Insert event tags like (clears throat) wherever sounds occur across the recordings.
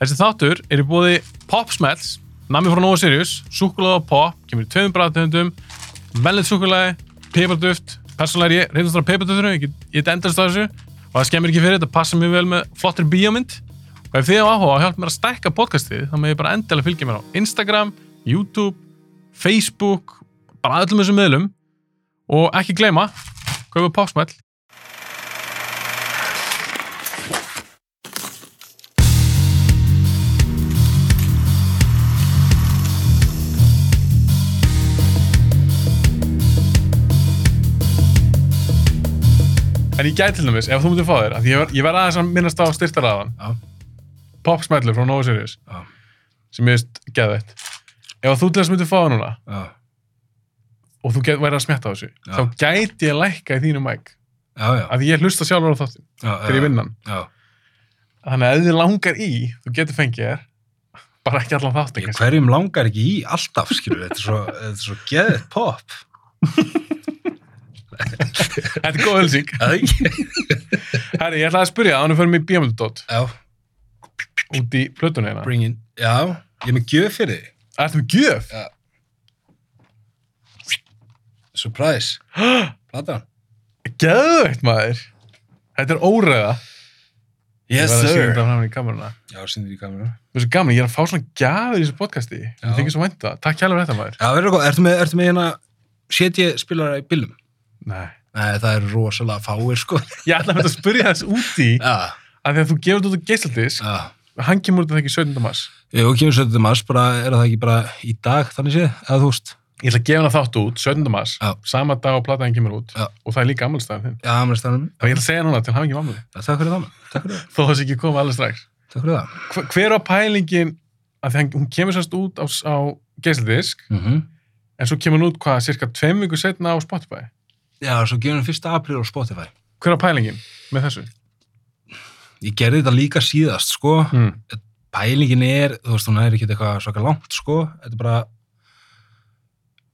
Þessi þáttur er í búði Pop Smells, nami frá Nova Sirius, súkulega og pop, kemur í tveimum bræðtöndum, velnið súkulega, piparduft, persónlega er ég reyndast á piparduftunum, ég get- ég get endast á þessu og það skemmir ekki fyrir, þetta passar mjög vel með flottir bíómynd og ef þið á áhuga að hjálpa mér að stækka podcastið þá með ég bara endilega fylgja mér á Instagram, YouTube, Facebook, bara öllum þessum meðlum og ekki gleyma, kaupa Pop Smell En ég gæti til dæmis, ef þú myndir fá þér, af því ég, ver, ég verð aðeins að minnast á styrtaraðan, popsmellur frá Nova Sirius, Já. sem ég veist geðveitt. Ef þú til dæmis myndir fá það núna já, og þú get, væri að smetta á þessu, Já. þá gæti ég lækka í þínu mæk, já, já, af því ég hlusta sjálfur á þáttin, já, fyrir ég vinnan. já, Þannig að ef þið langar í, þú getur fengið þér, bara ekki allan þáttin, Ég, kannski. hverjum langar ekki í alltaf skilur, þetta er svo, þetta er svo geðið pop Þetta er góð helsing. eða ekki? Herri, ég ætlaði að spyrja það, hann er fyrir mig bíamöldudótt já, út í plötunni hérna. bring in já, ég er með gjöf fyrir þig Ertu með gjöf? Já. (gasps) surprise, platan Geðveitt, maður. Þetta er óræða. Ég yes verð að sýna sir þetta fram í kameruna. já, síndir í kamerun Mér er svo gaman, ég er að fá svona gjafir í þessu podcasti. Mér Já. þykir svo vænta. Takk kjærlega fyrir þetta maður. já, verður góð, ertu með, ertu með hérna setjið spilara í bílum? Nei. nei, það er rosalega fáir sko Ég ætla að þetta að spyrja þess úti já, að því að þú gefur þetta út á geisladisk, já hann kemur þetta ekki 17. mars. Jú, kemur svo þetta mars, bara, er það ekki bara í dag, þannig séð, eða þú veist? Ég ætla að gefa hana þátt út 17. mars, Já. sama dag og plataðin kemur út Já. og það er líka ammálstæðan þinn. Já, mér stannum. Þannig að ég ætla að segja núna til hafingjum ammál. Já, takk fyrir það, maður. takk fyrir það, Þó þess ekki koma alveg strax. takk fyrir það. Hver, hver var pælingin að því hann, hún kemur sérst út á, á geisladisk Mm en svo kemur hún út hvað, cirka tveim viku setna á Spotify. Já, svo gerum við 1. apríl á Spotify. Hver var pælingin með þessu? Ég gerði þetta líka síðast, sko. Hmm. Pælingin er, þú veist, hún er ekki eitthvað svaka langt, sko. Þetta er bara,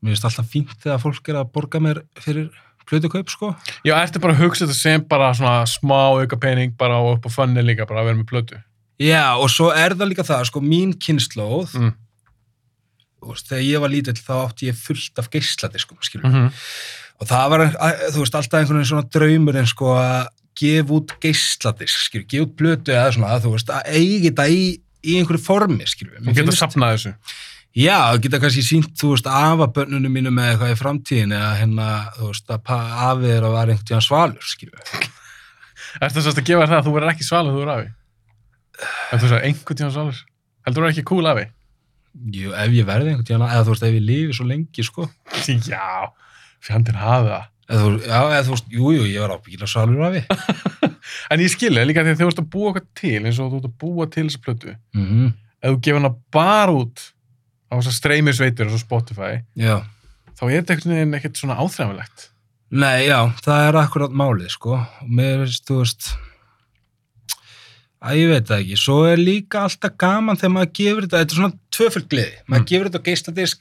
mér finnst alltaf fínt þegar fólk er að borga mér fyrir plötukaup, sko. Já, ertu bara að hugsa þetta sem bara svona smá auka pening bara og upp á fönni líka bara að vera með plötu. Já, og svo er það líka það, sko, mín kynnslóð, Mm. þú veist, þegar ég var lítill þá átti ég fullt af geisladiskum, skilur. Mm og það var, að- þú veist, alltaf einhvern veginn svona draumur en sko að gefa út geisladisk, skilju, gefa út blötu eða svona, þú veist, að eigi þetta í, í einhverju formi, skilju. Og geta safnað þessu. Já, geta kannski sínt, þú veist, afabönnunum mínu með eitthvað í framtíðin eða hérna, þú veist, að pa- afið er að vara einhvern tíðan svalur, skilju. Ertu þess að gefa þér það að þú verður ekki svalur þú verður afi? En þú sagði einhvern tíma svalur. Heldur þú verður ekki cool afi? Jú, ef ég verði einhvern tíðan, eða þú veist, ef ég lifi svo lengi, sko. Já, fjandinn hafi það. Eða, þú- já, eða þú veist, jú, jú, ég var á bílasvalur afi. En ég skilja líka því að þú ert að búa eitthvað til eins og þú ert að búa til þessa plötu. Mm Ef þú gefur hana bara út á þessar streymisveitur eins og Spotify, Já. þá er þetta einhvern veginn ekkert svona áþræfilegt. Nei, já, það er akkurat málið, sko. Og mér veist, þú veist, að ég veit það ekki. Svo er líka alltaf gaman þegar maður gefur þetta, þetta er svona tvöföld gleði. Maður Mm. gefur þetta á geisladisk,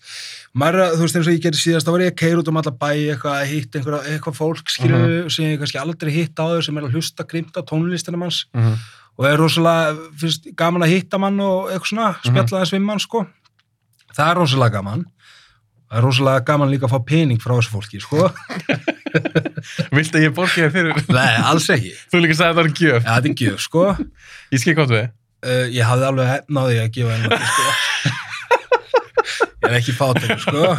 maður, er að- þú veist, eins og ég gerði síðast, þá var ég að keira út um alla bæ, eitthvað að hitta einhverja, eitthvað fólk, skilju, sem ég kannski aldrei hitt á þau, sem er að hlusta grimt á tónlistina manns Mm -hmm. og er rosalega, finnst, gaman að hitta mann og eitthvað svona, spjalla þess við mann, sko. Það er rosalega gaman. Það er rosalega gaman líka að fá pening frá þessu fólki, sko. Viltu að ég borgi þér fyrir? (laughs) Nei, alls ekki. þú líka sagði að það var gjöf. Já, þetta er gjöf, sko. Ég skil gott við. (laughs) Uh, ég hafði alveg hefnaði að gefa henni, sko. ég er ekki fátur, sko.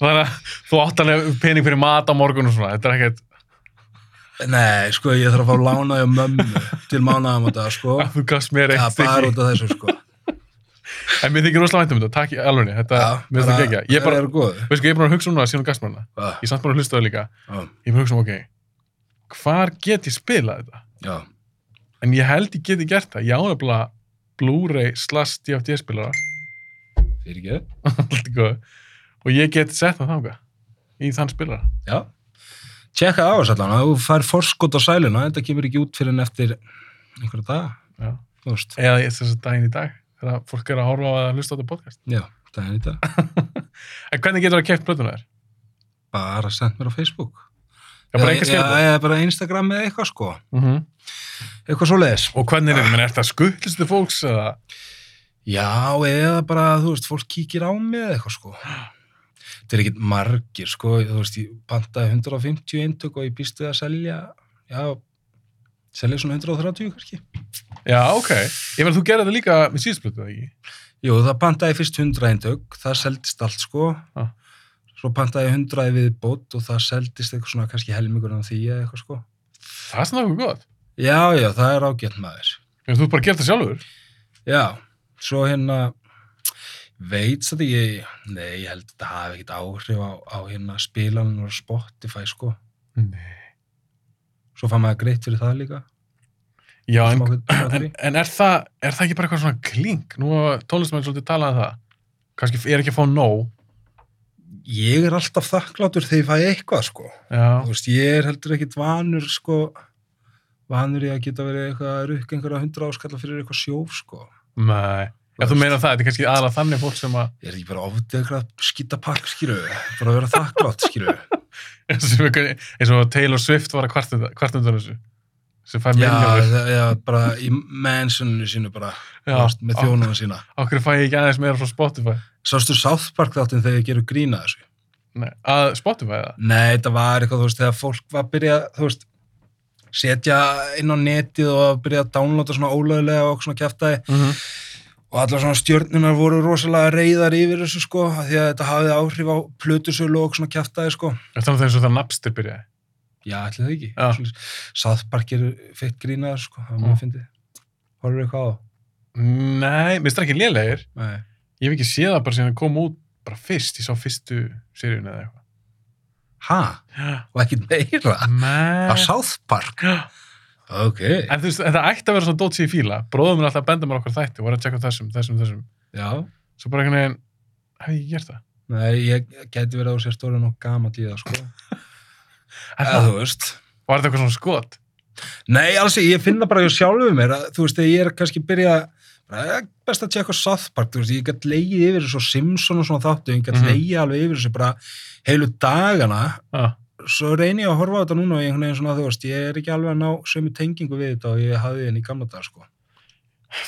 Þannig að þú átt alveg pening fyrir mat á morgun og svona. Þetta er ekkert Nei, sko, ég þarf að fá lánaði á mömmu til mánaðum á þetta, sko. að þú gafst mér Já, eitt bara stykki. út af þessu, sko. En mér þykir rosalega vænt um þetta, takk í alveg, þetta, mér finnst það gegja. Ég er bara, er góð. veist sko, ég er bara að hugsa um það síðan um gastmanna. Já, Ég er samt bara að hlusta á það líka. já, Ég er bara að hugsa um, ok, hvar get ég spilað þetta? já, En ég held ég geti gert það. Ég ána bara Blu-ray slash DFD spilara, (laughs) fyrir ekki. allt í góðu. Og ég get sett það þanga, í þann spilara. Já. Tjekka á þessu allan, að þú fær forskot á sæluna, þetta kemur ekki út fyrir en eftir einhverja dag, Já. þú veist. Eða ég þess að daginn í dag, þegar fólk er að horfa á að hlusta á þetta podcast. Já, það er í dag. En hvernig getur það að kæft blöðuna þér? Bara send mér á Facebook. Já, bara eitthvað skemmt. Já, já, bara Instagram eða eitthvað sko, Mhm. eitthvað svoleiðis. Og hvernig er þetta? Menn, er þetta skuttlistu fólks eða? Já, eða bara, þú veist, fólk kíkir á mig eða eitthvað sko. Þetta er ekkit margir sko, þú veist, ég pantaði 150 eintök og ég býst við að selja, já, selja svona 130 kannski. Já, ok. Ég verður þú gerði þetta líka með síðustu plötu, eða ekki? Jú, það pantaði fyrst 100 eintök, það seldist allt sko. Ah. Svo pantaði 100 viðbót og það seldist eitthvað svona kannski helmingur en því eða eitthvað sko. Það er svona okkur gott. Já, já, það er ágætt maður. Ég meina, Þú ert bara að gera þetta sjálfur. Já, svo hérna veit satt ekki, ég, nei, ég held að þetta hafi ekkert áhrif á, á hérna spilanum og Spotify, sko. Nei. Svo fann maður greitt fyrir það líka. Já, en, Smá- smá en, frí. en er, það, er það ekki bara eitthvað svona klink? Nú hafa tónlistmenn svolítið talað um það. Kanski er ekki að fá nóg. Ég er alltaf þakklátur þegar ég fæ eitthvað, sko. Þú Já, veist, ég er heldur ekkert vanur, sko, vanur ég að geta verið eitthvað að rukka einhverja hundra áskalla fyrir eitthvað sjóf, sko. nei. Já, þú meina það, þetta er kannski aðalega þannig fólk sem að, (laughs) Ég er ekki bara ofdið eitthvað skýtapark, skýru, bara að vera þakklátt, skýru. (laughs) eins og, einhver- eins og Taylor Swift var að kvartunda- kvartunda þessu, sem fær Já, miljónir. það- já, bara í mansioninu sínu bara, þú Já, veist, með þjónuna sína. okkur fæ ég ekki aðeins meira frá Spotify. Sástu South Park þáttinn þegar ég gerur grína þessu? Nei, að Spotify eða? Nei, þetta var eitthvað, þú veist, þegar fólk var að byrja, þú veist, setja inn á netið og að byrja að downloada svona ólögulega og svona kjaftaði Mm og allar svona stjörnunar voru rosalega reyðar yfir þessu sko, af því að þetta hafið áhrif á plötusölu og svona kjaftaði sko. Þannig að það er eins og það Napster byrjaði. Já, ætli það ekki. Já. Mm. Svoleiðis. South Park er fett grínaður sko, það er Já. mjög fyndið. Horfir eitthvað á? það? Nei, minnst það ekki lélegir. Nei. Ég hef ekki séð það bara síðan að koma út bara fyrst. Ég sá fyrstu seríun eða eitthvað. Ha? Já. Og ekkit meira? Nei. Af South Park? Já. Ok. En þú veist, þetta ætti að vera svona dótt sér í fíla. Bróðum er alltaf að benda mér okkur þætti og voru að tjekka á þessum, þessum, þessum. Já. Svo bara einhvern veginn, hef ég ekki gert það? Nei, ég gæti verið á sér stóri nokk gamall í það, sko. Er Eða það? þú veist. Var þetta eitthvað svona skot? Nei, alls ekki, ég finn það bara hjá sjálfum mér að, þú veist, þegar ég er kannski byrjað að bara, eh, best að tjekka á South Park, þú veist, ég gætt leigið yfir þessu og Simpson og svona þáttu, ég gætt Mhm. leigið alveg yfir þessu bara heilu dagana, Ah. svo svo reyni ég að horfa á þetta núna og ég einhvern veginn svona, þú veist, ég er ekki alveg að ná sömu tengingu við þetta og ég hafði henni í gamla dag, sko.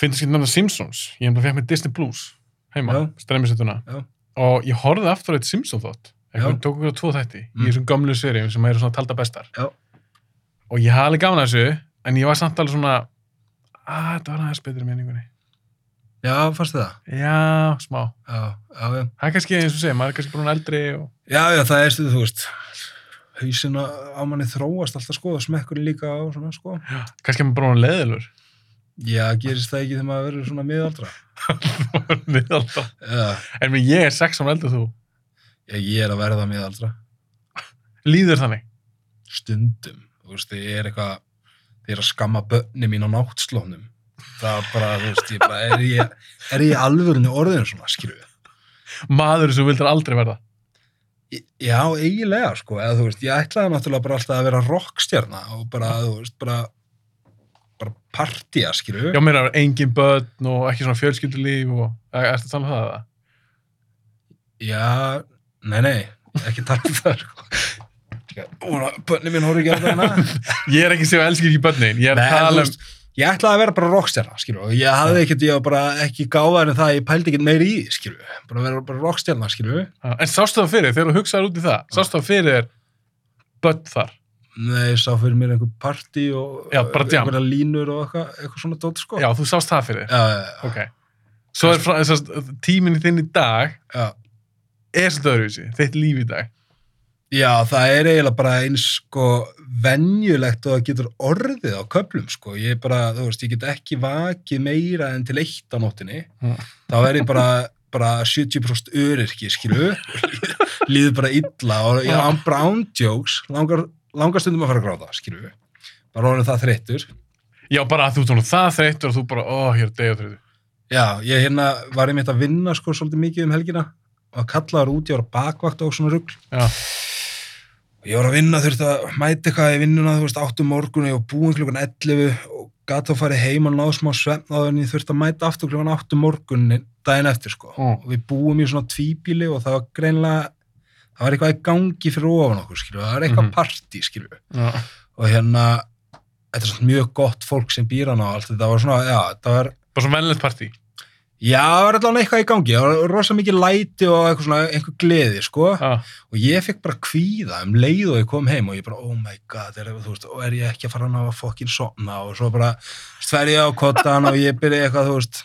finnst ekki nefna Simpsons. Ég hef bara fekk með Disney Plus heima, Já. streymisettuna. Já. Og ég horfði aftur á eitt Simpsons þátt. Ég Já. tók okkur á tvo þætti Mm. í þessum gamlu seríum sem eru svona taldar bestar. Já. Og ég hafði alveg gaman að þessu, en ég var samt alveg svona, að þetta var aðeins betri í minningunni. Já, fannst þið það? Já, smá. Já, já, já. Það er kannski eins og segja, maður er kannski brún eldri og... Já, já, það er stuð, þú veist, hausin á á manni þróast alltaf, sko, og smekkurinn líka og svona, sko. Kannski er maður brún (laughs) leðilur. Já, gerist það ekki þegar maður verður svona miðaldra? Miðaldra. Já, en mér, ég er sex ára eldur þú. ég er að verða miðaldra. Líður þannig. Stundum. Þú veist, ég er eitthvað, ég er að skamma bönni mín á náttslónum. Það er bara, þú veist, ég bara, er ég, er ég alvörinu orðinu svona, skilju? Maður sem þú vildir aldrei verða. Já, eiginlega, sko, eða þú veist, ég ætlaði náttúrulega bara alltaf að vera rockstjarna og bara, þú veist, bara, bara partía, skilju? Já, mér er engin börn og ekki svona fjölskyldulíf og... Er þetta þannig um það eða? Já, nei, nei, ekki tala um það, sko. Úna, bönni mín horfði ekki hérna. að það hana. Ég er ekki sem elskir ekki börnin, ég er að Nei, en þú tala um... veist, ég ætlaði að vera bara rockstjarna, skilju, og ég hafði ekkert, ég var bara ekki gáðar en það, ég pældi ekkert meiri í, því, skilju, bara vera bara rockstjarna, skilju. Já, En sástu það fyrir, þegar þú hugsaður út í það, sástu það fyrir þér börn þar. Nei, ég sá fyrir mér einhver partí og Já, bara jam. einhverja línur og eitthvað, eitthvað svona dótt, sko. Já, þú sást það fyrir þér. já, já, Ok. Svo er frá, sást, tíminn þinn í dag já. er svolítið öðruvísi, þitt líf í dag. Já, það er eiginlega bara eins, sko, venjulegt og það getur orðið á köflum, sko. Ég bara, þú veist, ég get ekki vakið meira en til eitt á nóttinni. Mm. Þá er ég bara, bara 70% öryrki, skilu. Líður bara illa og ég Já. án brown jokes, langar, langar stundum að fara að gráta, skilu. Bara orðin það þreyttur. Já, bara að þú tónu það þreyttur og þú bara, ó, ég er degið þreyttur. Já, ég hérna var einmitt að vinna, sko, svolítið mikið um helgina og kallaður út, ég var á bakvakt og svona rugg. Já, Ég var að vinna, þurfti að mæta eitthvað í vinnuna, þú veist, 8 morgun og búin klukkan 11 og gat þá farið heim og náðu smá svefn áður en ég þurfti að mæta aftur klukkan 8 morgun daginn eftir, sko. Mm. Og við búum í svona tvíbíli og það var greinlega, það var eitthvað í gangi fyrir ofan okkur, skilju, það var eitthvað mm Mhm. partí, skilju, Já. og hérna þetta er svona mjög gott fólk sem býr hann á allt, þetta var svona, já, þetta var Bara svona venlegt partí. já, það var allan eitthvað í gangi, það var rosa mikið læti og eitthvað svona, einhver gleði, sko Já. og ég fekk bara kvíða um leið og ég kom heim og ég bara, oh my god, er, þú veist, og er ég ekki að fara hann að fokkin sofna og svo bara stverði ég á kottan og ég byrja eitthvað, þú veist,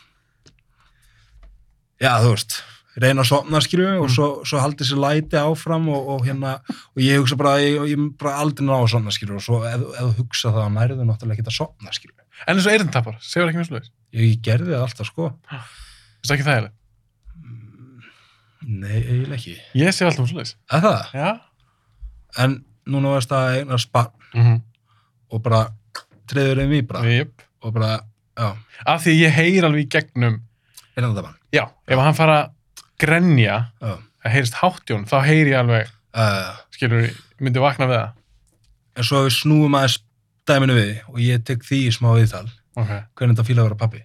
já, þú veist, reyna að sofna, skilju, og Mm. svo, svo haldi sér læti áfram og, og hérna, og ég hugsa bara, ég, ég mun bara aldrei ná að sofna, skilju, og svo ef, ef þú hugsa það, nærðu náttúrulega ekki að sofna, skilju. En eins og eyrntapar, segir ekki mjög slúðis. Ég, ég gerði það alltaf, sko. Þetta er ekki þægilegt. Nei, eiginlega ekki. Ég segi alltaf um slúðis. Er það? Já. En núna varst það einar spann Mm -hmm. og bara treður um í bara. Jep. og bara, já, Af því ég heyr alveg í gegnum, er það bara já, ef hann fara að grenja, já, að heyrist háttjón, þá heyr ég alveg, uh, skilur, myndi vakna við það. en svo við snúum aðeins dæminu við og ég tek því í smá viðtal Ok. hvernig þetta fíla að vera pappi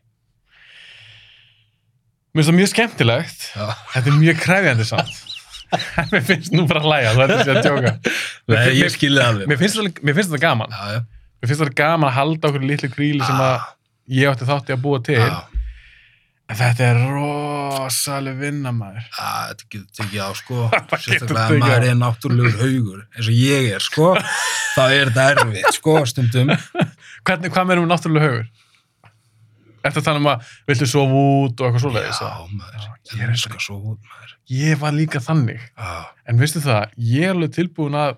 Mér finnst það mjög skemmtilegt. já. Þetta er mjög krefjandi samt. (laughs) En mér finnst nú bara að læja, þú ætti að segja að djóka. Nei, ég skilði alveg Mér finnst, þetta- mér finnst þetta gaman. já, já. Mér finnst þetta gaman að halda okkur litlu gríli sem að Ah. ég átti þátti að búa til. já, En þetta er rosaleg vinna, maður. já, þetta getur tekið á (laughs) sko getur sérstaklega tekið á. að maður er náttúrulegur haugur eins og ég er (laughs) sko þá er þetta erfitt sko stundum Hvernig, hvað meðum við náttúrulega haugur? Ertu að tala um að viltu sofa út og eitthvað svoleiðis? já maður, ég ég er er sko svo út maður Ég var líka þannig. já, En veistu það, ég er alveg tilbúin að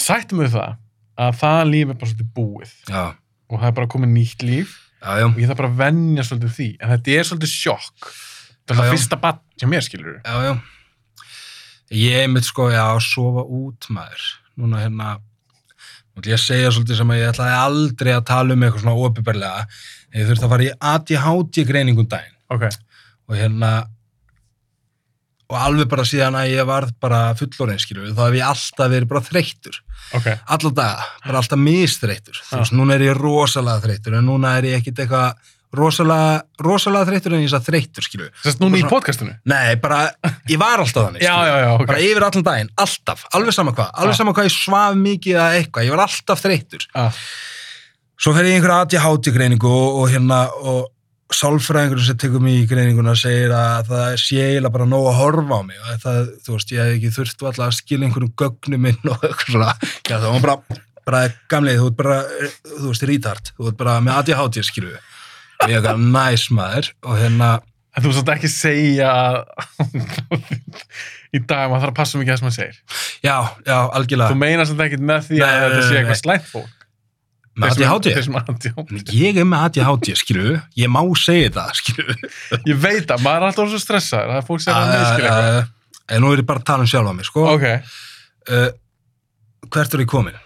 sættum við það að það líf er bara svolítið búið já, og það er bara komið nýtt líf já, já, og ég þarf bara að venja svolítið því en þetta er svolítið sjokk þetta er Já, já. það fyrsta bann sem mér skilur já, já. ég mitt sko já, að sofa út maður núna hérna nú ætla ég að segja svolítið sem að ég ætlaði aldrei að tala um eitthvað svona opiðberlega ég þurfti að fara í ADHD greiningum um daginn ok, og hérna og alveg bara síðan að ég varð bara fullorinn skilur þá hef ég alltaf verið bara þreyttur ok, alla daga, bara alltaf misþreyttur þú veist, núna er ég rosalega þreyttur en núna er ég ekkit eitthvað rosalega, rosalega þreyttur en ég er satt þreyttur skilur sérst núna í Bara svona- podcastinu nei, bara, ég var alltaf þannig já, skilurðu já, já, ok bara yfir allan daginn, alltaf, alveg sama hvað alveg Já. sama hvað ég svaf mikið eða eitthvað ég var alltaf þreyttur ah, svo fer ég í einhverja ADHD greiningu og, og hérna og sálfræðingur sem tekur mig í greininguna segir að það sé eiginlega bara nóg að horfa á mig og það, þú veist, ég hef ekki þurft alltaf að skilja einhverjum gögnum minn og (laughs) eitthvað svona, já það var bara bara gamlið, þú ert bara, þú veist, rítart þú ert bara með ADHD skilju og ég er eitthvað næs maður og hérna, en þú svolítið ekki segja (laughs) að í dag maður þarf að passa mikið að það sem maður segir já, já, þú algjörlega meinar svolítið ekkit með því Nei, að nei, þetta sé nei, eitthvað slæmt fólk með ADHD Þeir sem ADHD. En ég er með ADHD, skilu, ég má segja þetta, skilu. ég veit að maður er alltaf svo stressaður það er fólk sem er að meðskilja eitthvað. Eh, En nú er ég bara að tala um sjálfa mig, sko. ok, (laughs) Uh, hvert er ég komin?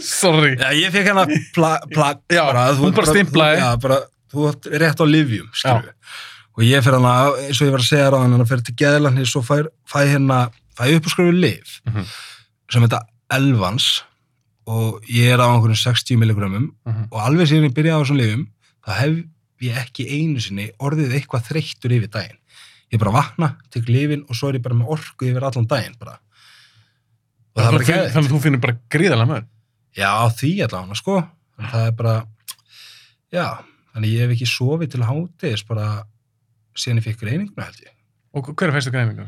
sorry Já, ég fekk hérna plagg, pla, Já, hún bara stimplaði. Já, bara, þú átt rétt á livjum, skilu. Og ég fer hana, eins og ég var að segja ráðan, hann fer til geðlarni, svo fær, fæ hérna, fæ upp og skrifu liv, Mhm. sem heita Elvans, og ég er á einhverjum 60 milligrömmum, Mhm. og alveg síðan ég byrjaði á þessum lifum þá hef ég ekki einu sinni orðið eitthvað þreyttur yfir daginn ég bara vakna, tek lifin og svo er ég bara með orku yfir allan daginn bara. og það er bara Þannig ekki að þú finnir bara gríðarlega mörg. já, því allan, sko en það er bara já, þannig ég hef ekki sofið til hátis bara síðan ég fikk reyninguna held ég Og hver er fyrstu greiningu?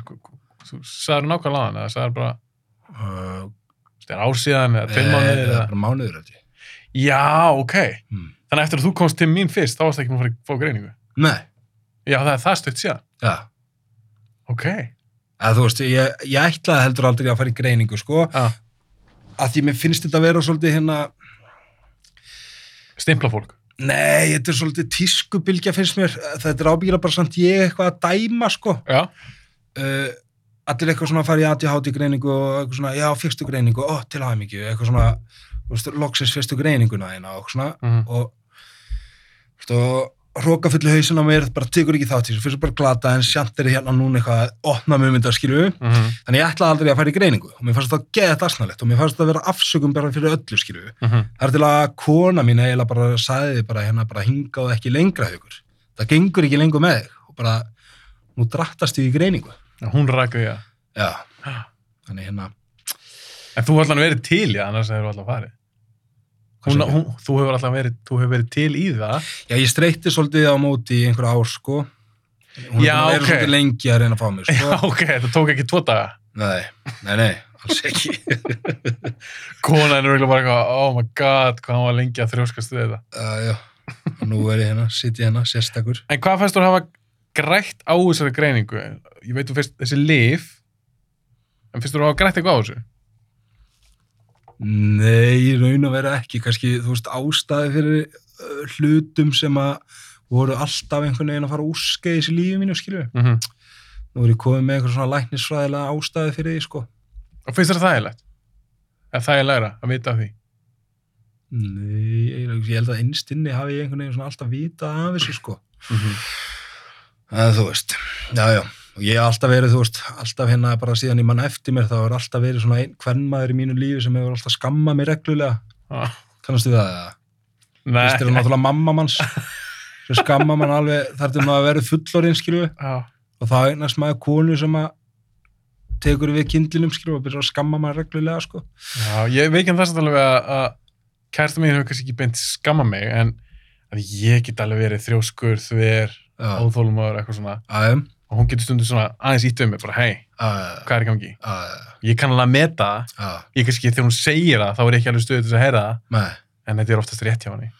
Þú sagður nákvæmlega aðan eða sagður bara, uh, það er ásíðan eða tveim mánuðir eða... Eh, bara mánuður held ég Já, ok. hmm. Þannig að eftir að þú komst til mín fyrst, þá varst ekki maður að fara að fá greiningu. nei, Já, það er það stutt síðan. já Ok. Að þú veist, ég, ég ætlaði heldur aldrei að fara í greiningu, sko, Já, að því mér finnst þetta að vera svolítið hérna, stimpla fólk. Nei, þetta er svolítið tískubilgja finnst mér. Þetta er ábyggilega bara samt ég eitthvað að dæma, sko. Já. Uh, allir eitthvað svona að fara í ADHD greiningu og eitthvað svona, já, fyrstu greiningu, ó, til aðmyggju, eitthvað svona, þú veist, loksins fyrstu greininguna þína og eitthvað svona, Mm. og, þú veist, og hróka fullu hausin á mér, bara tekur ekki þátt í þessu, fyrst bara glata, en sjant er hérna núna eitthvað að opna mjög mynda, skilju, Mm -hmm. þannig ég ætlaði aldrei að fara í greiningu og mér fannst þetta að geða og mér fannst þetta að vera afsökum bara fyrir öllu, skilju. Mm -hmm. Það er til að kona mín eiginlega bara sagði bara hérna bara hingað ekki lengra haugur. Það gengur ekki lengur með þig og bara nú drattast þig í greiningu. Hún rækði því að. já, þannig hérna En þú hefur alltaf verið til, já, annars hefur alltaf farið. Hún, hvað segirðu? hún, þú hefur alltaf verið, þú hefur verið til í það. Já, ég streyti svolítið á móti í einhver ár, sko. Hún Já, er búin að vera ok. svolítið lengi að reyna að fá mig, Já, sko. ok, þetta tók ekki tvo daga. Nei, nei, nei, alls ekki. (laughs) Konan er eiginlega bara eitthvað, oh my god, hvað hann var lengi að þrjóskast við þetta. Uh, já, og nú er ég hérna, sitt ég hérna, sérstakur. En hvað fannst þú að hafa grætt á þessari greiningu? Ég veit þú fyrst þessi lif, en fyrst þú að hafa grætt eitthvað á þessu? Nei, í raun og vera ekki, kannski, þú veist, ástæði fyrir uh, hlutum sem að voru alltaf einhvern veginn að fara úrskeiðis í lífi mínu, skilju. Mm -hmm. Nú er ég komið með einhver svona læknisfræðilega ástæði fyrir því, sko. Og finnst þér það þægilegt? Eða þægilegra að vita af því? Nei, ég, ég held að innstinni hafi ég einhvern veginn svona alltaf vitað af þessu, sko. Mhm. að þú veist, já, já og ég hef alltaf verið, þú veist, alltaf hérna bara síðan ég mann eftir mér, þá er alltaf verið svona ein, hvern maður í mínu lífi sem hefur alltaf skammað mér reglulega, Ah, kannastu við það eða? Nei. Fyrst er það náttúrulega mamma manns sem skamma mann alveg þar til maður verið fullorinn, skilju Já. og þá eignast maður konu sem að tekur við kindlinum, skilju og byrjar að skamma mann reglulega, sko Já, ég veit ekki um þess að alveg að, að kærta mín hefur kannski ekki beint skamma mig en að ég get alveg verið þrjóskur, þver, Já, óþólumöður, eitthvað svona já, og hún getur stundum svona aðeins ítt við mig bara hei, já, hvað er í gangi? já, Ég kann alveg að meta það, já, ég kannski þegar hún segir það þá er ég ekki alveg stöðið til þess að heyra það nei en þetta er oftast rétt hjá henni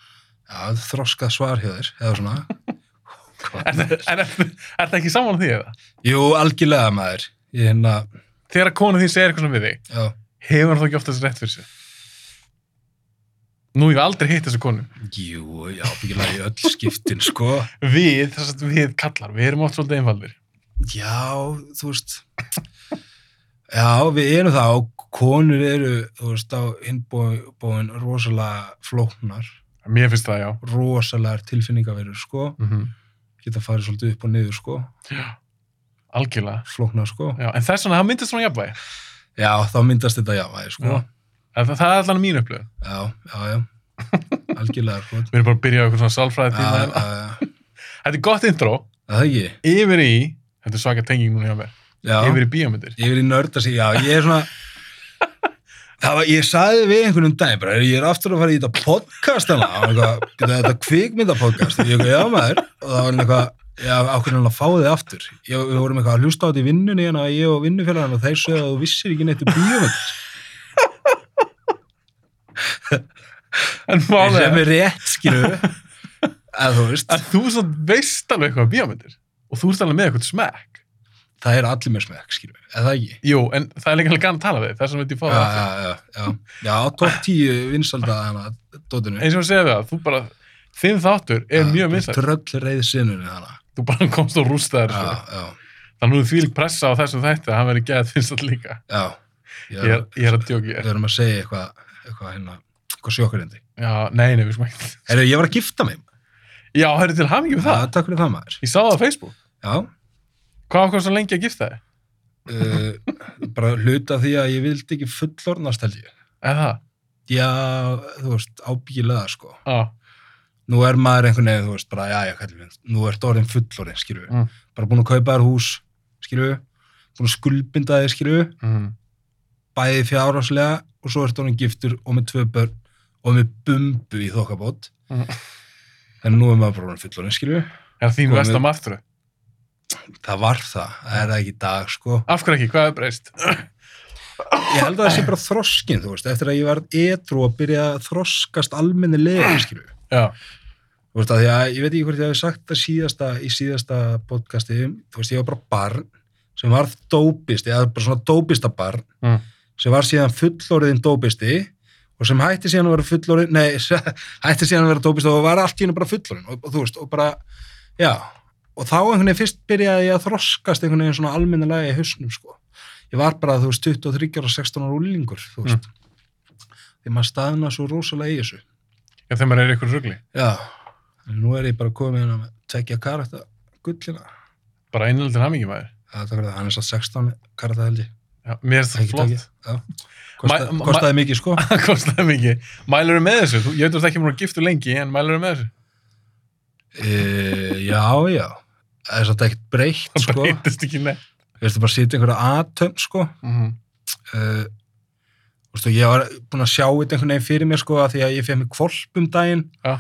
Já, þroskað svar hjá þér, eða svona. Er þetta ekki saman því eða? Jú, algjörlega maður. Ég hérna, Þegar að konu þín segir eitthvað svona við þig já. hefur hann þá ekki oftast rétt fyrir sér? Nú, ég hef aldrei hitt þessu konu Jú, já, byggilega í öll skiptin, sko. Við, þess að við kallar, við erum oft svolítið einfaldir Já, þú veist, já, við erum það og konur eru, þú veist, á innbóin rosalega flóknar, Mér finnst það, já rosalegar tilfinningaverur, sko. mm Geta farið svolítið upp og niður, sko, Algjörlega flóknar, sko. Já, en þess vegna, það myndist svona jafnvægi. Já, þá myndast þetta já, aðeins, sko. Já. En Það, það er allan mín upplöð. Já, já, já, algjörlega, sko. Við erum bara að byrja á eitthvað svona sálfræði Já, já, tíma. já, Þetta er gott intro, Er það ekki, yfir í, þetta er svaka tenging núna hjá mér, já. yfir í bíómyndir. Ég vil í nörda sig, já, ég er svona Það var, ég saði við einhvern um daginn bara, ég er aftur að fara í þetta podcast hana, og eitthvað, "Bíddu, þetta kvikmynda podcast og ég eitthvað, já maður, og það var eitthvað já, ákveðin hann að fá þig aftur ég, við vorum eitthvað að hlusta á þetta í vinnunni hérna, ég og vinnufélagin og þeir sögðu að þú vissir ekki neitt um (laughs) bíómynd, En málega, sem er rétt, skilur að þú veist, að þú svo veist alveg eitthvað um bíómyndir og þú ert alveg með eitthvað smekk. það er allir með smekk, skilur eða ekki, Jú, en það er líka alveg gana að tala við, þess vegna veit ég fá já, það aftur. já, já já, já, top 10 vinsalda hana, dótinu Eins og ég segja við það, þú bara, þinn þáttur er mjög minnsætt. tröll reyð sinnunni hana, Þú bara (laughs) komst og rústaðir hérna. já, þessu. já Þannig að þú þvílik pressa á þessum þætti að hann verið geðað finnst líka. Já, ég, Ég er, ég er að djóki. við erum að segja eitthvað eitthvað hérna, eitthvað sjókurindi. Já, nei, nei, við smækt. Herru, ég var að gifta mig. Já, hörru til hamingjum Um það. Já, takk fyrir það maður. Ég sá það á Facebook. Já, Hvað okkur svo lengi að gifta þið? uh, bara hluta því að ég vildi ekki fullornast held ég. Eða það? Já, þú veist, ábyggilega sko. Já. Nú er maður einhvern veginn, þú veist, bara, já, já, kallum við, nú ert orðin fullorinn, skilju. Mm. Bara búin að kaupa þér hús, skilju, búin að skuldbinda þér, skilju, Mm. bæði fjárhanslega og svo ert orðin giftur og með tvö börn og með bumbu í þokkabót. Mm. En nú er maður bara orðin fullorinn, skilju. Er þín Komið. vest að martröð? Það var það, það er það ekki í dag sko. Af hverju ekki? Hvað er breyst? Ég held að það sé bara þroskin, þú veist, eftir að ég var edru að byrja að þroskast almennilega, skilju. Já. Þú veist, að því að ég veit ekki hvort ég hafi sagt það síðasta, í síðasta podcasti, þú veist, ég var bara barn sem var dópist, eða bara svona dópista barn, Mm. sem var síðan fullorðin dópisti og sem hætti síðan að vera fullorðin, nei, (laughs) hætti síðan að vera dópist og var allt í hennu bara fullorðin og, og þú veist, og bara, já, og þá einhvern veginn fyrst byrjaði ég að þroskast einhvern veginn svona almennilega í hausnum, sko. Ég var bara, þú veist, 23 ára, 16 ára úlingur, Mm. þú veist. Því maður staðna svo rosalega í þessu. Já, þegar maður er í ykkur rugli. Já, en nú er ég bara hérna komið inn að tekja karakter gullina. Bara einlega til hamingjum aðeir. Það er það verið, hann er satt 16 karakter held ég. Já, mér er þetta Ekki flott. Já, Ma- kostaði, ma- kostaði mikið sko. (laughs) Það kostaði mikið. Mælur er með þessu. Þú, ég veit að þú ert ekki múin að gifta lengi, en mælur er með þessu. E, já, já, það er satt ekkert breytt Það sko. breytist ekki neitt. við veistum bara að setja einhverja aðtömm sko Mhm. uh, þú veist, og ég var búinn að sjá þetta einhvern veginn fyrir mér sko að því að ég fekk mig kvolp um daginn Já.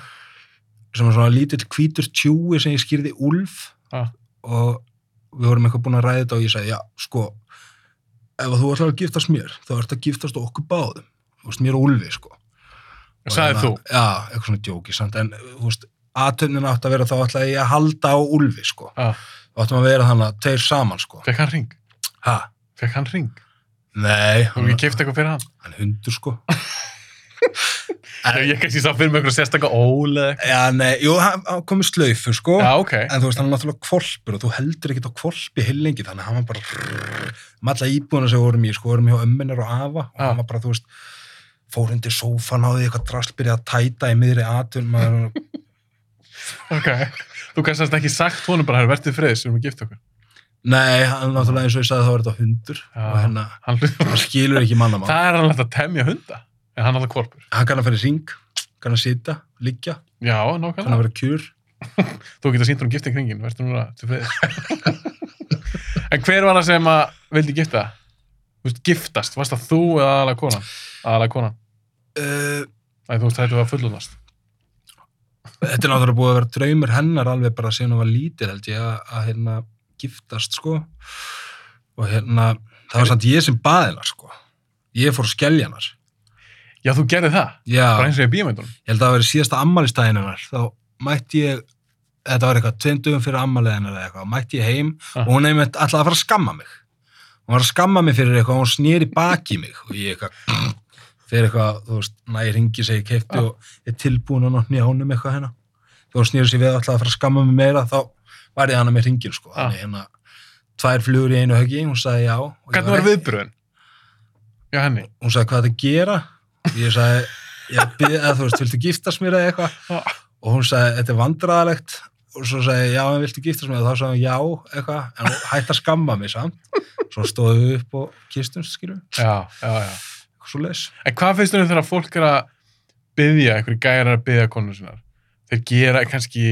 sem var svona lítill hvítur tjúi sem ég skýrði Úlf Já. og við vorum eitthvað búin að ræða þetta og ég sagði, já, sko ef að þú ætlar að giftast mér, þá ert að giftast okkur báðum, þú veist, mér og Úlfi sko Og Sagðir hérna- þú? Já, eitthvað svona djóki samt, en þú veist, aðtöfnin átt að vera þá ætlaði ég að halda á Úlfi sko, Já. þá áttum að vera þannig að tveir saman sko Fekk "Ah, hann ring? ha, Fekk hann ring? nei, Þú hefur ekki keift eitthvað fyrir hann? hann er hundur sko Ég kannski sá fyrir mig einhverja sérstakka ólega. Já, nei, jú, hann hann kom í slaufu, sko. Já, ok. En þú veist, hann er náttúrulega kvolpur og þú heldur ekkert á kvolpi heilengi, þannig að hann var bara malla íbúðuna sem við vorum í, sko, vorum hjá ömmunar og afa og Já. hann var bara, þú veist, fór undir sófan á því eitthvað drasl byrjaði að tæta í miðri atun, maður, Ok. Þú kannski semst ekki sagt honum bara, verður þið friðis, við erum að gifta okkur. nei, hann náttúrulega eins og ég sagði þá var þetta hundur Já. og hérna, Hann hlutur. hann skilur ekki mannamál. Það er hann að temja hunda. En hann er alltaf kvolpur. Hann kann að fara í ring, kann að sita, liggja, Já, kann að nákvæmlega. vera kjur. Þú getur sínt hún gifting ringin, verður núna til friðis. (laughs) en hver var það sem að vildi gifta? Þú veist, giftast, varst það þú eða aðalega konan? Aðalega konan. Uh, Æ, þú veist, þetta var fullunast. þetta er náttúrulega búið að vera draumur hennar alveg bara síðan hún var lítil held ég að, að hérna giftast sko og hérna það var samt ég sem baði hennar sko ég fór að skelja hennar Já, þú gerði það. Bara já, eins og ég bíomændunum. ég held að það verið síðasta ammælistæðin hennar þá mætti ég þetta var eitthvað tveim dögum fyrir ammælið hennar eða eitthvað mætti ég heim Ah. og hún hefði alltaf að fara að skamma mig hún var að skamma mig fyrir eitthvað og hún snýri baki í mig og ég eitthvað (clears throat) fyrir eitthvað, þú veist, næri ringi segi keifti Ah. og er tilbúin að notni ánum eitthvað hérna þegar hún snýri sér við alltaf að fara að skamma mig meira þá var ég hana með ringin sko Ah. þannig hérna, tvær flugur í einu höggi hún sagði já og ég Hvernig var viðbröðin? Já, henni. hún sagði hvað þetta gera og ég sagði, ég byrði að þú veist, viltu giftast mér eða Já. eitthvað og hún sagði, þetta er vandræðalegt og svo sagði, ég, já, en viltu giftast mér og þá sagði hún, já, eitthvað, en hún hætti að skamma mig samt, svo stóðum við upp og kistum, skilum, Já, já, já. eitthvað svo leis En hvað finnst þér um þegar fólk er að byðja, einhverju gæjar er að byðja konur sinnar? Þeir gera kannski,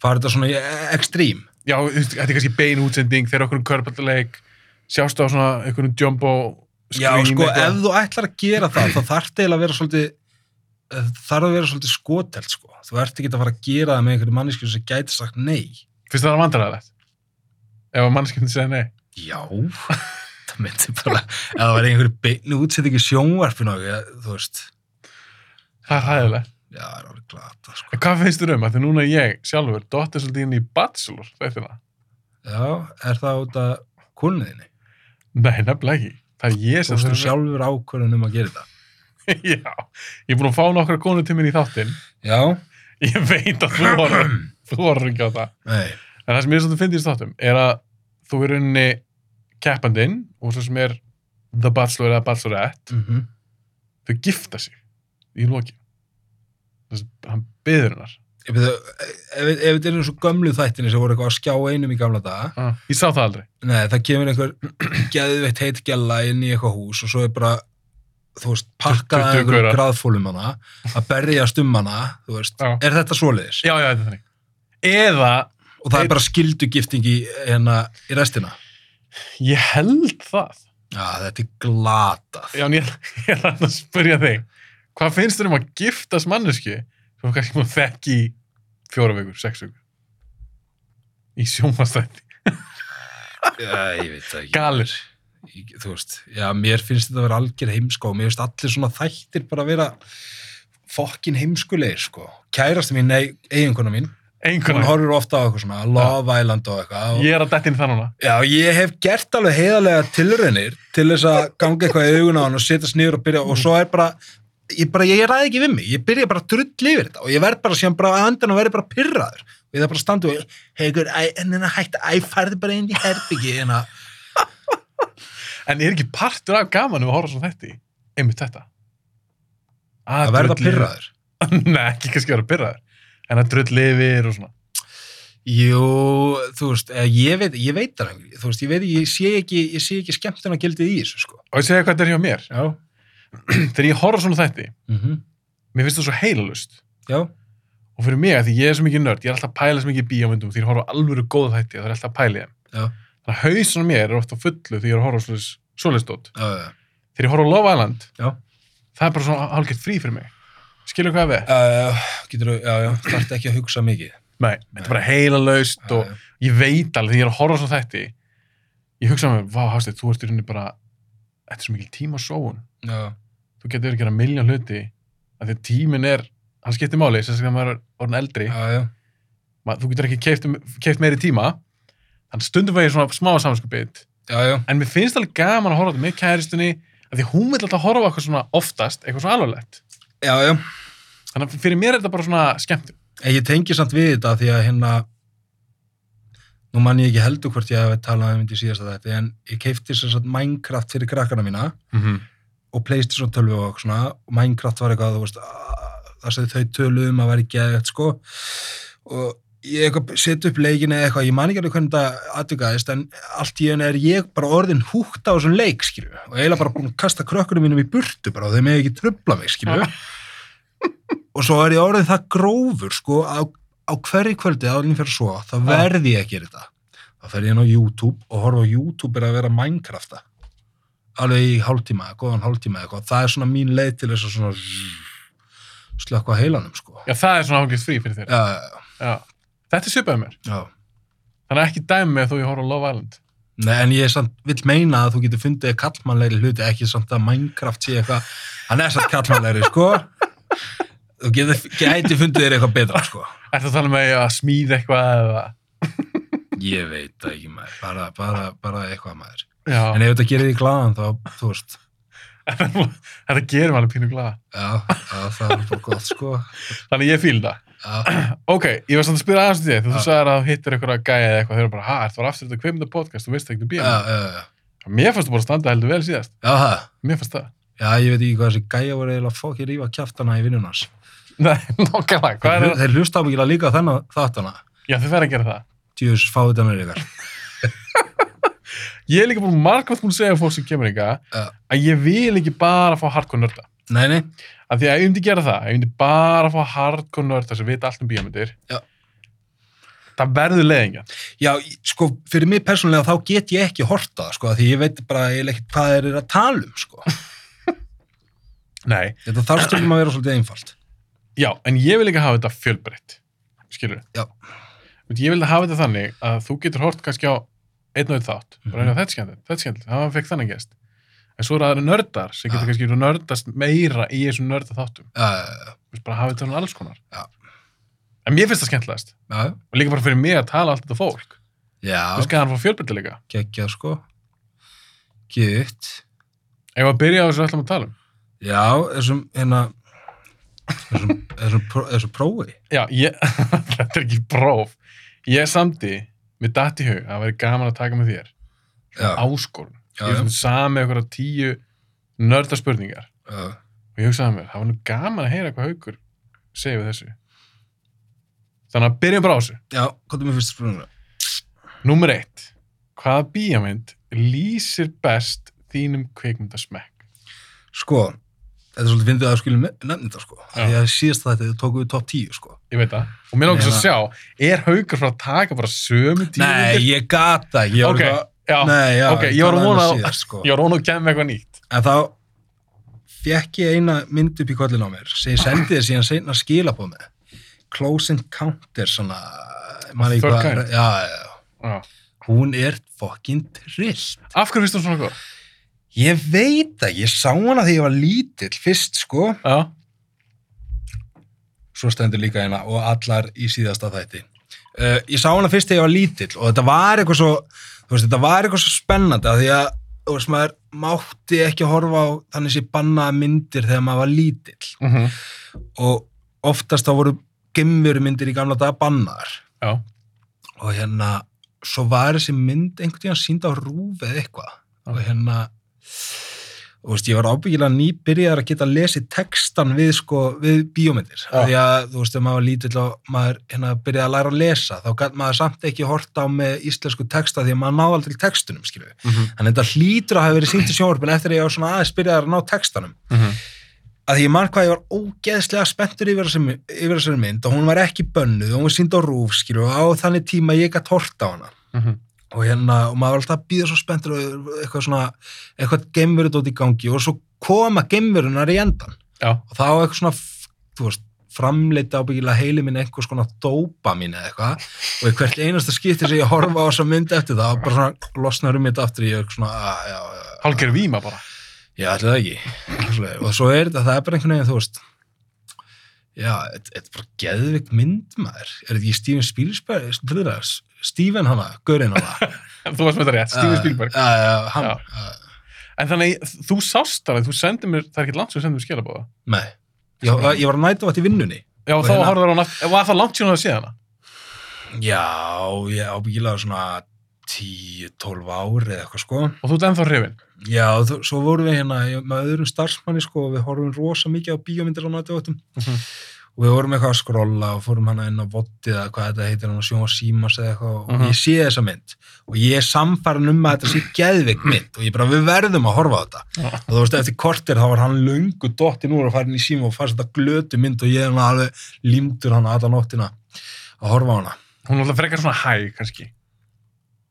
farið þetta svona í ekstrím já, þú veist, þetta er kannski bein útsending, þeir eru okkur um körballleik, sjást á svona einhverjum jumbo já, screen sko, eitthvað. ef þú ætlar að gera það þá þarf það að vera svolítið eh, þarf að vera svolítið skotelt, sko þú ert ekki að fara að gera það með einhverju manneskjum sem gæti sagt nei Finnst þér það vandræðilegt? Ef að mannskjöndi segja nei. Já, það myndi bara, ef það var einhverju beinu útsettingi sjónvarpinu, ég, þú veist, Það er hæðilegt. já, það er alveg glata, sko. En hvað finnst þér um? Þegar núna ég sjálfur dottir svolítið inn í Bachelor, þættina. Já, er það út af kunniðinni? Nei, nefnilega ekki. Það er ég Þú sem veist, þú þurfum- sjálfur ákvörðun um að gera þetta. (laughs) Já, ég er búin að fá nokkra konur til minn í þáttinn. Já, Ég veit að þú horfir, þú horfir ekki á það. nei, En það sem ég er svolítið fyndið í státtum er að þú er unni keppandinn og svo sem er The Bachelor eða Bachelorette mm þau gifta sig í loki þess að hann byður hennar ég byrja, ef, ef þetta er eins og gömlu þættinni sem voru eitthvað að skjá einum í gamla daga, ég sá það aldrei nei, það kemur einhver (clears throat) geðveitt heit gæla inn í eitthvað hús og svo er bara, þú veist, pakkað af 20 einhverjum gaurar. graðfólum hana, að berjast um hana, þú veist, Já. er þetta svoleiðis? já, já, þetta er þannig eða, og það Þeir- er bara skildugifting í, hérna, í restina ég held það Já, þetta er glatað já, en ég, (laughs) ég er að spyrja þig hvað finnst þér um að giftast manneski sem þú kannski múið þekki í fjóra vikur, sex vikur í sjónvastætti ég veit það galir Ég- Þú veist, já, mér finnst þetta að vera algjör heimsko og mér finnst allir svona þættir bara að vera fokkin heimskulegir, sko Kærasti mín, nei, eiginkona mín hún einhvern horfir ofta á eitthvað svona Love Island og eitthvað og, ég er að detti inn það núna Já, ég hef gert alveg heiðarlega tilraunir til þess að ganga eitthvað í augun á hann og setjast niður og byrja og svo er bara ég, bara, ég ræði ekki við mig, ég byrja bara að drull yfir þetta og ég verð bara síðan bara að andan og verð bara pyrraður og ég þarf bara að standa og hegur, en hérna hægt, æ, farði bara inn í hérna herbyggi en að, En er ekki partur af gaman ef að horfa svona þetta í? Einmitt þetta. að verða pyrraður (laughs) Nei, ekki kannski að vera pyrraður. En að drull yfir og svona. Jú, þú veist, eh, ég veit, ég veit það ekki, þú veist, ég veit, ekki- ég sé ekki, ég sé ekki skemmtun að gildið í þessu, sko. Og ég segja hvað þetta er hjá mér. Já. Þegar ég horfa svona þetta í, Mm mér finnst það svo heilalust. Já, Og fyrir mig, af því ég er svo mikið nörd, ég er alltaf að pæla svo mikið í bíómyndum, því ég horfa á alvöru góð þætti og það er alltaf að pæla í þeim. já. þannig að hausin á mér er ofta fullu þegar ég er að horfa á svoleiðis- svoleiðis dót. Já, já, Þegar ég horfa á Love Island, já. það er bara svona hálfgeitt frí fyrir mig. Skilur hvað við? Já, já, getur þú, já, Uh, já, þarf ekki að hugsa mikið. Nei, þetta er bara heila laust og Já, já. ég veit alveg þegar ég er að horfa svo þetta ég hugsa með, vá, Hafsteinn, þú ert í rauninni bara þetta er svo mikil tíma sóun Já, þú getur verið að gera miljón hluti af því að tíminn er, hann skiptir máli sem þegar maður er orðin eldri já, já, maður, þú getur ekki keift, keift meiri tíma þannig stundum var ég svona smá samskupið já, já, en mér finnst alveg gaman að horfa á þetta með kæristunni af því að hún vil alltaf horfa á eitthvað svona oftast eitthvað svona alvarlegt já, já. þannig að fyrir mér er þetta bara svona skemmt En ég tengi samt við þetta því að hérna, nú man ég ekki heldur hvort ég hef talað um þetta í síðasta þetta, en ég keipti sem sagt Minecraft fyrir krakkana mína mm -hmm. og Playstation 12 og eitthvað svona, og Minecraft var eitthvað, þú veist, að- það sem þau töluðum að vera ekki eða eitthvað, sko, og ég eitthvað set upp leikinu eða eitthvað, ég man ekki alveg hvernig þetta atvikaðist, en allt í henni er ég bara orðin húkt á þessum leik, skilju, og eiginlega bara búin að kasta krökkunum mínum í burtu bara, og þeim hefur ekki tröfla mig, skilju, og svo er ég orðin það grófur, sko, á, á hverju kvöldi, álinni fyrir svo, þá Ah. verði ég að gera þetta. Þá fer ég inn á YouTube og horfa á YouTube er að vera að Minecrafta alveg í hálftíma, góðan hálftíma eða eitthvað, það er svona mín leið til þess að svona zzz, slökkva á heilanum sko. já, það er svona hálfgeitt frí fyrir þér Já, já. þetta er svipað hjá mér já. þannig að ekki dæmi mig þó ég horfa á Love Island Nei, en ég samt vill meina að þú getur fundið kallmannlegri hluti, ekki samt að Minecraft sé eitthvað, hann er samt kallmannlegri sko, þú getur gæti fundið þér eitthvað betra sko. Er það að tala með að smíða eitthvað eða... Ég veit það ekki maður, bara, bara, bara eitthvað maður. Já, En ef þetta gerir því glaðan þá, þú veist, (laughs) þetta gerir maður pínu glada. já, já það er bara gott sko. Þannig ég fíl það. Já, Ok, ég var samt að spyrja aðeins um því. Þú Já. sagðir að þú hittir eitthvað gæja eða eitthvað. Þeir eru bara, hæ, þú var aftur þetta kveimunda podcast, þú veist ekki um já, bíl. já, já, Mér fannst þú bara standa heldur vel síðast. já, það. Mér fannst það. (laughs) Já, ég veit ekki hvað þessi gæja voru eiginlega að fokki rífa kjaftana í vinnunars. Nei, nokkalega, (laughs) hvað er það? Þeir hlusta ábyggilega líka á þennan þáttana. Já, þið verður að gera það. Tjús, fáið þennan ykkar. Ég er líka búin margvægt búin að segja fólk sem kemur ykkar Já. að ég vil ekki bara fá hardcore nörda. Nei, nei. Af því að ef ég myndi gera það, ef ég myndi bara fá hardcore nörda sem vita allt um bíómyndir, Já. það verður leiðingja. Já, í- sko, fyrir mig persónulega þá get ég ekki hortað, sko, því ég veit bara eiginlega ekkert hvað þeir eru að tala um, sko. Nei, Þetta þarf stundum að vera svolítið einfalt. Já, en ég vil ekki hafa þetta fjölbreytt, skilur Já. Ég vil hafa þetta þannig að þú getur hort kannski á einn og einn þátt, bara Mhm. mm -hmm. þetta er skemmtilegt, þetta er skemmtilegt, það fekk þannig gest. En svo eru aðra nördar sem getur Já. kannski nördast meira í þessum nörda þáttum. Já, já, Þú veist, bara hafa þetta svona alls konar. Já. En mér finnst það skemmtilegast. já, Og líka bara fyrir mig að tala allt þetta fólk. Þú já, veist, hann fá fjölbreytileika. geggjað, sko. Gitt. Ef að byrja á þessu öllum að tala um. Já, þessum, hérna, þessum, þessum, pró- þessu prófi. Já, ég, (laughs) þetta er ekki próf. Ég samdi, mér datt í hug, að það væri gaman að taka með þér. Já, Áskorun. já, ég já, er samið okkur á tíu nördarspurningar já. og ég hugsaði að mér, það var nú gaman að heyra hvað haugur segir við þessu þannig að byrjum bara á þessu Já, hvað er mér fyrst spurninga? Númer eitt, hvaða bíjamynd lýsir best þínum kveikmyndasmekk? Sko, þetta er svolítið fyndið að skilja nefnir það sko. Já. Því að síðast þetta tókum við top 10 sko. Ég veit það, og mér langar svo að Nei, sjá er haugur frá að taka bara sömu tíu Nei, ég gata ekki. Ok, já, Nei, já, ok, ég var að talaði um vona það að- síðast, sko. ég var ón að kemja eitthvað nýtt En þá fekk ég eina mynd upp í kollin á mér sem ég sendi þér síðan seinna skila på mig. Close Encounter, svona... man ekki Third hvað- Kind. Já, já, já. já. Hún er fucking trillt. Af hverju finnst þú svona góð? Ég veit ekki, ég sá hana þegar ég var lítill fyrst, sko. Já, svo stendur líka hérna og allar í síðasta þætti uh, ég sá hana fyrst þegar ég var lítill og þetta var eitthvað svo þú veist, þetta var eitthvað svo spennandi af því að þú veist, maður mátti ekki horfa á þannig sé bannaða myndir þegar maður var lítill mm og oftast þá voru gemveru myndir í gamla daga bannaðar já. og hérna svo var þessi mynd einhvern tíðan sínd á rúf eða eitthvað og hérna og veist, ég var ábyggilega nýbyrjaðar að geta lesið textan við sko, við bíómyndir Já. af því að þú veist, ef maður var lítill og maður hérna byrjaði að læra að lesa þá gæt maður samt ekki horta á með íslensku texta því að maður náði aldrei textunum, skilju Mm -hmm. en þetta hlýtur að hafa verið sýnt í sjónvarpinu eftir að ég var svona aðeins byrjaðar að ná textanum Mm -hmm. að því ég mann hvað ég var ógeðslega spenntur yfir þessari, yfir þessari mynd og hún var ekki bönnuð og hún var sínd á rúf skilur og á þannig tíma ég gætt hort á hana og hérna, og maður var alltaf að býða svo spenntur og eitthvað svona, eitthvað geimverið út í gangi og svo koma geimverunar í endan Já. og þá eitthvað svona, f- þú veist, framleita ábyggilega heili minn einhvers konar dópa mín eða eitthvað og í hvert einasta skipti sem ég horfa á þessa mynd eftir það og bara svona losnar um mitt aftur í eitthvað svona, að, já, já, já, Hálger víma bara. Já, allir það ekki. Eitthvað svoleiðis. Og svo er þetta, það er bara einhvern veginn, þú veist, já, þetta þetta er bara geðvik mynd maður. Er þetta ekki Steven Spielberg, Spielberg, Steven hana, Gurinn hana? Þú varst með þetta rétt, Steven Spielberg. Eh, Já, já, hann, Eh, Já. já. En þannig, þú sást alveg, þú sendir mér, það er ekkert langt sem þú sendir mér skilabóða. nei. Ég, ég var nætum átt í vinnunni. Já, Og þá hérna- horfður hann aftur, var það langt síðan að sé hana? Já, ég ábyggilega svona 10-12 ári eða eitthvað, sko. Og þú ert ennþá hrifin. Já, og þú- svo vorum við hérna ég- með öðrum starfsmanni, sko, og við horfum rosa mikið á bíómyndir á nætuváttum. Mhm. og við vorum eitthvað að skrolla og fórum hana inn á vottið eða hvað þetta heitir hann að sjóma símas eða eitthvað Mhm. og ég sé þessa mynd og ég er samfæran um að þetta sé geðveik mynd og ég bara við verðum að horfa á þetta Já. og þú veist eftir kortir þá var hann lungu dottin úr og farin í síma og fannst þetta glötu mynd og ég er hann alveg límdur hann alla nóttina að horfa á hana Hún er alltaf frekar svona hæg, kannski.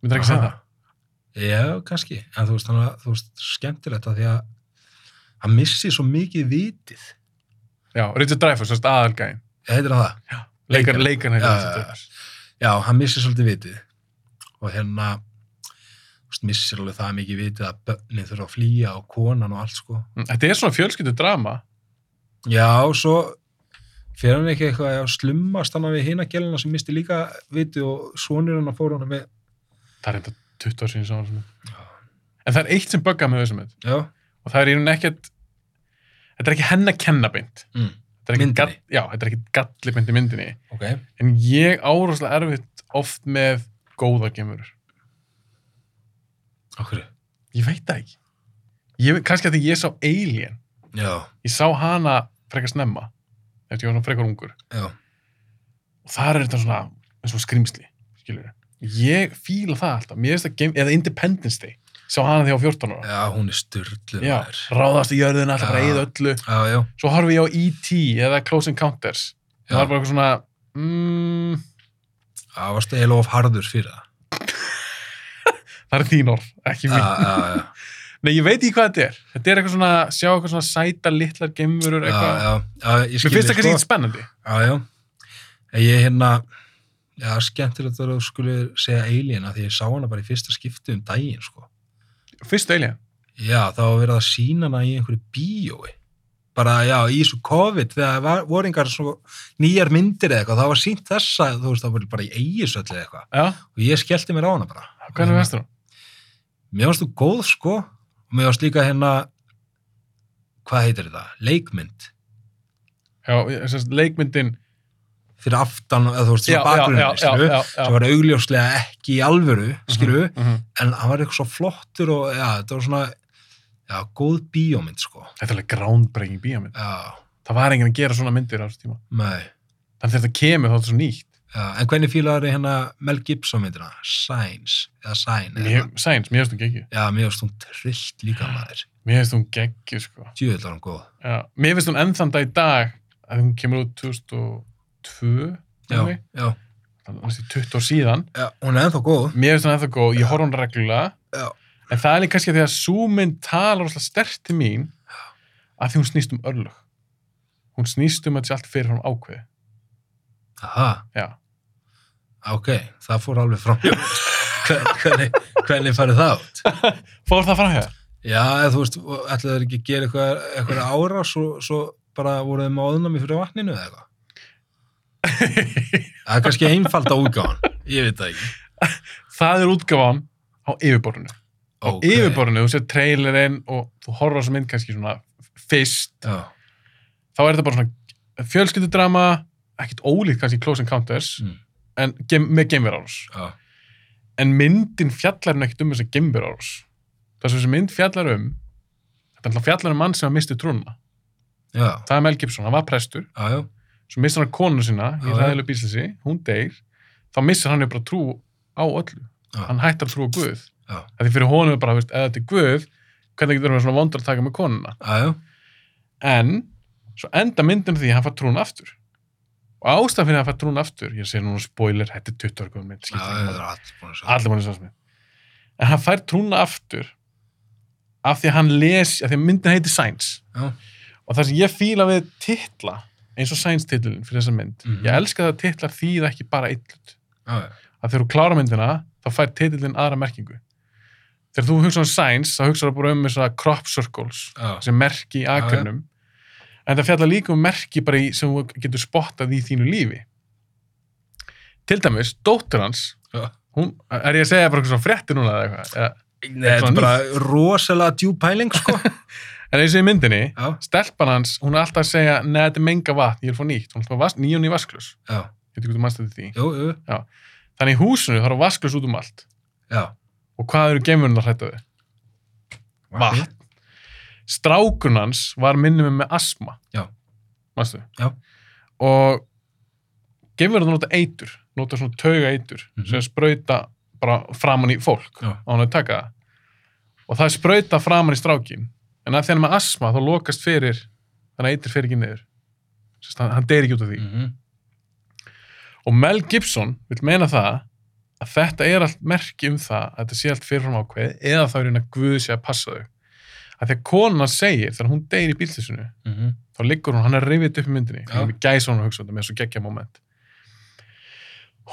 Myndir ekki segja Aha. það? Já, kannski, en þú veist, hana, þú veist skemmtilegt að því að hann missi svo mikið vitið Já, Richard Dreyfuss, þess aðalgæðin. heitir það það? Leikarn, leikarn heitir Já, Richard já, já. Dreyfuss. Já, hann missir svolítið vitið og hérna þú veist, missir alveg það mikið vitið að bönnin þurfa að flýja og konan og allt sko. Þetta er svona fjölskyldu drama. Já, svo fyrir hann ekki eitthvað að slummast hann við hina gæluna sem misti líka vitið og sonur hann að fóra hann með Það er enda 20 ár síðan saman. Já. En það er eitt sem böggar með þessum mynd. Já, Og það er í rauninni ekkert, þetta er ekki henn að kenna beint. mm. Þetta er ekki Myndinni? gall- Já, þetta er ekki galli beint í myndinni. ok En ég áráslega erfitt oft með góða gemurur. Okkur, Ég veit það ekki. Ég, kannski að því ég sá Alien. já, Ég sá hana frekar snemma. Eftir ég var svona frekar ungur. já Og þar er þetta svona, eins og skrýmsli, skilur Ég fíla það alltaf. Mér finnst það game, eða Independence Day. Sá hana því á 14 ára. Já, hún er styrlu Já, ráðast í jörðina, alltaf bara Já. eða öllu. já, já, Svo horfi ég á E.T. eða Close Encounters. Það var bara eitthvað svona, mm, það varstu eiginlega of harður fyrir (laughs) það það er þín orð, ekki mín. Já, já, já, Nei, ég veit ekki hvað þetta er. Þetta er eitthvað svona, sjá eitthvað svona sæta litlar gemurur, já, eitthvað. já, já, ég Mér skil finnst það þig, sko. kannski eitthvað spennandi. Já, já. En Ég hérna, já, skemmtilegt að þú skulle segja Alien að því ég sá hana bara í fyrsta skipti um daginn, sko. Fyrstu Alien. Já, þá var verið að sína hana í einhverju bíói. Bara, já, í þessu COVID, þegar það var, voru einhver svo nýjar myndir eða eitthvað, þá var sínt þessa, þú veist, þá var bara í eigisöll eða eitthvað. Já, Og ég skellti mér á hana bara. hvernig veist þú? Mér varst þú góð, sko. Og mér varst líka hérna, hvað heitir þetta? Leikmynd. Já, þessast leikmyndin. Fyrir aftan, eða þú veist, Já, svona já, já, bakgrunni, já, skilju. já, já. Svo var augljóslega ekki í alvöru, skilju. Mhm, mhm. en hann var eitthvað svo flottur og já, þetta var svona já, góð bíómynd sko Þetta er alveg groundbreaking bíómynd. já, Það var enginn að gera svona myndir á þessu tíma. nei Þannig þegar þetta kemur þá er þetta svo nýtt. já, en hvernig fílaður hérna Mel Gibson myndina Signs, eða Sign eða Mér- eitthvað? Sæns, mér finnst hún geggju. já, mér varst hún trillt líka maður Mér finnst hún geggju, sko. djúvill var hún góð Já. Mér finnst hún ennþanda í dag að hún kemur út 2002, já, þannig já, að 20 ár síðan. já, hún er ennþá góð Mér finnst hún ennþá góð, ég horf hún reglulega. Já. En það er líka kannski að því að súmynd talar rosalega stert til mín að því hún snýst um örlög. Hún snýst um að þetta sé allt fyrir hún ákveði. aha, Já. ok, það fór alveg fram (laughs) Hvern- hvernig, hvernig farið það út Fór það fram hér? já, eða þú veist, ætlaðu þeir ekki að gera eitthvað, eitthvað ára svo, svo bara voruð þeim á öðnami fyrir vatninu eða eitthvað það er kannski einfalda útgáðan ég veit það ekki það er útgáfan á yfirborðinu. Á Ok. yfirborðinu, þú sér trailerinn og þú horfður á þessa mynd kannski svona fyrst. Já, Þá er þetta bara svona fjölskyldudrama, ekkert ólíkt kannski Close Encounters, Mm. en gem, með geimverárás. já, en myndin fjallar hún ekkert um þess að gembur árás. Það sem þessi mynd fjallar um, þetta er alltaf fjallar um mann sem að misti trúna. já, Það er Mel Gibson, hann var prestur, já, já, svo missar hann konu sína í Já, já. ræðilu bíslisi, hún deyr, þá missar hann ju bara trú á öllu. Já. Hann hættar að trúa á Guð. Já. Það er fyrir honum er bara, veist, eða þetta er Guð, hvernig getur hann svona vondur að taka með konuna. já, já, En, svo enda myndin á því að hann fær trúna aftur. Og ástæðan fyrir að hann fær trúna aftur, ég sé núna spoiler, þetta er 20 ára góð mynd, já, skiptir það ekki máli. er allir búin að sjá. Allir mann er sásmið. en hann fær trúna aftur af því að hann les, af því að myndin heitir Science Já. og það sem ég fíla við titla eins og Science titlun fyrir þessa mynd Mhm. ég elska það að titla þýða ekki bara einn hlut Já, já. að þegar þú klára myndina þá fær titlin aðra merkingu þegar þú hugsa um Science þá hugsa það bara um eins og crop circles Já. sem merki í akurnum en það fjalla líka um merki bara í, sem þú getur spottað í þínu lífi til dæmis, dóttur hans Já. hún, er ég að segja bara eitthvað svona fréttir núna eða eitthvað eða- Nei, þetta svona er bara rosalega djúb pæling, (laughs) sko. en eins og í myndinni, já, stelpan hans hún er alltaf að segja, neða þetta er menga vatn ég er að fá nýtt, hún er að fá vas- nýjun í vaskljus já, ég veit ekki hvað þú manst þetta því jú, jú, þannig í húsinu þarf vaskljus út um allt já. og hvað eru geimurinn að hrætta við? Vatn. strákurinn hans var minnum með asma Já. Manstu? Já. og geimverðin nota eitur nota svona tauga eitur Mhm. sem sprauta bara framan í fólk Já. á hann að taka það og það sprauta framan í strákin en að því hann er með asma þá lokast fyrir þannig að eitur fyrir ekki niður Sest, hann, hann deyr ekki út af því Mhm. og Mel Gibson vil meina það að þetta er allt merki um það að þetta sé allt fyrirfram ákveð eða þá er hérna Guð sé að passa þau að því að kona segir þegar hún deyr í bílþessinu Mhm. þá liggur hún, hann er rifið upp í myndinni Já. hann er gæs hún að hugsa um þetta með svo geggja moment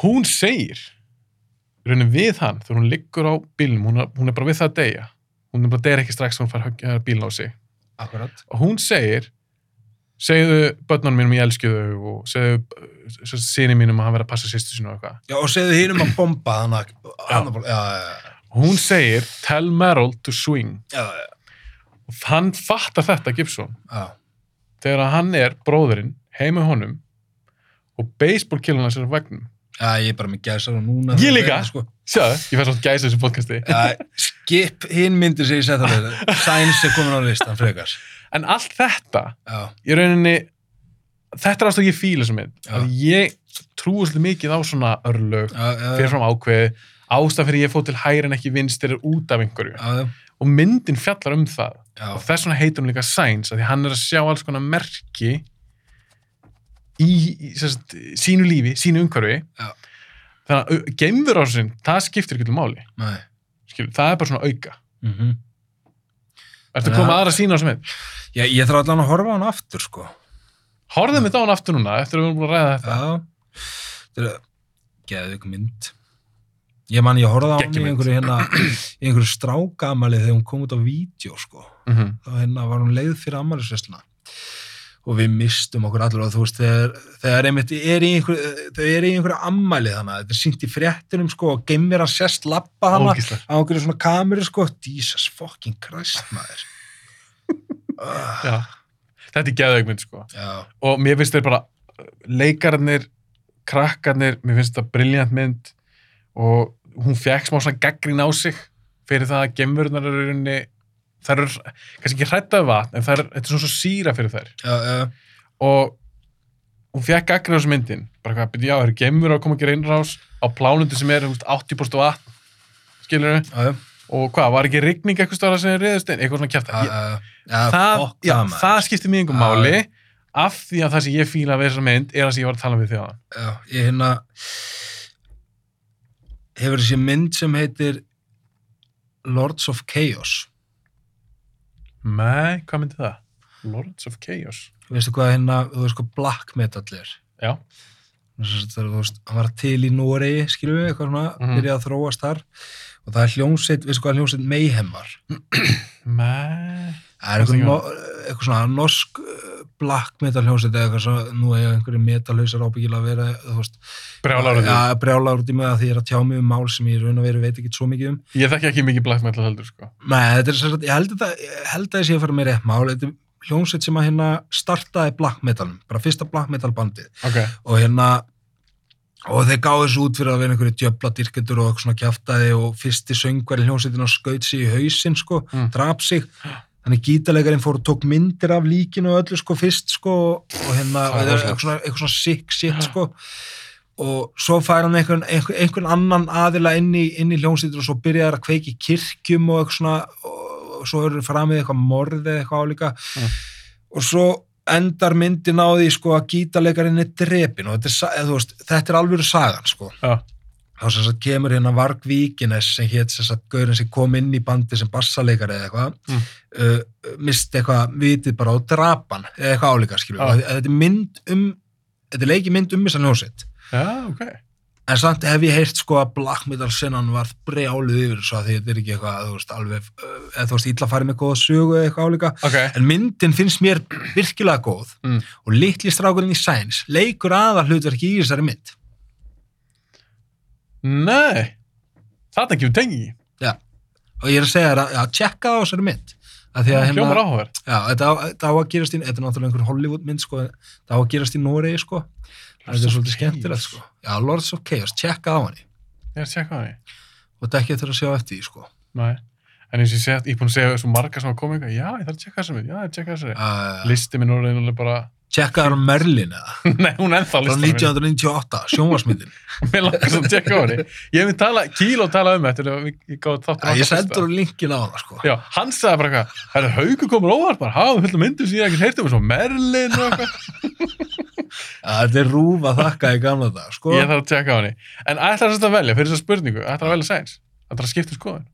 hún segir í raunin við hann þegar hún liggur á bílnum, hún er, hún er bara við það að deyja hún er bara deyr ekki strax þegar hún fær högg- eh, bíln á sig Akkurat. og hún segir segðu börnunum mínum ég elski þau og segðu sinni mínum að hann verið að passa sýstu sinu og eitthvað Já, og segðu hinum að bomba hana. hana bara- Já, já, hún segir tell Merrill to swing já, já, já, og hann fattar þetta Gibson já. þegar hann er bróðurinn heim með honum og baseballkillun hans er á vagnum Já, ég er bara með gæsar og núna. Ég líka. Sko. sjáðu, ég fæst alltaf gæsa í þessu podcasti Já, skip hinn myndir sem ég setja það. Sæns er komin á listan, frekar. en allt þetta, Já, í rauninni þetta er alltaf ég fíla sem mynd Já. að ég trúi svolítið mikið á svona örlög, já, já. fyrir fram ákveði ástaf fyrir ég fóð til hægri en ekki vinstir er út af einhverju Já, já, og myndin fjallar um það já. og þess vegna heitir hún líka Sainz af því hann er að sjá alls konar merki í, í sem sagt, sínu lífi, sínu umhverfi Já. þannig að geimverásinn það skiptir ekki til máli Nei. Skilur, það er bara svona auka Mhm. Ertu Já. að koma aðra sína á sem heit? Já, ég þarf allan að horfa á hann aftur, sko. Horðum við á hann aftur núna eftir að við erum búin að ræða þetta Já. Þetta er geðvik mynd. Ég man, ég horfði á hann í Geggjumynd. mynd. einhverju hérna, í einhverju strákamali þegar hún kom út á vídeo, sko. mm Þá hérna var hún leið fyrir ammælisvesluna. Og við mistum okkur allir og þú veist, þegar, þegar einmitt er í einhverju, þau eru í einhverju ammæli þannig, þetta er sínt í fréttinum, sko, og geimir að sérst lappa hana Ógislar á einhverju svona kameru, sko. Jesus fucking Christ, maður. Ah, Já. Þetta er geðaugmynd sko já, og mér finnst þeir bara leikararnir, krakkarnir mér finnst þetta briljant mynd og hún fekk smá svona gaggrín á sig fyrir það að gemurnar eru í rauninni þær eru kannski ekki hrættaði vatn en þær, þetta er svona svo síra fyrir þær já, já, og hún fekk gaggrín á þessu myndin bara hvað, byrja, já, það eru gemur að koma ekki reynrás á plánundu sem er þú veist, 80% vatn skilur já, já. og hvað, var ekki rigning eitthvað stóra sem er reyðust inn, eitthvað svona kjæft Já, já, það, fokk já, maður. það skiptir mig einhver Já. máli af því að það sem ég fíla við þessar mynd er það sem ég var að tala við þjóðan Já, ég hérna hefur þessi mynd sem heitir Lords of Chaos Nei, hvað myndi það? Lords of Chaos veistu hvað hérna, þú veist hvað black metal er Já. Þess að það er, þú veist, hann var til í Noregi skilum við, eitthvað svona, Mhm. byrjaði að þróast þar og það er hljómsveit, veistu hvað hljómsveit Mayhem var, Nei það er Veistu eitthvað, ekki no, eitthvað svona norsk uh, black metal hljómsveit eða eitthvað svona, nú er einhverju metalhausar ábyggilega að vera, þú veist Brjálar Já, brjálar út í mig að því ég er að tjá mig um mál sem ég í raun og veru veit ekki svo mikið um Ég þekki ekki mikið black metal heldur sko Nei, þetta er sér að, ég held að, það- ég held að ég sé að fara með rétt mál, þetta er hljómsveit sem að hérna startaði black metalum, bara fyrsta black metal bandið Ok, og hérna og þeir gáðu þessu út fyrir að vera einhverju djöfla dyrkendur og eitthvað svona kjaftaði og fyrsti söngveri hljómsveitin og skaut sig í hausinn sko, Mm. draf sig þannig gítalegarinn fór og tók myndir af líkinu og öllu sko fyrst sko og hérna, Það er og þetta er rosalegt. eitthvað svona, eitthvað svona sick shit sko og svo fær hann einhvern, einhvern, einhvern annan aðila inn í, inn í hljómsveitin og svo byrjaði að kveiki kirkjum og eitthvað svona og, og svo eru framið eitthvað morðið eitthvað álíka Mm. og svo endar myndin á því sko að gítalegarinn er drepin og þetta er, sa- eða, þú veist, þetta er alveg sagan sko já, þá sem sagt kemur hérna Varg Víkines sem hétt sem sagt gaurin sem kom inn í bandi sem bassaleikari eða eitthvað Mm. uh, misti eitthvað vitið bara á drapan eða eitthvað álíka skilur Já. ah. þetta er mynd um þetta er leiki mynd um þessan hljóset Já, ok. en samt hef ég heyrt sko að black metal sinnan var brjálið yfir svo að því þetta er ekki eitthvað þú veist alveg uh, eða þú veist illa farið með góða sögu eða eitthvað álíka Ok. en myndin finnst mér virkilega góð Mm. og litli strákurinn í Sæns leikur aðar hlutverki í þessari mynd Nei. Þarna kemur tengi. og ég er að segja þér að, að tjekka á þessari mynd að því að Mm, Hljómar hérna, áhugaverð. já, þetta, á, þetta á að gerast í, þetta er náttúrulega einhver Hollywood mynd sko, þetta á að gerast í Noregi sko þetta Lords er of svolítið Chaos. skemmtilegt sko já, Lords of Chaos, tjekka á henni Ég er að tjekka á henni. og þetta ekki eftir að sjá eftir því sko Nei. En eins og ég sé, ég er búin að segja svo marga sem hafa komið eitthvað, já, ég þarf að tjekka þessari mynd, já, ég tjekka þessari. uh, Listi minn orðin alveg bara, (laughs) tjekka þér á Merlin eða nei, hún er ennþá frá listanum minn. 1998, (laughs) sjónvarsmyndin Mér langar svo að tjekka á henni. Ég hef tala, Kíló talaði um þetta, þegar við- ég gáði þáttur ég sendur hún linkin á hana sko Já, hann sagði bara eitthvað, það er haugu komur óvart bara, hafa fullt af myndum sem ég hef ekkert heyrt um, svo Merlin og Sko. eitthvað. Að þetta er rúfa þakka í gamla dag sko Ég þarf að tjekka á henni. En ætlar þess að velja, fyrir þess spurningu, ætlar að velja sæns? Ætlar að skipta um skoðun?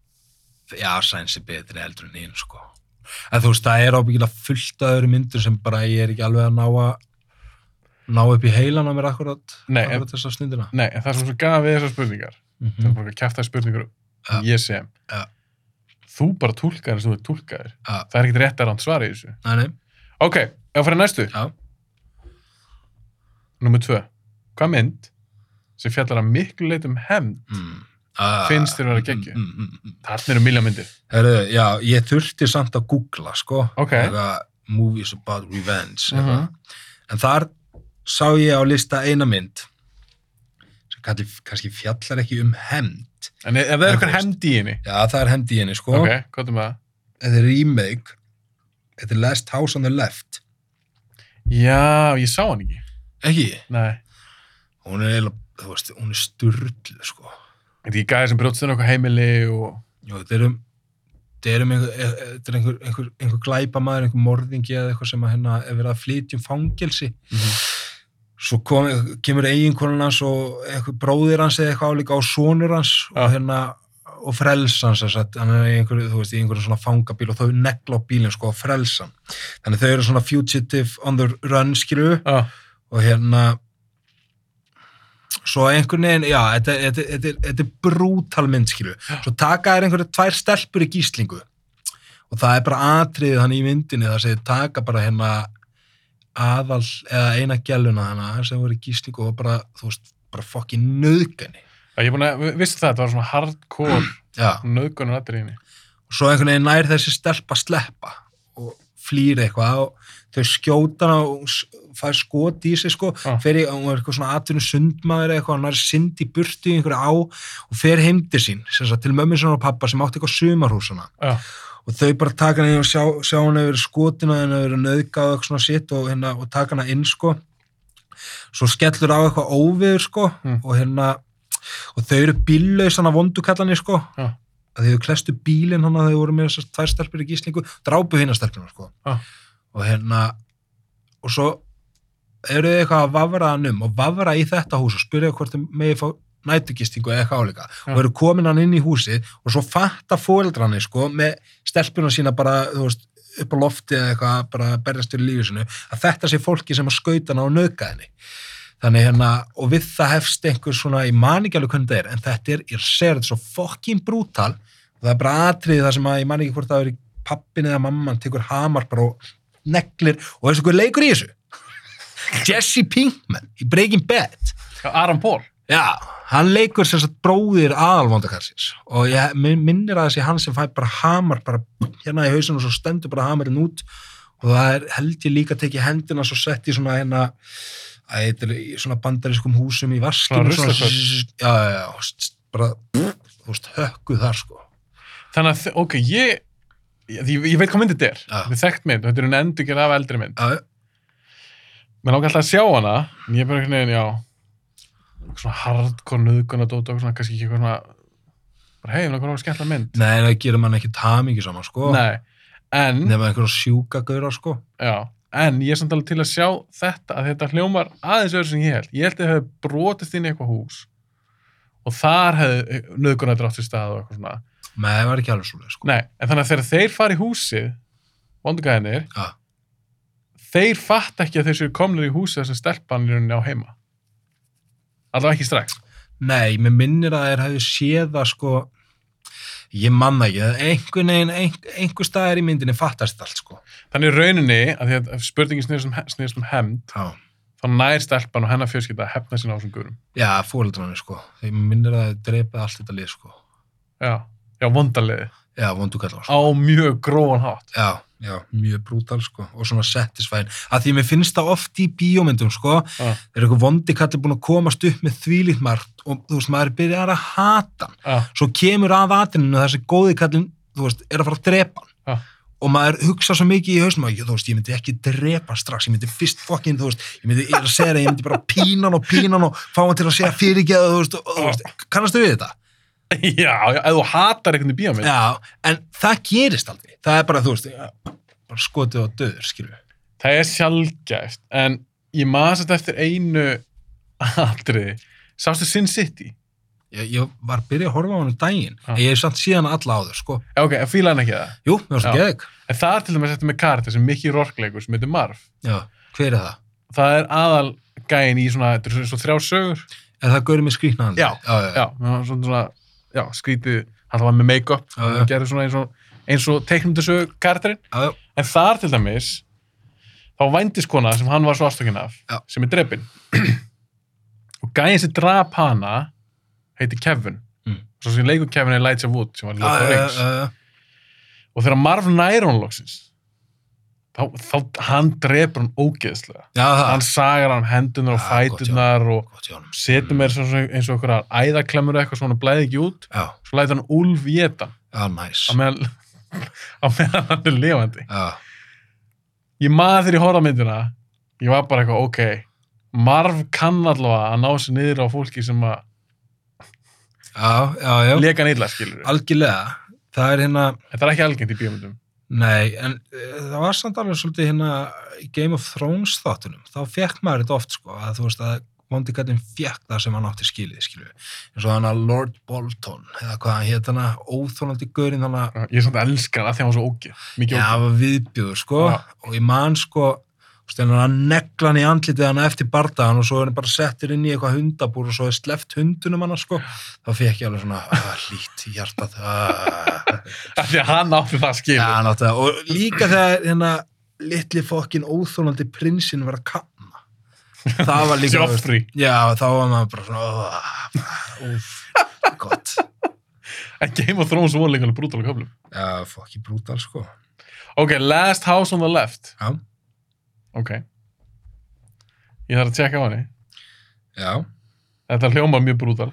já, Sæns er betri heldur en hinn sko en þú veist, það er ábyggilega fullt af öðru myndur sem bara ég er ekki alveg að ná að ná upp í heilan á mér akkurat, Nei, en- akkurat þessa stundina Nei, en það sem svo gaf við þessar spurningar, það er Mhm. bara eitthvað kjaftaði spurningar Ja. um ég sem. Ja. Þú bara túlkaðir sem þú ert túlkaðir. Ja. Það er ekkert rétt að ránt svar í þessu. Nei, nei, Ok, ég fyrir næstu. já, Númer tvö. Hvað mynd sem fjallar að miklu leit um hefnd? mm. ah. Finnst þér vera geggjuð? Mm, mm, mm, mm. Þarna eru miljónmyndir. Heru, já, ég þurfti samt að googla sko, Ok. Eitthvað, movies about revenge uh Mhm. en þar sá ég á lista eina mynd sem kalli, kannski fjallar ekki um hemd En e- ef það er En þú eitthvað veist. hefnd í henni, já, það er hemd í henni sko ok, hvað er með það? þetta er remake þetta er Last House on the Left Já, ég sá hann ekki. ekki, Nei. hún er eiginlega, þú veist, hún er styrlu sko, Þetta er ekki gæði sem brjótst inn á eitthvað heimili og... Jú, þetta er um þetta er um einhver, eh, eh, þetta er einhver, einhver, einhver glæpamaður, einhver morðingi eða eitthvað sem að hérna er verið að flytja um fangelsi svo kom, kemur eiginkonan hans og einhver bróðir hans eða eitthvað álíka og sonur hans Já. og hérna og frelsans þess að hann er í einhverju, þú veist, í einhverju svona fangabíl og þau negla á bílinn sko og frelsan þannig að þau eru svona fugitive on the run skilu Ah, og hérna svo einhvern veginn, já, þetta, þetta, þetta, er- þetta er brútal mynd, skilu svo taka þær einhverja tvær stelpur í gíslingu og það er bara atriðið hann í myndinni, það segir taka bara hérna aðal eða eina gæluna hana sem voru í gíslingu og bara, þú veist, bara fokkin nöðgani ég er búin að, vissi það, þetta var svona hardcore já, nöðgunar allir í henni. og svo einhvern veginn nær þessi stelpa að sleppa og flýr eitthvað og þau skjóta hana og hún s- fær skot í sig sko, Ah. fer í, hún er eitthvað svona atvinnu sundmaður eða eitthvað, hann er synd í burtu í einhverju á og fer heim til sín sem sagt, til mömmu sinna og pappa sem átti eitthvað sumarhúsana Já, og þau bara taka hana inn og sjá, sjá hana yfir skotina hana yfir nöðgáð og eitthvað svona sitt og, hérna, og taka hana inn sko svo skellur á eitthvað óviður sko Mm. og hérna og þau eru bíllaus hann að vondukallani sko Já. að þau klestu bílinn hann að þau voru með þessar tvær stelpur í gíslingu drápu hinn að stelpuna sko Já. og hérna og svo eru þau eitthvað að vafra hann um og vafra í þetta hús og spyrja hvort þau megi fá nætugistingu eða eitthvað áleika Já. og eru komin hann inn í húsið og svo fatta fóeldrani sko með stelpuna sína bara þú veist, upp á lofti eða eitthvað bara að berjast fyrir lífið sinu að þetta sé fólki sem að skauta hana og nauðga henni þannig hérna og við það hefst einhver svona í manningjálug hvernig þetta er en þetta er, ég ser þetta svo fokkin brútal og það er bara atriðið það sem að ég man ekki hvort það er pappin eða mamman tekur hamar bara og neglir og þessu hver leikur í þessu (laughs) Jesse Pinkman í Breaking Bad Aram Pól. Já, hann leikur sem sagt bróðir aðalvondakarsins og ég minn- minnir að þessi hann sem fæ bara hamar bara hérna í hausinu og svo stendur bara hamarinn út og það er held ég líka að tekið hendina svo sett í svona hérna að þetta er í svona bandarískum húsum í Svona vaskinu ruslakörfu. zzz, já, já, já, og st- bara þú veist, hökkuð þar sko Þannig að, þe- ok, ég, ég, ég, ég veit hvað mynd þetta er. Já. Þetta er þekkt mynd, og þetta er hún endurgerð af eldri mynd. já, Mér langar alltaf að sjá hana, en ég er bara einhvern veginn, já, eitthvað svona hardcore nöðgunar dót og eitthvað svona, kannski ekki eitthvað svona, bara hei, mér langar að vera skemmtilega mynd. nei, það gerir mann ekki tamingi saman sko Nei, en, nema einhverjum sjúka gauðra sko já, en ég er samt alveg til að sjá þetta, að þetta hljómar aðeins öðru sem ég held. Ég held að það hefur brotist inn í eitthvað hús og þar eh, hefði nöðgunar drátt í stað og eitthvað svona. Nei, það var ekki alveg svoleið, sko. Nei, en þannig að þegar þeir fara í húsið, vondugæðinir, Ja. þeir fatt ekki að þeir séu komnir í húsið þess að stelpanlunni á heima. Allavega ekki strax. Nei, mér minnir að þeir hefðu séð það, sko, ég manna ekki, það einhvern veginn, ein, einhver staðar í myndinni fattast allt, sko. Þannig í rauninni, að því að spurningin snýðist um, snýðist um hemmt, Já. þá nær stelpan og hennar fjölskylda að hefna sína á þessum gurum. Já, fóreldranir, sko. Þeir mér minnir að þeir drepa allt þetta lið, sko. Já, já, vondaliði. Já, vondu kallar, sko. Á mjög gróan hátt. Já, já, mjög brútal, sko. Og svona settisfæn. Að því mér finnst það oft í bíómyndum, sko, Já. þeir eru eitthvað vondi kallar búin að komast upp með þvílíkt margt og, þú veist, maður byrjar að hata hann. Já, Svo kemur að atininu og þessi góði kallin, þú veist, er að fara að drepa hann. já, og maður hugsa svo mikið í hausnum að ég, þú veist, ég myndi ekki drepa hann strax, ég myndi fyrst fokkin, þú veist, ég myndi, ég er að segja það, ég myndi bara pína hann og pína hann og fá hann til að segja fyrirgeðu, þú veist, og, þú veist, kannastu við þetta? já, já, ef þú hatar einhvern í bíómið. Já, en það gerist aldrei, það er bara, þú veist, bara skotið á döður, skilju. Það er sjálfgæft, en ég maður þetta eftir einu atriði. Sástu Sin City? Ég, ég var að byrja að horfa á hann um daginn, Já. en ég hef samt síðan alla áður, sko. Já, ok, en fíla hann ekki það. Jú, mér var svo Já. geðug. En það er til dæmis eftir með karta sem Mickey Rourke leikur sem heitir Marv. Já, hver er það? Það er aðal gæin í svona, þetta er svona þrjá sögur. Er það gaurið með skrýtna andlið? Já. já, já. Já, svona, svona, já, skrítið, hann var með make-up, Já, hann já. gerði svona eins og, eins og teiknumdasögu karakterinn. Já, já. En þar til dæmis, þá vændiskona sem hann var svo ástökin af, Já. sem er drepin. (clears throat) og gæin sem drap hana heiti Kevin. Mm. Svo sem leikur Kevin er Elijah Wood sem var í Lord Já, of the já, Rings. já, já. Og þegar Marv nær hún loksins, þá, þá hann drepur hann ógeðslega. Já, Hann það. sagar hann hendunar og Já, Ah. gott, já. fætunar og Gott hjá honum. setur mér eins og einhverjar æðaklemur eða eitthvað svona blæði ekki út. Já, Svo lætur hann Úlf geta já, næs. á meðan, á meðan hann er lifandi. Já. Ég maður þegar ég horfði á myndina, ég var bara eitthvað, ok, Marv kann allavega að ná sér niður á fólki sem að Já, já, já, leka hann illa, skilur við. algjörlega. Það er hérna, Þetta er ekki algengt í bíómyndum. nei, en eh, það var samt alveg svolítið hérna í Game of Thrones þáttunum. Þá fekk maður þetta oft, sko, að þú veist að vondi gætin fekk það sem hann átti skilið, skilju. En svo hann að Lord Bolton, eða hvað hann hétt hana, óþólandi gaurinn hana, Ég er svona elskan að því að hann var svo ógeð, já, mikið það ógeð. var viðbjöður, sko, Já. og ég man, sko, þú veist, hann að negla hann í andlitið hann eftir bardaðan og svo er hann bara settir inn í eitthvað hundabúr og svo er sleppt hundunum hann, sko, þá fekk ég alveg svona, ah, lít, hjartað, ah. Af því að hann átti það skilur. Já, (clears throat) náttúrulega, og líka þegar hérna litli fokkin óþólandi prinsinn var að kamma. Það var (laughs) líka... Joffrey. Já, þá var maður bara svona... "Ó, Úf, gott. En Game of Thrones voru líka alveg brútal á köflum. Já, fokki brútal, sko. Ok, Last House on the Left. Já, Ok. Ég þarf að tjekka á henni. já. Þetta hljóma mjög brútal.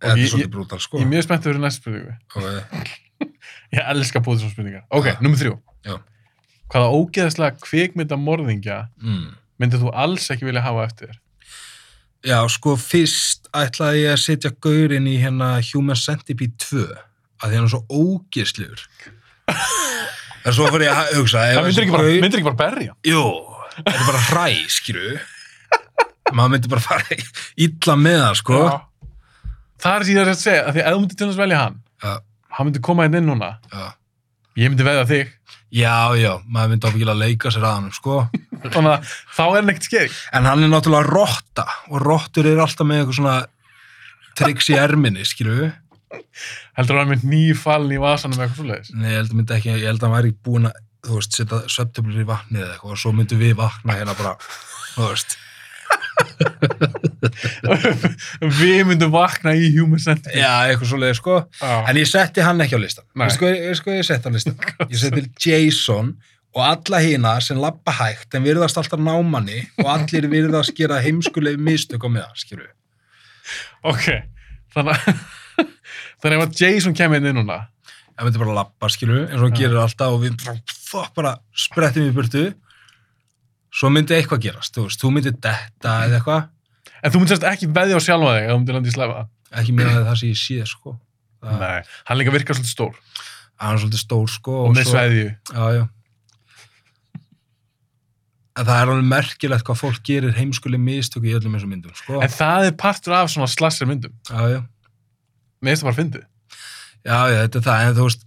Þetta ég- er svolítið brútal, sko. Ég er mjög spenntið fyrir næstu spurningu. Og, Ég elska búið svona spurningar. Ok, Ah. nummer þrjú. Já. Hvaða ógeðslega kvikmynda morðingja mm. myndir þú alls ekki vilja hafa eftir þér? Já, sko, fyrst ætlaði ég að setja gaurinn í hérna Human Centipede 2 að því hann er svo ógisluður. En svo fyrir ég að hugsa... ef Það myndir þessi ekki bara, gaur- myndir ekki bara berja. Jú, þetta er bara hræ, skilju. Maður myndi bara fara illa með það, sko. Já. Það er síðan að segja, að því að ef þú myndir til þess velja hann, Já, hann myndir koma hérna inn inn núna. já, Ég myndi veða þig. já, já maður myndi ábyggilega leika sér að hann, sko. Þannig að þá er neitt skeri. En hann er náttúrulega rotta og rottur eru alltaf með eitthvað svona triks í erminni, skilju. Heldur hann mynd nýfallin í vasanum eða eitthvað (laughs) svoleiðis. Nei, ég held að myndi ekki, ég held að hann væri búin að, þú veist, setja söptöflur í vatnið eða eitthvað og svo myndum við vakna hérna bara, þú veist. Við myndum vakna í human sentiment. Já, eitthvað svoleiði, sko. Já. En ég setti hann ekki á listan. Nei. Veistu hvað, veistu hvað ég setti á listan? Ég setti (laughs) Jason og alla hina sem labba hægt en virðast alltaf námanni og allir virðast gera heimskulegi mistök á meðan, skilju. Ok, þannig að (laughs) þannig að ef að Jason kemur hérna inn inn núna, Það myndi bara labba, skilju, eins og hann Já. gerir alltaf og við bara, fuck, bara sprettum í burtu. Svo myndi eitthvað gerast, þú veist, þú myndi detta eða eitthvað. en þú myndir semst ekki veðja á sjálfa þig að þú myndir landa í slefa. Ekki mér að það sé ég sé, sko. Það- Nei. Hann líka virkar svolítið stór og, Hann er svolítið stór, sko. með svo- sveðju. Já, já. en það er alveg merkilegt hvað fólk gerir heimskuleg mistöku í öllum þessum myndum, sko. En það er partur af svona slasser myndum. Já, já. Mér finnst það bara fyndið. Já, já, þetta er það, en þú veist,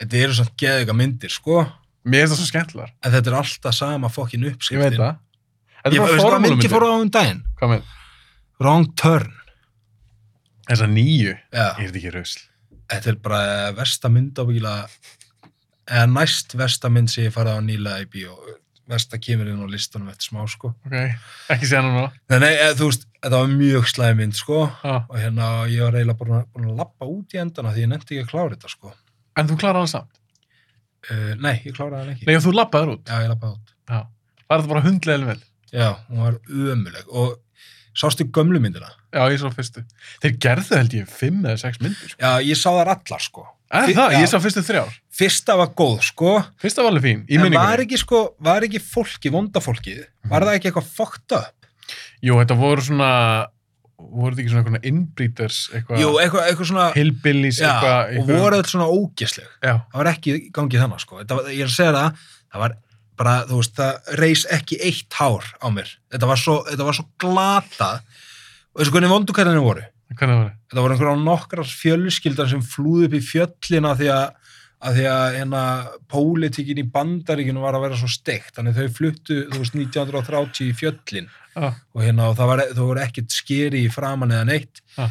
þetta eru samt geðuga myndir, sko, Mér finnst það svo skemmtilegar. en þetta er alltaf sama fokkin Ég uppskriftin. veit það. Þetta Ég er bara veist það myndi formúlumyndir. fór á um daginn. Hvað með Wrong Turn. þessa nýju? Já, Ég er þetta ekki rausl. þetta er bara versta mynd ábyggilega, eða næst versta mynd sem ég farið á nýlega í bíó. Versta kemur inn á listanum eftir smá, sko. Ok, ekki séð hann núna. Nei, nei, eða, þú veist, þetta var mjög slæði mynd, sko, Ah. og hérna, ég var eiginlega búin að, búin að lappa út í endana því ég nefndi ekki að klára þetta, sko. En þú kláraði hann samt. Uh, nei, ég kláraði hann ekki. Nei, og þú lappaði út. Já, ég lappaði út. Já. Var þetta bara hundlega vel? Já, hún var ömuleg og sástu gömlu myndina? Já, ég sá fyrstu. Þeir gerðu held ég fimm eða sex myndir. Sko. Já, ég sá þar allar sko. En Fi- það, já. ég sá fyrstu þrjár. Fyrsta var góð sko, Fyrsta var alveg fín, í en var minningunni. ekki sko, var ekki fólki, vonda fólkið, var það ekki eitthvað fucked up? Jú, þetta voru svona, voru þetta ekki svona einhverjum innbríters, eitthvað, Jú, eitthvað, eitthvað svona, hillbillies, já, eitthvað, og eitthvað. voru þetta svona ógesleg. Já, Það var ekki í gangi þannig sko, Þetta var, ég er að segja það, það var bara, þú veist, það reis ekki eitt hár á mér. Þetta var svo, þetta var svo glata og þessu hvernig vondukallinni voru. hvernig það var það? þetta voru einhverja nokkrar fjölskyldar sem flúðu upp í fjöllina því að, að því að hérna pólitíkin í bandaríkinu var að vera svo steikt þannig þau fluttu, þú veist, 1930 í fjöllin Ah. og hérna og það, var, það voru ekkert skeri í framan eða neitt Ah.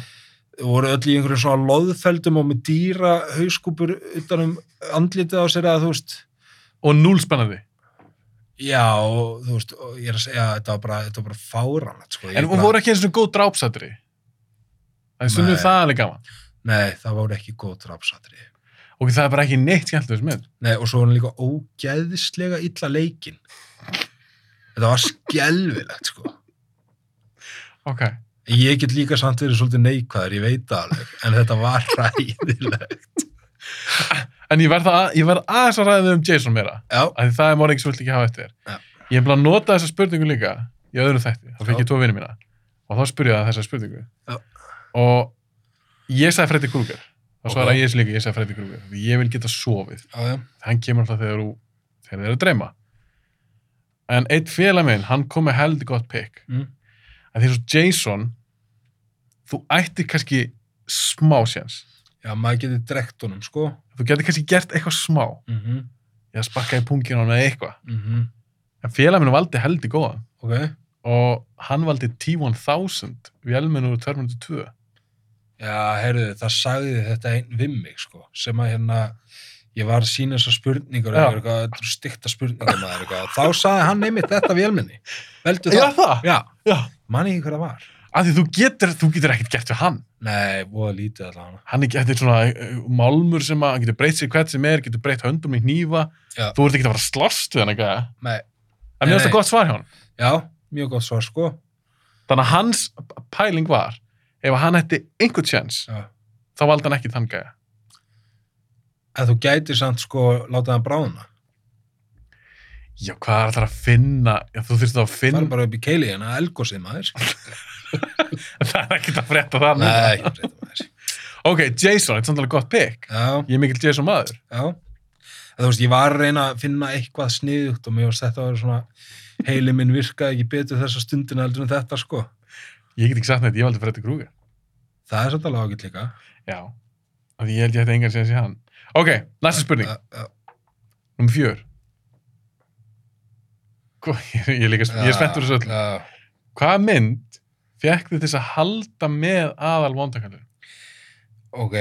þau voru öll í einhverju svona loðfeldum og með dýra hauskúpur utanum andlitið á sér að þú veist Og núl spennandi. já, og, þú veist, og ég er að segja að þetta var bara, þetta var bara fáranlegt sko. Ég En bara, hún voru ekki eins og góð drápsættri. Það er sunnum Nei. það alveg gaman. nei, það voru ekki góð drafsatri Og það er bara ekki neitt skemmt þessu mynd. Nei, og svo var hann líka ógeðislega illa leikinn. Þetta var skelvilegt, sko. Ok. Ég get líka samt verið svolítið neikvæður, ég veit það alveg, en þetta var (laughs) ræðilegt. En ég verð, að, ég verð aðeins að ræða um Jason meira. Já, Af því það er morðingi sem vilt ekki hafa eftir Já. þér. Ég hef bara notað þessa spurningu líka í öðru þætti. Þá fekk Já. ég tvo vinni mína og þá spurði ég það þessa spurningu. Já. Og ég sagði Freddy Krueger. Þá Ok. svaraði ég þessu líka, ég sagði Freddy Krueger. Því Ég vil geta sofið. já, já. Hann kemur alltaf þegar, þú- þegar þeir eru að dreyma. En eitt félag minn, hann kom með heldig gott pick. Mm. En því svo Jason, þú ættir kannski smá séns. Já, maður getið drekt honum, sko. Þú getur kannski gert eitthvað smá. Mm -hmm. Ég spakkaði pungin á hann eða eitthvað. En félag minn valdi heldig góðan. mhm. Ok. og hann valdi T-1000 vélmenn úr 202 Já, heyrðu, það sagði þetta einn við mig, sko, sem að hérna, ég var að sína þessar spurningar, Já. eitthvað, eitthvað, þetta eru stykta spurningar maður, eitthvað, og þá sagði hann einmitt þetta vélmenni. Veldu Já það? það, Já. já Man ekki hver það var. af því þú getur, þú getur ekkert gert við hann Nei, voða lítið allavega. hann er getur svona eh, málmur sem að hann getur breytt sér hvert sem er, getur breytt höndum í hnífa Já. þú ert ekki að fara að slást við hann eitthvað Nei, en mér finnst nei. það gott svar hjá hann Já, mjög gott svar sko. þannig að hans pæling var ef hann hætti einhvern sjans Já. þá valdi hann ekki þann gæja En þú gætir samt sko láta hann bráðuna. já hvað er það að finna já, þú þurfti þá að Það finna er bara upp í keili hérna, elgósið maður. (laughs) það er ekkert að frétta það núna. Nei, ég breyta maður. ok Jason, þetta er samtalið gott pick Já, ég er mikill Jason maður já. En þú veist, ég var að reyna að finna eitthvað sniðugt og mér varst þetta að vera svona heili minn virkaði ekki betur þessa stundina heldur en þetta sko. ég get ekki sagt neitt, ég valdi Freddy Krueger Það er samt alveg ágætt líka. Já, af því ég held ég ætti engan séns í hann. Ok, næsta spurning, nummer fjör. Hva- (laughs) Ég er, líka, ég er spenntur þessu öll. öll. Hvaða mynd fekk þið til þess að halda með aðal vondakallur? Ok,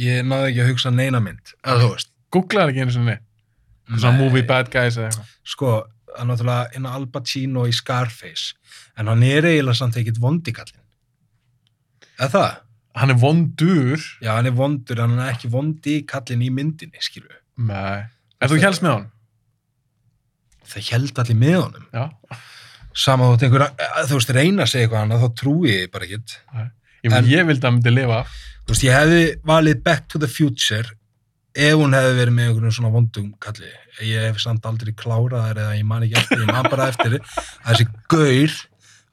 ég náði ekki að hugsa neina mynd. Að þú veist. Googlaði ekki einu sinni, svona Nei. movie bad guys eða eitthvað. Sko, það er náttúrulega inn á Al Pacino í Scarface. En hann er eiginlega samt ekkit vondikallin. Eða það? Hann er vondur. Já, hann er vondur, en hann er ekki vondi í kallin í myndinni, skilju. Nei. En þú helst með hann? Það held allir með honum. Já. Sama þótt einhver, að þú veist, reyna að segja eitthvað annað, þá trúi ég bara ekkert. Ég, en, En- ég vildi að hann myndi lifa af. Þú veist, ég hefði valið Back to the Future ef hún hefði verið með einhvern svona vondum kalli. Ég hef samt aldrei klárað þær eða ég man ekki eftir, ég man bara eftir að þessi gaur,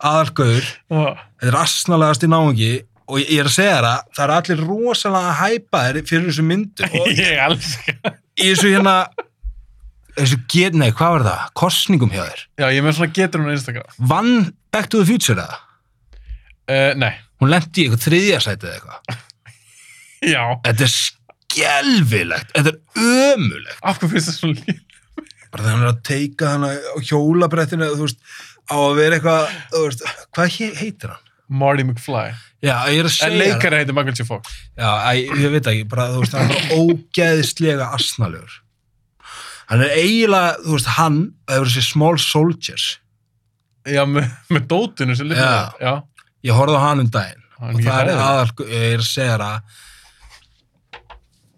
aðalgaur, (laughs) Ah, þetta er asnalegast í náungi og ég ég er að segja þér að það er allir rosalega hæpaðir fyrir þessu myndu og Ég elska. í þessu hérna þessu get, nei, hvað var það? Kostningum hjá þér. Já, ég er með svona getur hún á Instagram. Vann Back to the Future eða? Uh, nei, Hún lendi í eitthvað þriðja sætið eða eitthvað. já. Þetta er skelfilegt, þetta er ömulegt. Af hverju finnst það svona líf? Bara þegar hann er að teika hann á hjólabrettinu, þú veist, á að vera eitthvað, þú veist, hvað he heitir hann? Marty McFly. Já, ég er að segja En leikari heitir Michael J. Fox. Já, æ, ég veit ekki, bara þú veist, hann er bara ógeðislega asnalegur. Hann er eiginlega, þú veist, hann, það hefur þessi small soldiers. Já, með, með dótinu sem lifir. Já. Já. Ég horfði á hann um daginn Hann er og mikið það er hræðilegur. aðal, ég er að segja þér að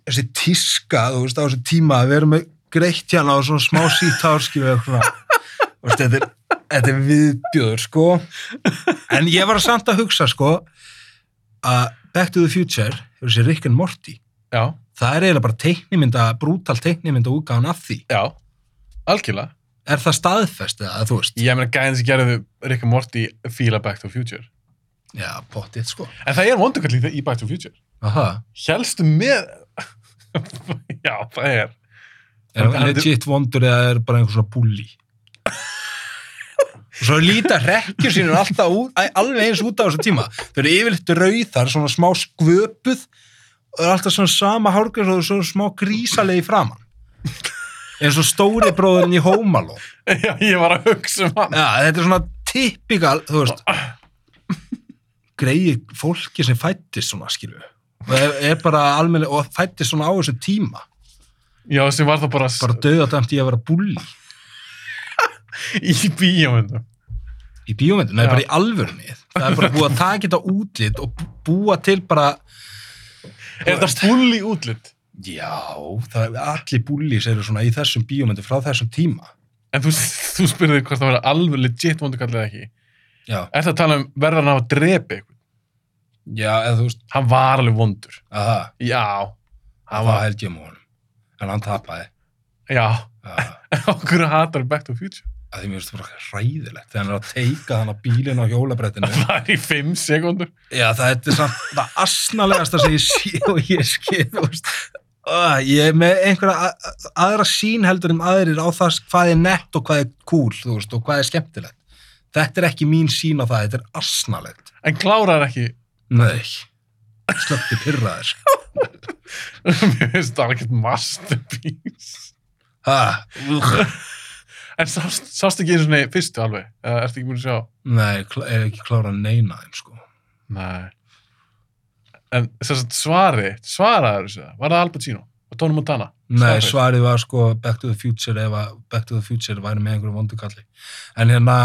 þessi tíska, þú veist, á þessi tíma að vera með greitt hérna á svona smá sítárskifu eða svona, þú veist, þetta er, þetta er viðbjöður, sko. En ég var samt að hugsa, sko, að Back to the Future hefur þessi Rick and Morty. Já. Það er eiginlega bara teiknimynda, brútal teiknimynda útgáðan af því. Já. Algjörlega. Er það staðfest eða, þú veist? Ég meina gæðin sem gerðu Rick and Morty fíla Back to the Future. Já, pottið, sko. En það er vondurkall í Back to the Future. Aha, Hélstu með... (laughs) Já, það er. Er hann legit vondur eða er bara einhver svona búli? Og svo líta rekkjur sínur alltaf út, æ, alveg eins út á þessu tíma. Þau eru yfirleitt rauðar, svona smá skvöpuð og er alltaf svona sama hárgjörn og svona smá grísalegi framann. Eins og stóri bróðurinn í Hómaló. Já, ég var að hugsa um hann. Ja, þetta er svona typikal, þú veist, greið fólki sem fættist svona, skilju. Og er, er bara almennilega, og fættist svona á þessu tíma. Já, sem var það bara, Bara döðatæmt í að vera búli. í bíómyndum. í bíómyndum, það Já. er bara í alvörunni það er bara búið að taka þetta útlit og búa til bara Er þetta fulli útlitt? já, það er allir búlis eru svona í þessum bíómyndum frá þessum tíma En þú, þú spurðir hvort það verða alveg legit vondurkall eða ekki. já, Er það að tala um verðan á að drepa ykkur? já eða þú veist Hann var alveg vondur. aha, Já. Hann það var var, held ég um honum en hann tapaði já. (laughs) já, Okkur hatar Back to the Future. (laughs) að því mér finnst það bara hræðilegt þegar hann er að teika hann á bílinn á hjólabrettinu Það er í fimm sekundur. já, það er samt það asnalegasta sem ég sé og ég skil þú veist Uh, ég er með einhverja a- a- aðra sín heldur en aðrir á það hvað er nett og hvað er cool þú veist, og hvað er skemmtilegt þetta er ekki mín sín á það, þetta er asnalegt En klárar ekki. nei slökti pyrraðir Mér finnst það ekkert masterpiece. ha, úgh. En sást, sást ekki eins og neði fyrstu alveg? Eða ertu ekki búin að sjá? nei, kl- er ekki klára að neina þeim sko. Nei. En þess að svari, svaraður þessu það? Var það Al Pacino? Og Tony Montana? nei, Svarið. svarið var sko Back to the Future ef að Back to the Future væri með einhverju vondukalli en hérna,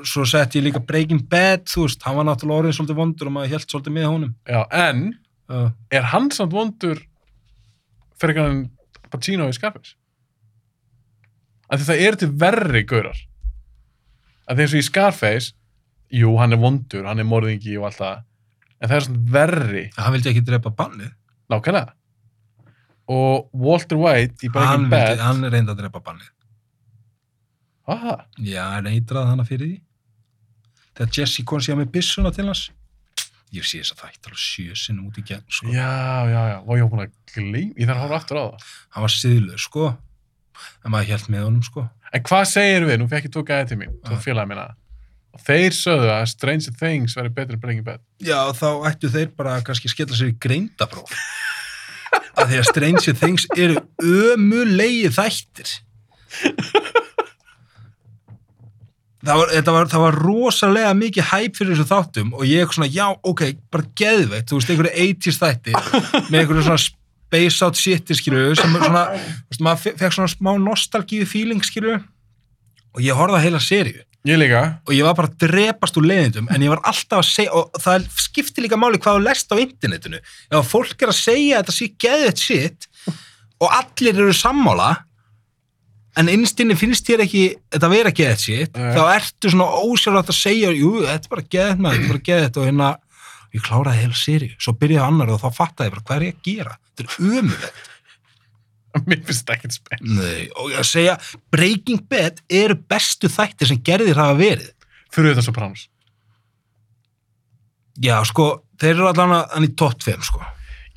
svo sett ég líka Breaking Bad, þú veist, hann var náttúrulega orðin svolítið vondur og maður held svolítið með honum Já, en uh, er hann samt vondur fyrir hann Pacino í Scarface af því það eru til verri gaurar af því eins og í Scarface jú, hann er vondur, hann er morðingi og allt það en það er svona verri hann vildi ekki drepa bannið nákvæmlega og Walter White í hann, Breaking vildi, Bad hann reyndi að drepa bannið Aha, já, hann eitraði hana fyrir því þegar Jesse kom síðan með byssuna til hans ég sé þess að það alveg sjö sinni út í gegn sko. já, já, já, var ég búin að gleyma ég þarf að horfa aftur á það hann var siðlöð sko. en maður held með honum sko. en hvað segir við, nú fekk ég tvo gæði til mín tvo Ah. félagi minna og þeir sögðu að Stranger Things væri betur en Breaking Bad já, þá ættu þeir bara að kannski skella sér í greindabróf að því að Stranger Things eru ömulegi þættir Það var, þetta var, það var rosalega mikið hæp fyrir þessu þáttum og ég svona, já, ok, bara geðveitt, þú veist, einhverju 80s þætti með einhverju svona space out shit, skilju, sem er svona, þú veist, maður fe- fekk svona smá nostalgíu feeling, skilju, og ég horfði að heila seríu ég líka, (laughs) og ég var bara að drepast úr leiðindum en ég var alltaf að segja, og það skipti líka máli hvað þú lest á internetinu ef að fólk er að segja að þetta sé geðveitt shit og allir eru sammála en innstinni finnst þér ekki þetta vera geðveitt shit Nei. þá ertu svona ósjálfrátt að segja jú, þetta er bara geðveitt maður, þetta er bara geðveitt og hérna, ég kláraði heila sériu svo byrjaði annar og þá fattaði ég bara hvað er ég að gera þetta er ömulegt mér finnst það ekkert spenn Nei, og ég að segja, Breaking Bad eru bestu þættir sem gerðir hafa verið fyrir þetta Sopranos Já, sko, þeir eru allan að hann í topp 5, sko.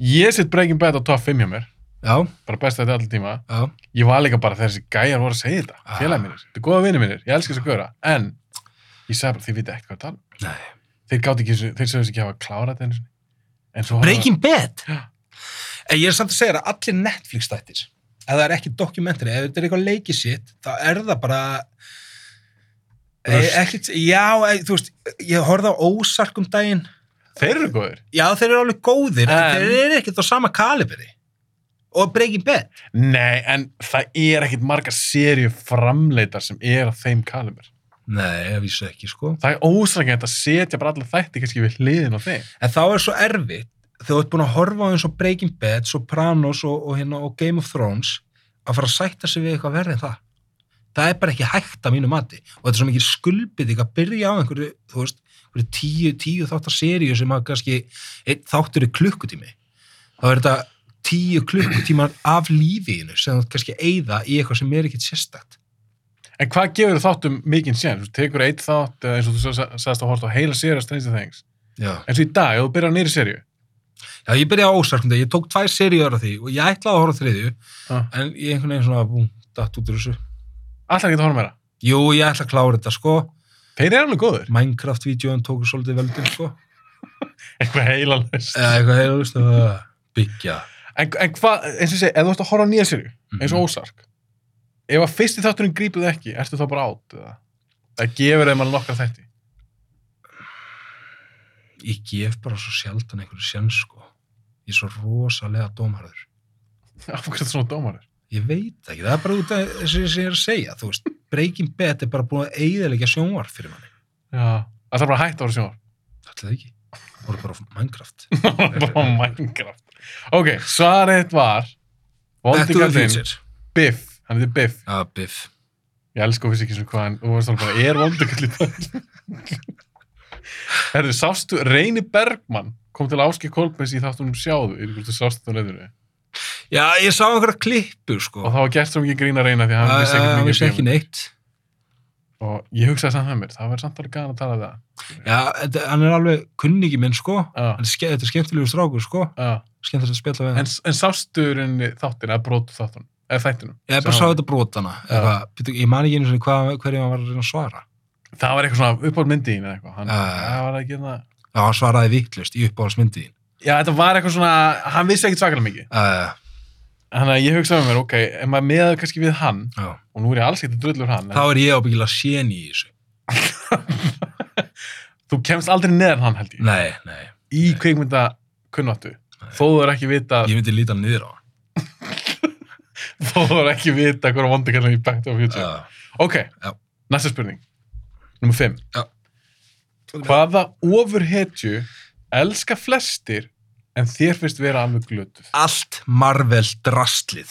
ég set Breaking Bad á top 5 hjá mér já, bara best þetta allir tíma já, ég var líka bara þegar þessi gæjar voru að segja þetta Ah. ah. félag mínir, þetta er góða vinir mínir, ég elska þessi góra en ég sagði bara, þið viti ekkert hvað að tala um. Nei. þeir gátt ekki, þessu- þeir sögðist ekki hafa klárað þetta einu sinni. en svo Breaking Bad Já. en ég er samt að segja þér að allir Netflix þættir ef það er ekki dokumentari, ef þetta er eitthvað leikið sitt þá er það bara Röst. Eh, ekkert, já, eh, þú veist ég horfði á ósark um daginn (gasps) þeir eru góður já, þeir eru alveg góðir, en, En- þeir eru ekkert á sama kalibri og Breaking Bad nei, en það er ekkit margar sériu framleitar sem er að þeim kalumir nei, ég vissi ekki sko það er ósrækjant að setja bara alla þætti kannski við hliðin á þeim en þá er svo erfitt þegar þú ert búin að horfa á eins og Breaking Bad Sopranos og, og, hérna, og Game of Thrones að fara að sætta sig við eitthvað verri en það það er bara ekki hægt að mínu mati og þetta er svo mikið skulpið að byrja á einhverju, þú veist, einhverju tíu, tíu þáttar seríu sem að kannski einn þáttur er klukkutími þá er þetta tíu klukkutímar af lífiðinu sem þú kannski eigða í eitthvað sem er ekkit sérstakt en hvað gefur þáttum mikinn sér þú tekur eitt þátt, eða eins og þú sa- sagðist að horta á heila séri að strengja þengs Já. eins og í dag, ef þú byrjar á nýri séri Já, ég byrjaði á ósarkundi, ég tók tvær seríur af því og ég ætlaði að horfa á þriðju Ah. en ég einhvern veginn svona búm, datt út úr þessu allar getur horfum meira Jú, ég ætla að klára þetta, sko. þeir eru alveg góður, Minecraft-vídeóin tóku svolítið veldin, sko. eitthvað heila laust Eða eitthvað heila, veistu, að byggja. En, en hvað, eins og ég segi, ef þú ert að horfa á nýja sériu, eins og Mhm. ósark, ef að fyrsti þátturinn grípur þig ekki, ertu þá bara átt? Eða? Það gefur þeim alveg nokkra þætti. (laughs) Mm, Ég gef bara svo sjaldan einhverju sjens, sko. Ég er svo rosalega dómarður. Af hverju þetta svona dómarir? Ég veit ekki, það er bara út af þessu sem ég er að segja, þú veist. Breaking Bad er bara búin að eigðilegja sjónvarf fyrir manni. Já. Það er bara hægt að vera sjónar. Ætli það ekki. Það voru bara á Minecraft. (laughs) bara Minecraft. Ok, svarið var Vondi Gallinn, Biff, hann heitir Biff. Já, Biff. Ég elsku fyrst ekki svona hvað hann, þú veist alveg bara, er Vondi Gallinn? (laughs) Herðu, sástu, Reyni Bergmann kom til Áski Kolbens í þáttunum um sjáðu, ég veit ekki hvort þú sástu það nefnir Já, ég sá einhverja klippu, og sko. það var gert svo mikið grín að reyna því að hann vissi Hann ekkert vissi mikið um ekki neitt. og ég hugsaði samt með mér, það verður samt alveg gæðan að tala við það. Já, þetta- hann er alveg kunningi minn, sko. Já, Hann er ske- Þetta er skemmtilegu strákur, sko. já. skemmtilegt að spjalla við En, hann. en sásturinni þáttin eða brotu þáttunum, eða þættinum. Ég bara Sá- sá þetta brotana. eitthvað, býttu, Ég man ekki einu sinni hvað, hverju hann var að reyna að svara. Það var eitthvað svona uppáð myndi þín eða eitthvað. Hann, Já, já, já. það var ekki það. Já, hann svaraði vittlust í uppáhaldsmyndiðin. Já, þetta var eitthvað svona, hann vissi ekkert svakalega mikið. Uh, Þannig að ég hugsaði með mér, ok, ef maður meðaðu kannski við hann, já. og nú er ég alls ekkert að drullur hann, Þá er ég ábyggilega sén í þessu. en þú kemst aldrei neðan hann held ég, Nei, nei. í kveikmynda kunnáttu. Nei. Þó þú er ekki vita, Ég myndi líta hann niður á hann. (laughs) þó þú er ekki vita hverja vondikarnar í Back to the Future. Uh, Ok, Já. næsta spurning Númer 5 Já. Hvaða ofurhetju elska flestir en þér finnst vera alveg glötuð? allt Marvel drastlið.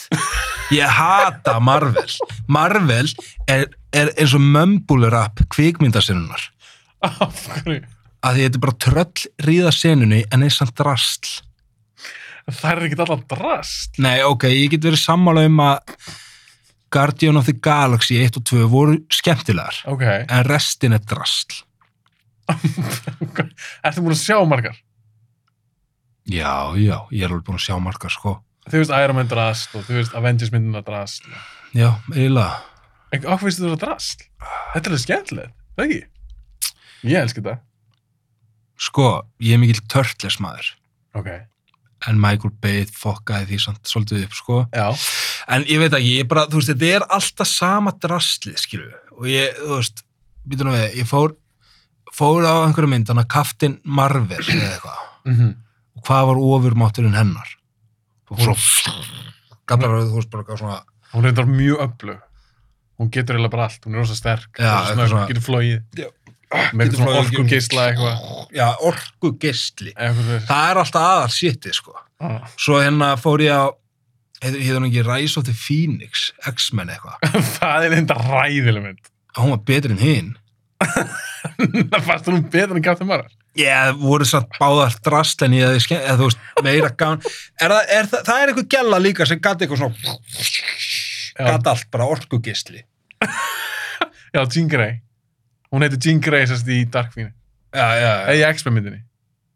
Ég hata Marvel. Marvel er, er eins og mömbulurap kvikmyndasinnunar. Af hverju? Að því þetta er bara tröll ríða senunni en eins og drastl. Það er ekkert alltaf drast Nei, ok, ég get verið sammála um að Guardian of the Galaxy 1 og 2 voru skemmtilegar Ok, (laughs) en restin er drastl. ertu búin að sjá margar? Já, já, ég er alveg búin að sjá margar sko. Þú veist Iron Man drast og þú veist Avengers myndina drast Já, eiginlega. En af hverju finnst þú það drast? Þetta er alveg skemmtilegt, það ekki? Ég elski þetta Sko, ég er mikill törtles maður Ok, en Michael Bay fokkaði því samt svolítið upp sko. já En ég veit ekki, ég bara, þú veist, þetta er alltaf sama drastlið, skilju. Og ég, þú veist, býtum við, ég fór, fór á einhverju mynd, hann að Captain Marvel eða eitthvað. mm og hvað var ofurmátturinn hennar og svo gamlar að þú veist bara eitthvað svona Hún reyndar mjög öflug Hún getur eiginlega bara allt, hún er rosa sterk Já, rosa snögg, eitthvað svona- getur flóið Já. með Getur eitthvað svona flogið í orku gegnum- geisla eitthvað já, orku geistli eitthvað þess það er alltaf aðal shitið sko svo hérna fór ég á hefði hún ekki Rise of the Phoenix X-Men eitthvað, (laughs) það er enda ræðileg mynd (laughs) hún var betri en hinn það fannst hún betur en Captain Marvel Já, það voru satt báðar drast en ég hefði skemmt, eða þú veist, meira gaman er það, er það, það er eitthvað gæla líka sem gæti eitthvað svona, já, gæti allt bara orku geistli já, Jean Grey hún heitir Jean Grey sérst í Dark Phoenix já, já, eða í X-Men myndinni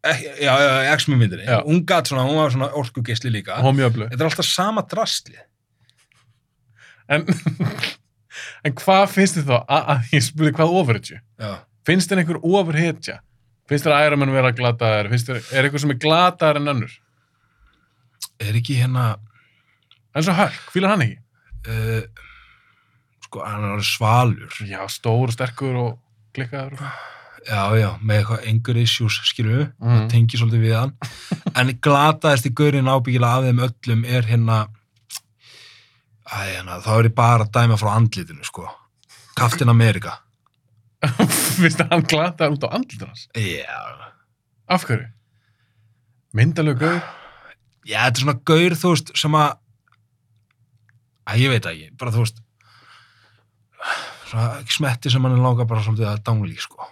Ekki- já, já, já, x myndinni Já. hún gat svona, hún var svona orkugeisli líka og hún var mjög öflug. þetta er alltaf sama drasli En, (laughs) en hvað finnst þið þá, að, að ég spurði hvað overhitju? já, Finnst þið einhver overhitja? Finnst þér Iron Man vera glataðar? Finnst þér, er eitthvað sem er glataðar en önnur? er ekki hérna En svo Hulk, fýlar hann ekki? uh, sko, hann er orðinn svalur Já, stór og sterkur og klikkaður. og- já, já, með eitthvað engur issues skilur við, Mm. tengi svolítið við (laughs) hann en glataðist í gaurinn ábyggilega af þeim öllum er hérna að hérna, þá er ég bara að dæma frá andlitinu, sko Captain America (laughs) Finnst þér hann glataðar út á andlutur hans? já, Af hverju? Myndalög gauður? já, þetta er svona gaur, þú veist, sem að að ég veit það ekki, bara þú veist svona smetti sem hann er langar bara svolítið að dangli, sko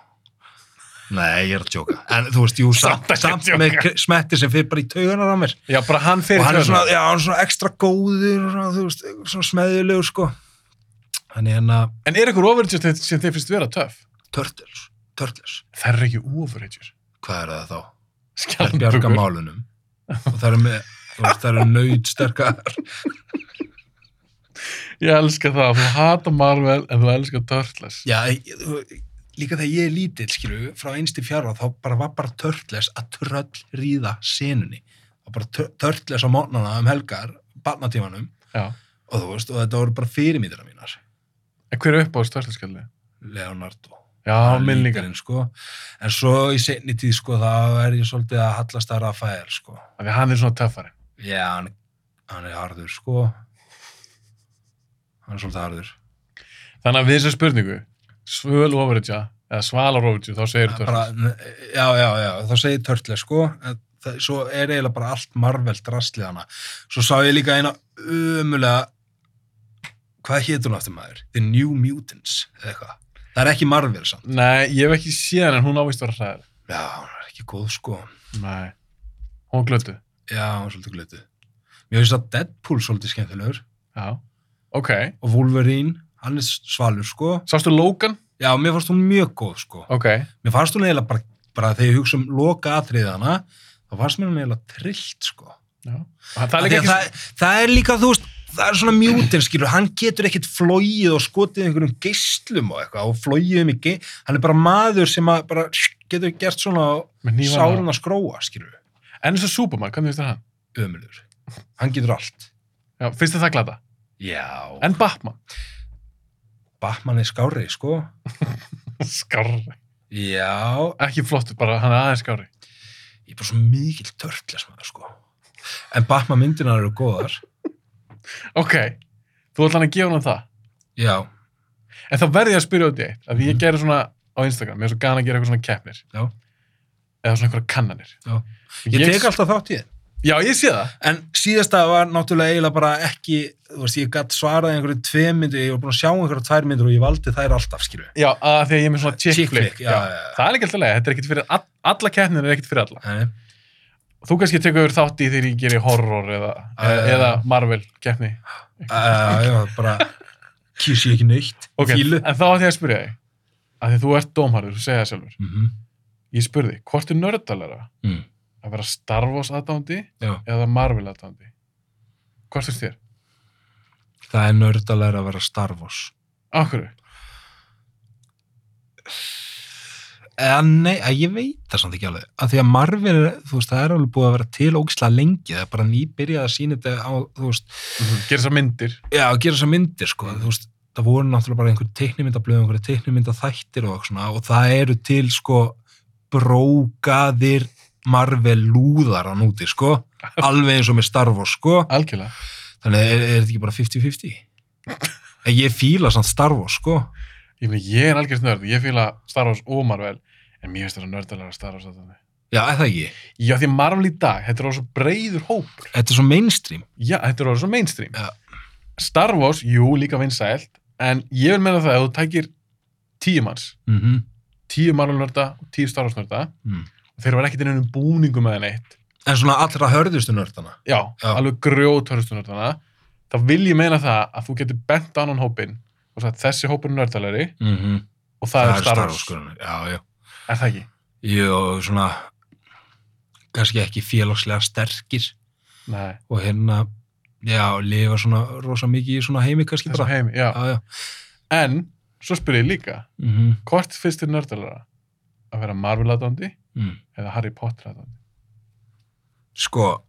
nei, ég er að djóka en þú veist, jú, Samt samt, ekki að samt djóka. með k- smetti sem fyrir bara í taugunar á mér Já, bara hann fyrir og hann er taugarnar. svona, já, hann er svona ekstra góður og svona, þú veist, svona smeðilegur, sko hann er hérna En er eitthvað overhitjur sem, sem þið finnst vera töff? Turtles, Turtles, Það er ekki overhitjur. hvað er það þá? Það er bjarga Skjaldbökur. málunum og það er með, þú veist, það er nöyðsterkar Ég elska það. Þú hata Marvel en þú elska Turtles. Já, ég- þú- líka þegar ég er lítill, skilju, frá einst í fjara, þá bara var bara törtles að tröll ríða senunni. Og bara tör- törtles á mótnana um helgar, barnatímanum, Já. og þú veist, og þetta voru bara fyrirmýtina mínar. En hver er upp á þessu Turtleskjaldi? Leonardo. Já, minn líka. Lítilinn, Sko. En svo í seinni tíð, sko, þá er ég svolítið að hallast að Rafael, sko. Af því hann er svona töffari. Já, hann, hann er harður, sko. Hann er svolítið harður. Þannig að við þessu spurningu, svöl overhitja eða svalar overhitju, þá segir Það er Turtles. bara, já, já, já, þá segir Törtle sko, en það, svo er eiginlega bara allt marvelt rastlið hana svo sá ég líka eina umulega hvað hétur hún aftur maður? The New Mutants eða eitthvað, það er ekki Marvel samt Nei, ég hef ekki séð hann en hún ávist var hræður. já, hún er ekki góð sko Nei. Hún glötu. já, hún er svolítið glötu mér finnst að Deadpool svolítið skemmtilegur Já. Ok. og Wolverine, hann er svalur sko Sástu Logan? já, mér fannst hún mjög góð sko Ok. mér fannst hún eiginlega bara, bara þegar ég hugsa um loka atriðana, þá fannst mér hún eiginlega trillt sko Já. Það er það, líka ekki... ekki... það, það er líka, þú veist, það er svona mjútin, skilur, hann getur ekkit flóið og skotið einhverjum geislum og eitthvað og flóið um í ge... hann er bara maður sem að bara getur gert svona Með hnífana. sárun að skróa, skilur, En eins og Superman, hvernig finnst þér hann? ömulur. Hann getur allt. Já, finnst þér það glata? Já. En (laughs) Batman? Batman er skári, sko. Skarri. Já. Ekki flottur, bara hann er aðeins skári. Ég er bara svo mikil törtles maður, sko. En Batman myndinar eru góðar. Ok, þú ætlar hann að gefa hann það. Já. En þá verði ég að spyrja út í eitt, að því ég Mhm. gerir svona á Instagram, mér er svo gana að gera eitthvað svona keppnir. Já. Eða svona einhverja kannanir. Já. Ég, tek alltaf þátt í þið. Já, ég sé það. En síðasta var náttúrulega eiginlega bara ekki, þú veist, ég gætt svarað einhverju tvei myndir, ég var búin að sjá einhverju tvær myndir og ég valdi þær alltaf, skilju. Já, að því að ég er með svona chick Chick flick. flick, já, já, já. Það er ekki alltaf leið, þetta er ekkit fyrir, all, alla keppnir er ekkit fyrir alla. Nei, Þú kannski tekur yfir þátt í þegar ég gerir horror eða, Ah, Já, já, eða, já. eða Marvel keppni. uh, já, bara kýs ég ekki neitt, Ok, fílu. en þá ætla ég að spyrja þig, að því þú ert dómharður, þú segja það sjálfur. Mm Ég spurði, hvort er nördalara mm. að vera Star Wars aðdándi Já, eða Marvel aðdándi? Hvort er þér? það er nördalega að vera Star Wars. Á hverju? Eða nei, að ég veit það samt ekki alveg. Að því að Marvel, er- þú veist, það er alveg búið að vera til ógislega lengi, það er bara nýbyrjað að sína þetta á, þú veist, Gerir þessar myndir. já, að gera þessar myndir sko, þú veist, það voru náttúrulega bara einhver teiknimyndablöð, einhver teiknimyndaþættir og eitthvað svona, og það eru til sko brókaðir Marvel lúðar á núti sko, alveg eins og með Star Wars sko, Algjörlega. þannig er, er þetta ekki bara 50-50? En Ég fíla samt Star Wars sko, Ég, meni, ég er algjörst nörd. Ég fýla Star Wars og Marvel. En mér finnst þetta nördalega Star Wars aðdándi. já, er það ekki, Já, því Marvel í dag, þetta er á svo breiður hópur. þetta er svo mainstream, Já, þetta er á svo mainstream. Já. Star Wars, jú, líka vinsælt. En ég vil meina það að þú tækir tíu manns. mm Tíu Marvel nörda og tíu Star Wars nörda. mm. Og þeir var ekkert inn um búningum eða neitt. en svona allra hörðustu nördana, já, Já. alveg grjóthörðustu nördana þá vil ég meina það að þú getur bent á annan hópin og sagt þessi hópur er nördalari mm -hmm. sko. og það, er Star Wars, já, já, er það ekki? Jú, svona kannski ekki félagslega sterkir Nei. og hérna, já, lifa svona rosa mikið í svona heimi kannski Þessum bara. heimi, já. Já, já. En, svo spyr ég líka, Mm -hmm. hvort finnst þér nördalara? Að vera Marvel-aðdóndi mhm. eða Harry Potter-aðdóndi? Sko,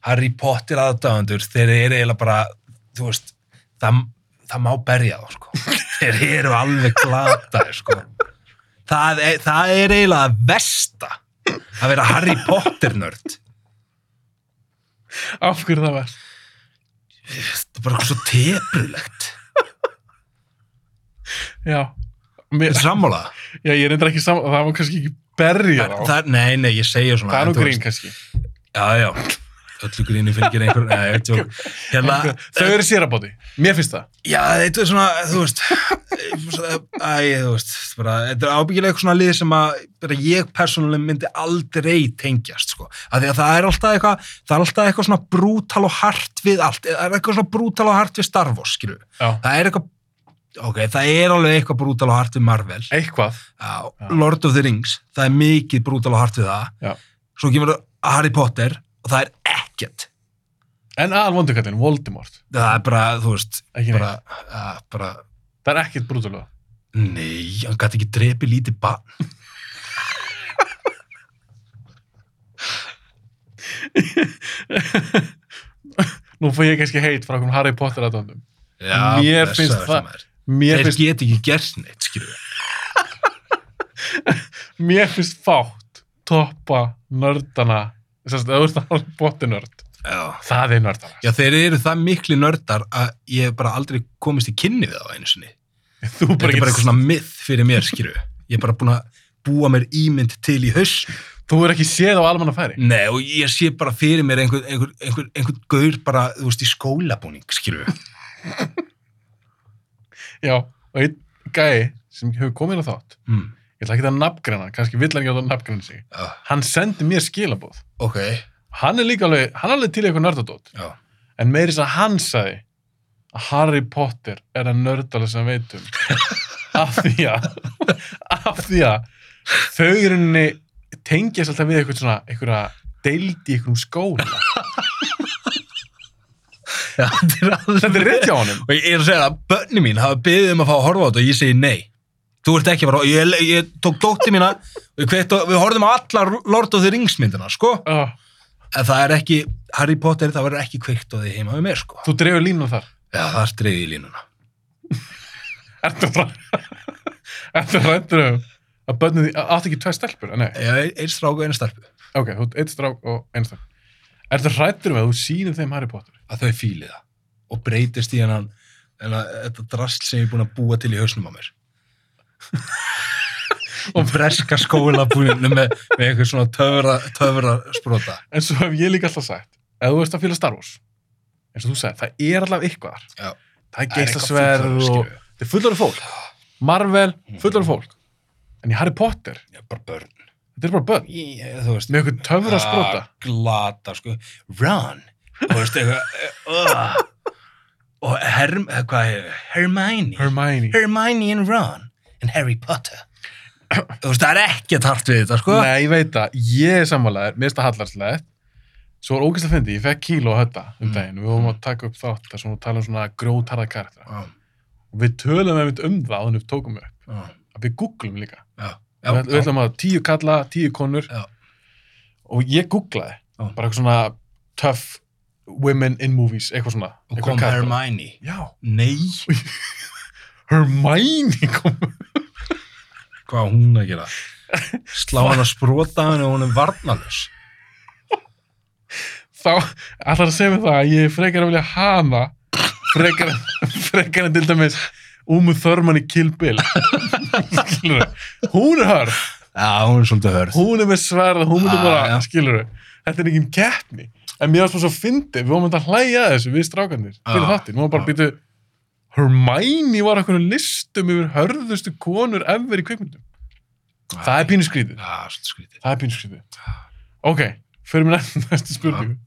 Harry Potter aðdáðandur, þeir eru eiginlega bara, þú veist, það, það má berja þá, (laughs) sko. þeir eru alveg glataðir, sko. Það er, það er eiginlega að versta að vera Harry Potter-nörd. Af hverju það var? Það er bara eitthvað svo tebrulegt. Já. Mér, Er sammála? já, ég er reyndar ekki saman, það var kannski ekki berja Það, þá. það, nei, nei, ég segja svona. Það er en nú þú grín veist- kannski. Já, já. Öllu grínu fylgir einhver, nei, ég tjók. Hérna, Þau eru sérabóti. Mér finnst það. Já, þetta er svona, þú veist, svona, æ, þú veist, bara, þetta er ábyggilega eitthvað svona lið sem að bara ég persónuleg myndi aldrei tengjast, sko. Af því að það er alltaf eitthvað, það er alltaf eitthvað svona brútal og hart við allt, það er eitthvað svona brútal og hart við Star Wars, skilju. Já. Það er eitthvað, ok, það er alveg eitthvað brútal og hart við Marvel. Eitthvað. Já, Já. Lord of the Rings, það er mikið brútal og hart við það. Já. Svo kemur Harry Potter og það er ekkert. En aðal vondukallin, Voldemort. Það er bara, þú veist, Ekki neitt. bara, að, bara, Það er ekkit brútalega. Nei, hann gæti ekki drepi lítið barn. Nú fór ég kannski heit frá okkur Harry Potter aðdóndum. Mér blessaður finnst það- maður. Mér, Þeir finnst- get ekki gert neitt, skilju. mér finnst fátt toppa nördana. Þess að þú ert að Harry Potter nörd. Já. Það er nördana. Já, þeir eru það mikli nördar að ég hef bara aldrei komist í kynni við þá einu sinni. Þú Þetta bara er bara eitthvað ekki, svona myth fyrir mér, skilju. Ég er bara búin að búa mér ímynd til í haus. þú er ekki séð á almannafæri. Nei, og ég sé bara fyrir mér einhvern einhver, einhver, einhver gaur bara, þú veist, í skólabúning, skilju. Já, og einn gæi sem hefur komið inn á þátt, Mm. ég ætla ekki að nafngræna, kannski vill hann ekki að nafngræna sig. Já, Hann sendi mér skilabóð. Ah, ok. Hann er líka alveg, hann er alveg til í eitthvað nördadót. Já. En meiri þess að hann sagði að Harry Potter er að nördala sem hann veit um. af því að, af því að þau í rauninni tengjast alltaf við eitthvað svona, einhverja deild í einhverjum skóla. Já, (laughs) þetta er alveg... Þetta er rétt hjá honum. Og ég er að segja að bönni mín hafa beðið um að fá að horfa á þetta og ég segi nei. Þú ert ekki bara, ég, ég tók dótti mína, (laughs) við, kveitt, við horfðum á allar Lord of the Rings myndina, sko. Oh, En það er ekki, Harry Potter, það verður ekki kveikt á því heima við mér, sko. þú drefur línum þar. Já, það er dreigði í línuna. Ertu frá... (laughs) Ertu rættur um að börnum því... Áttu ekki tvær stelpur? Nei, Já, einn strák og einn starpu. ok, þú ert eitt strák og einn stelp. Ertu rættur um að þú sýnir þeim Harry Potter? Að þau fíli það. Og breytist í hennan, hennan þetta drasl sem ég er búin að búa til í hausnum á mér. og breska skólabúinu með, með einhver svona töfra, töfra sprota. En svo hef ég líka alltaf sagt, ef þú ert að fíla Star Wars, eins og þú sagði, það er allavega eitthvað þar. Það Já. er Það er eitthvað geistasverð fullorðið, og... skilju. Það er fullar fólk. Marvel, Hmm. fullar fólk. En í Harry Potter, Já, bara börn. þetta er bara börn. Yeah, eh, þú veist Með einhvern töfra spróta. Ah, glata sko run þú veist eitthvað uh, og Herm, eh, hvað, er- Hermione Hermione. Hermione and Ron and Harry Potter þú veist það er ekki tart við þetta sko Nei, ég veit það. Ég er sammálaður, mér finnst það hallarslegt. Svo var ógæslega fyndi, ég fekk kíló að hötta um Mm. daginn. Við vorum að taka upp þátt þar sem við tala um svona grótarða karakter. Já, Og við tölum einmitt um það áður en við tókum upp. já, Að Við googlum líka. ah, já, já, við, við ætlum að tíu kalla, tíu konur Já. og ég googlaði Já. bara eitthvað svona tough women in movies, eitthvað svona og eitthvað kom kalla. Hermione Já, nei, Hermione kom hvað á hún að gera slá hann að sprota hann og hún er varnalus þá ætlar að segja mér það að ég er frekar að vilja hana frekar, frekar en (laughs) til dæmis Úmu Þörmann í Kill Bill (laughs) skilur hún er hörð, já, hún er svolítið hörð hún er með sverð hún er Ah, bara, já. skilur þetta er engin keppni en mér varst bara svo fyndi, við vorum að hlæja að þessu við strákanir, fyrir Já, þáttinn, við vorum bara já. að býtu Hermione var okkur listum yfir hörðustu konur ever í kveikmyndum það er pínu skrítið, Ah, já, svolítið skrítið það er pínu skrítið ok, fyrir mér næ- (laughs) næstu spurningu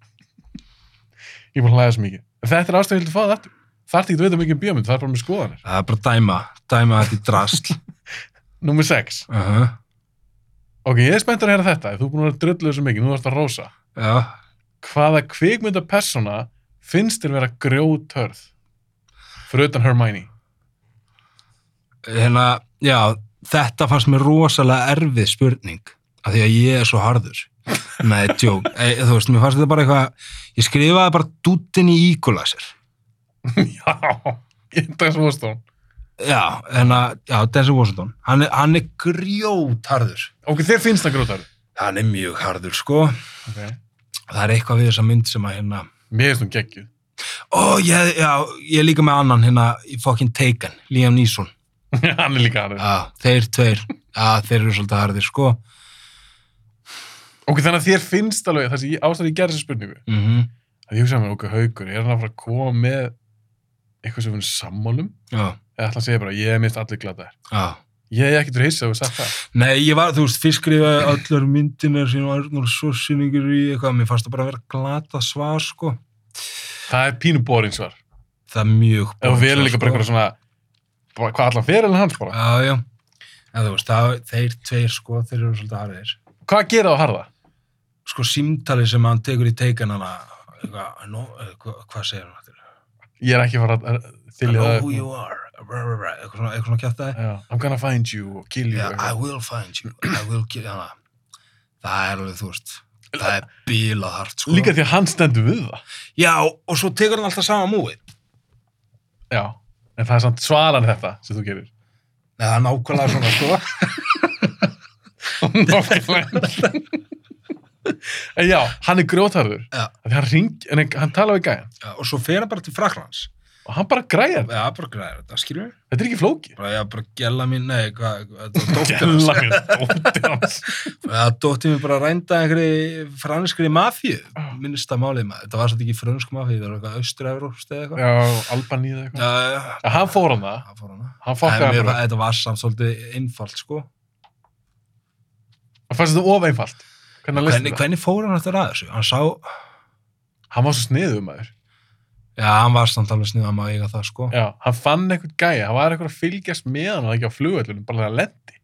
ég er bara að hlæja svo mikið þetta er ástæðið til að fá það aftur það ert ekki að vita mikið um bíómynd, það er bara með skoðanir (laughs) það er bara að dæma, dæma þetta í drasl nummer 6, uh -huh. Ok, ég er spenntur að heyra þetta. Þú er búin að vera drullu þessu mikið, nú varst að rósa. Já, Hvaða kvikmynda persóna finnst þér vera grjótörð? Fyrir utan Hermione. hérna, já, þetta fannst mér rosalega erfið spurning af því að ég er svo harður. Nei, tjók, e, þú veist, mér fannst þetta bara eitthvað, ég skrifaði bara dúttin í íkulasir. (laughs) Já, ég dags fórst hún. Já, hérna, já, Denzel Washington, hann er, hann er grjótharður. Ok, þér finnst það grjótörð. Hann er mjög harður, sko. Ok. Það er eitthvað við þessa mynd sem að hérna, Mér finnst hún geggjuð. ó, ég, já, ég er líka með annan hérna í fucking Taken, Liam Neeson. (laughs) Hann er líka aðeins. Já, þeir tveir, já, þeir eru svolítið harðir, sko. Ok, þannig að þér finnst alveg, það sem ég ástæði ég gerði þessu spurningu. Mm að ég hugsaði mér, ok, haugur, er hann að fara að koma með eitthvað sem við erum sammálum? Já, Eða ætla að segja bara, ég er mist allir glataðir. já. Ég er ekkert reysið að við sagt það. Nei, ég var, þú veist, fyrst skrifaði allar myndinar sín og Arnur Sossiningur í eitthvað, mér fannst það bara að vera glata svar, sko. Það er pínu boring svar. Það er mjög Ef við erum svar, líka bara eitthvað svona, bara, hvað allan fyrir en hans bara? Já, já. En þú veist, það, þeir tveir, sko, þeir eru svolítið harðir. Hvað gera á harða? Sko, símtali sem hann tekur í teikanana, eitthvað, no, eitthvað, hvað segir hann þetta? Ég er ekki að fara að I þylja know það. who you are, rah, rah, rah, eitthvað svona, eitthvað svona kjáttaði. Já, I'm gonna find you og kill you. Yeah, I Yeah, will find you, I will kill you. Það er alveg, þú veist, það er bílað hart, sko. líka því að hann stendur við það. Já, og svo tekur hann alltaf sama múið. Já, en það er samt svaran þetta sem þú (laughs) gerir. (laughs) Nei, það er nákvæmlega svona, sko. Nákvæmlega. en já, hann er grjótarður. Já. Því hann ring, en hann tala við gæjan. Já, og svo fer hann bara til Fraklands. og hann bara græjar það. Já, bara græðir þetta, skilur við? Þetta er ekki flókið. Bara, já, bara gæla mín, nei, hvað, þetta var dóttir hans. Gæla mér, dóttir hans. Já, dóttir mín bara rænda einhverju franskri mafíu, Ah. minnsta málið maður. Þetta var svolítið ekki fransk mafíu, það var eitthvað austur-evrópst eða eitthvað. Já, Alban í það eitthvað. Já, já, já. En hann fór hann það. Það fór hana. Hann En fokkaði mér hann var- bara. Þetta var samt svolítið einfalt, sko. Hann fannst þetta of einfalt. Hvernig hann Hvernig, listi það? hvernig fór hann eftir að þessu? Hann sá, Hann var svo sniðum maður. já, hann var samt alveg sniðan maður að eiga það, sko. Já, hann fann eitthvað gæja. Hann var eitthvað að fylgjast með hann og ekki á flugvöllunum. Bara þegar hann lendi.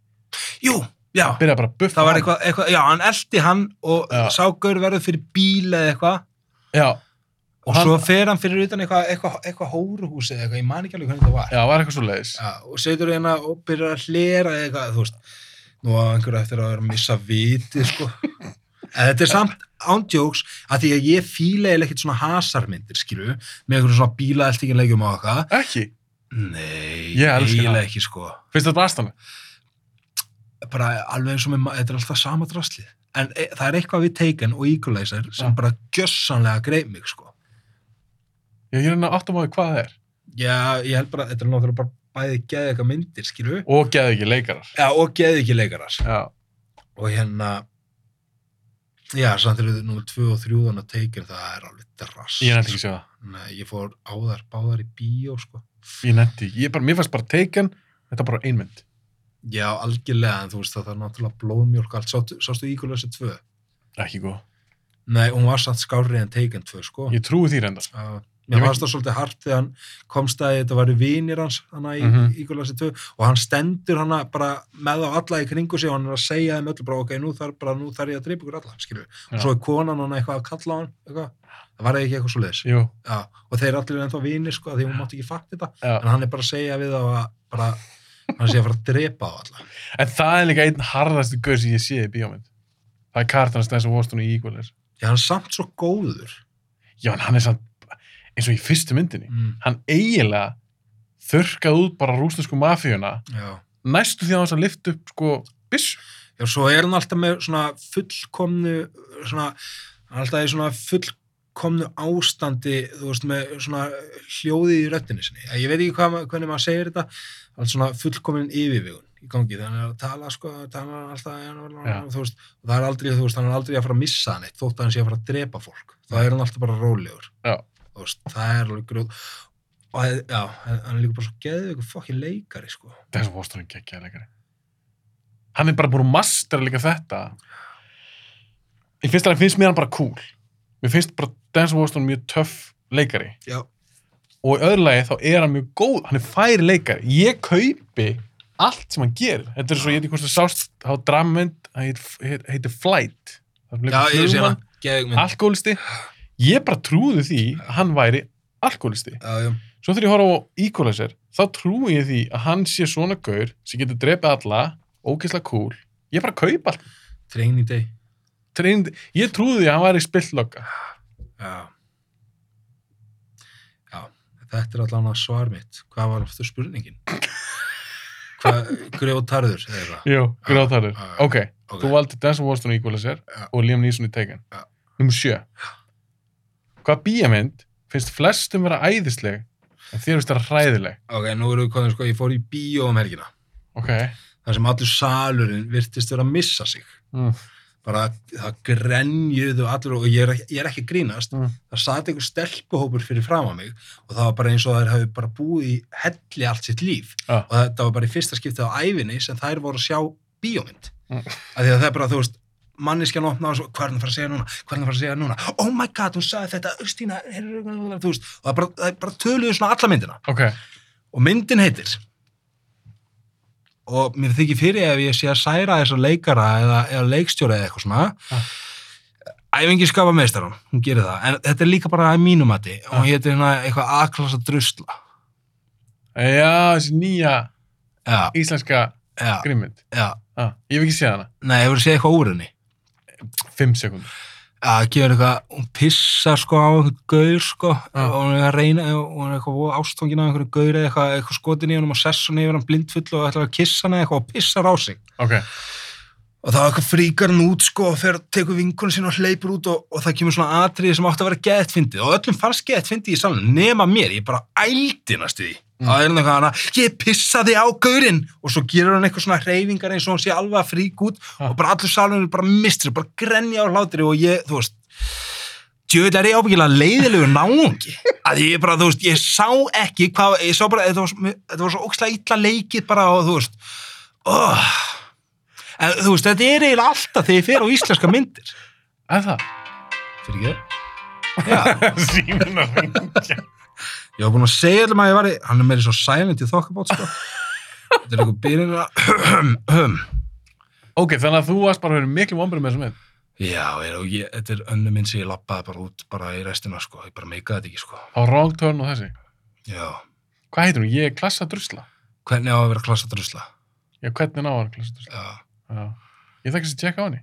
Jú, já, Byrjaði bara að buffa það var hann. eitthvað, eitthvað já, hann eldi hann og Já. sá gaur verður fyrir bíl eða eitthvað Já, og Hann- svo fer hann fyrir utan eitthvað eitthvað eitthva hóruhúsi eða eitthvað, ég man ekki alveg hvernig þetta var já, var eitthvað svo leiðis. já, og setur hérna og byrjar að hlera eða eitthvað, þú veist nú á einhverju eftir að vera að missa viti sko. en þetta er samt ándjóks að því að ég fíla eða ekkert svona hasarmyndir, skilu með einhverjum svona bílaeltinginlegjum og eitthvað Ekki. nei, Ég elska eiginlega það. ekki sko Finnst þetta aðstæðan? bara alveg eins og með, ma- þetta er alltaf sama draslið en e, það er eitthvað við Taken og Equalizer sem Já. bara gjössanlega greið mig sko. Já, ég er hérna áttum á því hvað það er. já, ég held bara, þetta er náttúrulega bara bæði geðið eitthvað myndir, skilju Og geði ekki leikarar. já, og geðið ekki leikarar Já. og hérna já, samt er þetta nú 2 og 3 þannig að Taken, það er alveg drast Ég nefndi ekki að sjá það. Nei, ég fór á þær báðar í bíó sko. Ég nefndi ekki. Ég bara, mér fannst bara Taken, þetta er bara einmynd. já, algjörlega, en þú veist það, það er náttúrulega blóðmjólk allt, Sástu- sástu Equalizer 2 Ekki góð. nei, hún var samt skárið en Taken 2 sko. Ég trúi því reyndar. Já, Ég mér veit- fannst það svolítið hart þegar hann komst að þetta var vinir hans hana í, mm Mhm. -hmm. í Gullasi 2 og hann stendur hana bara með á alla í kringu sig og hann er að segja þeim öllu bara ok, nú þarf, bara, nú þarf ég að dreipa ykkur alla, skilju Já. og svo er konan hann eitthvað að kalla á hann eitthvað. það var ekki eitthvað svo leiðis Jú, og þeir allir ennþá vinir sko, af því hún mátti ekki fatta þetta já. en hann er bara að segja við þá að bara, hann sé að fara að dreipa á alla En það er líka einn harðasti gaur sem ég sé í bíómynd. Það er Cartan Stens og Washington í Equalers. já, hann er samt svo góður Já, en hann er samt, eins og í fyrstu myndinni, mm, hann eiginlega þurrkaði út bara rúsnesku mafíuna já næstu því að hans að lifta upp sko byssu. Já, svo er hann alltaf með svona fullkomnu, svona, hann er alltaf í svona fullkomnu ástandi, þú veist, með svona hljóðið í röttinni sinni. Ég veit ekki hvað, ma- hvernig maður segir þetta, alltaf svona fullkomin yfirvegun í gangi, þannig að hann er að tala, sko, tala alltaf, Já. ja. þú veist, og það er aldrei, þú veist, hann er aldrei að fara að missa hann eitt, þótt að hann sé að fara að drepa fólk. Það er hann alltaf bara rólegur. Já. Þú veist, það er alveg grjóð. Og, það- já, hann er líka bara svo geðið ykkur fokkin leikari, sko. Stens og Washington geggjaði leikari. Hann er bara búin að mastera líka þetta. Í fyrsta hann finnst mér hann bara cool. Mér finnst bara Stens og Washington mjög töff leikari. Já. og í öðru lagi þá er hann mjög góð, hann er fær leikari. Ég kaupi allt sem hann gerir þetta er svo, ég veit ekki hvort það sást þá er drammynd, hann heit- heit- heitir Flight Það er Já, ég sé flugmann, hana. Geðug mynd. alkoholisti ég bara trúði því að hann væri alkoholisti Já, já. svo þegar ég horfa á Equalizer þá trúi ég því að hann sé svona gaur sem getur drepið alla, ógeðslega cool ég bara kaupa allt Training day. Treynd, ég trúði því að hann væri spillokka Já. Já, þetta er allan að svar mitt. Hvað var aftur (laughs) spurningin? Hvað, grjótarður, eða það? Jú, grátarður. Já, já, já. Ok, Ok. þú valdi Denzel Washington í Equalizer Já. og Liam Neeson í Taken. Já. Númer sjö. Hvað bíjamynd finnst flestum vera æðisleg en þér finnst það hræðileg? Ok, nú erum við konið, sko, ég fór í bíó um helgina. Ok. þar sem allur salurinn virtist vera að missa sig Mm. bara það grenjuðu allir og ég er, ekki- ég er ekki að grínast Mm. það sat einhver stelpuhópur fyrir fram mig og það var bara eins og þær hafi bara búið í helli allt sitt líf Ah. og þetta var bara í fyrsta skiptið á ævinni sem þær voru að sjá bíómynd Mm. af því að það er bara þú veist manneskjan opna og svo, hvað er hann að fara að segja núna, hvað er hann að fara að segja núna, oh my god, hún sagði þetta, Austína, heyrðu, þú veist, og það bara, það bara töluðu svona alla myndina Ok. og myndin heitir og mér þykir fyrir ef ég sé að særa þessar leikara eða, eða leikstjóra eða eitthvað svona Ah. æfingi skapa meistarum, hún gerir það en þetta er líka bara að mínum mati og hún heitir hérna eitthvað A-klassa drusla Já, þessi nýja já, íslenska já, grimmynd. já Ah, ég hef ekki séð hana. nei, hefur séð eitthvað úr henni Fimm sekundur. já, það gefur eitthvað, hún pissar sko á einhvern gaur sko Ah. og hún er að reyna og hún er eitthvað ástofngin á einhverju gaur eða eitthvað, eitthvað skotin í honum og sessun yfir hann blindfull og ætlar að kissa hann eitthvað og pissar á sig Ok. og það var eitthvað fríkar hann út sko og fer að tekur vinkunum sín og hleypur út og, og það kemur svona atriði sem átti að vera gett fyndið og öllum fannst gett fyndið í salunum nema mér, ég bara ældinast í því Mm. mm. það er hann eitthvað hana, ég pissaði á gaurinn og svo gerur hann eitthvað svona hreyfingar eins og hann sé alveg að frík út Ah. og bara allur salunum bara mistur, bara grenja á hlátri og ég, þú veist djöðlega er ég ábyggilega leiðilegu náungi að ég bara, þú veist, ég sá ekki hvað, ég sá bara, þetta var, svo- þetta var svo ókslega illa leikið bara og þú veist oh. en þú veist, þetta er eiginlega alltaf þegar ég fer á íslenska myndir Er það? fyrir ekki Já, (laughs) Símin að ringja. ég var búin að segja allum að ég var í, hann er meira svo silent í þokkabót sko. þetta er eitthvað byrjun að Ok, þannig að þú varst bara að vera miklu vonbrið með þessa mynd. Já, ég, og ég, þetta er önnu minn sem ég lappaði bara út bara í restina, sko, ég bara meikaði þetta ekki, sko Á wrong turn og þessi. Já, Hvað heitir hún? Ég er klassa drusla. hvernig á að vera klassa drusla? Já, hvernig ná hann klassa drusla? Já Já. Ég þekki að tjekka á henni.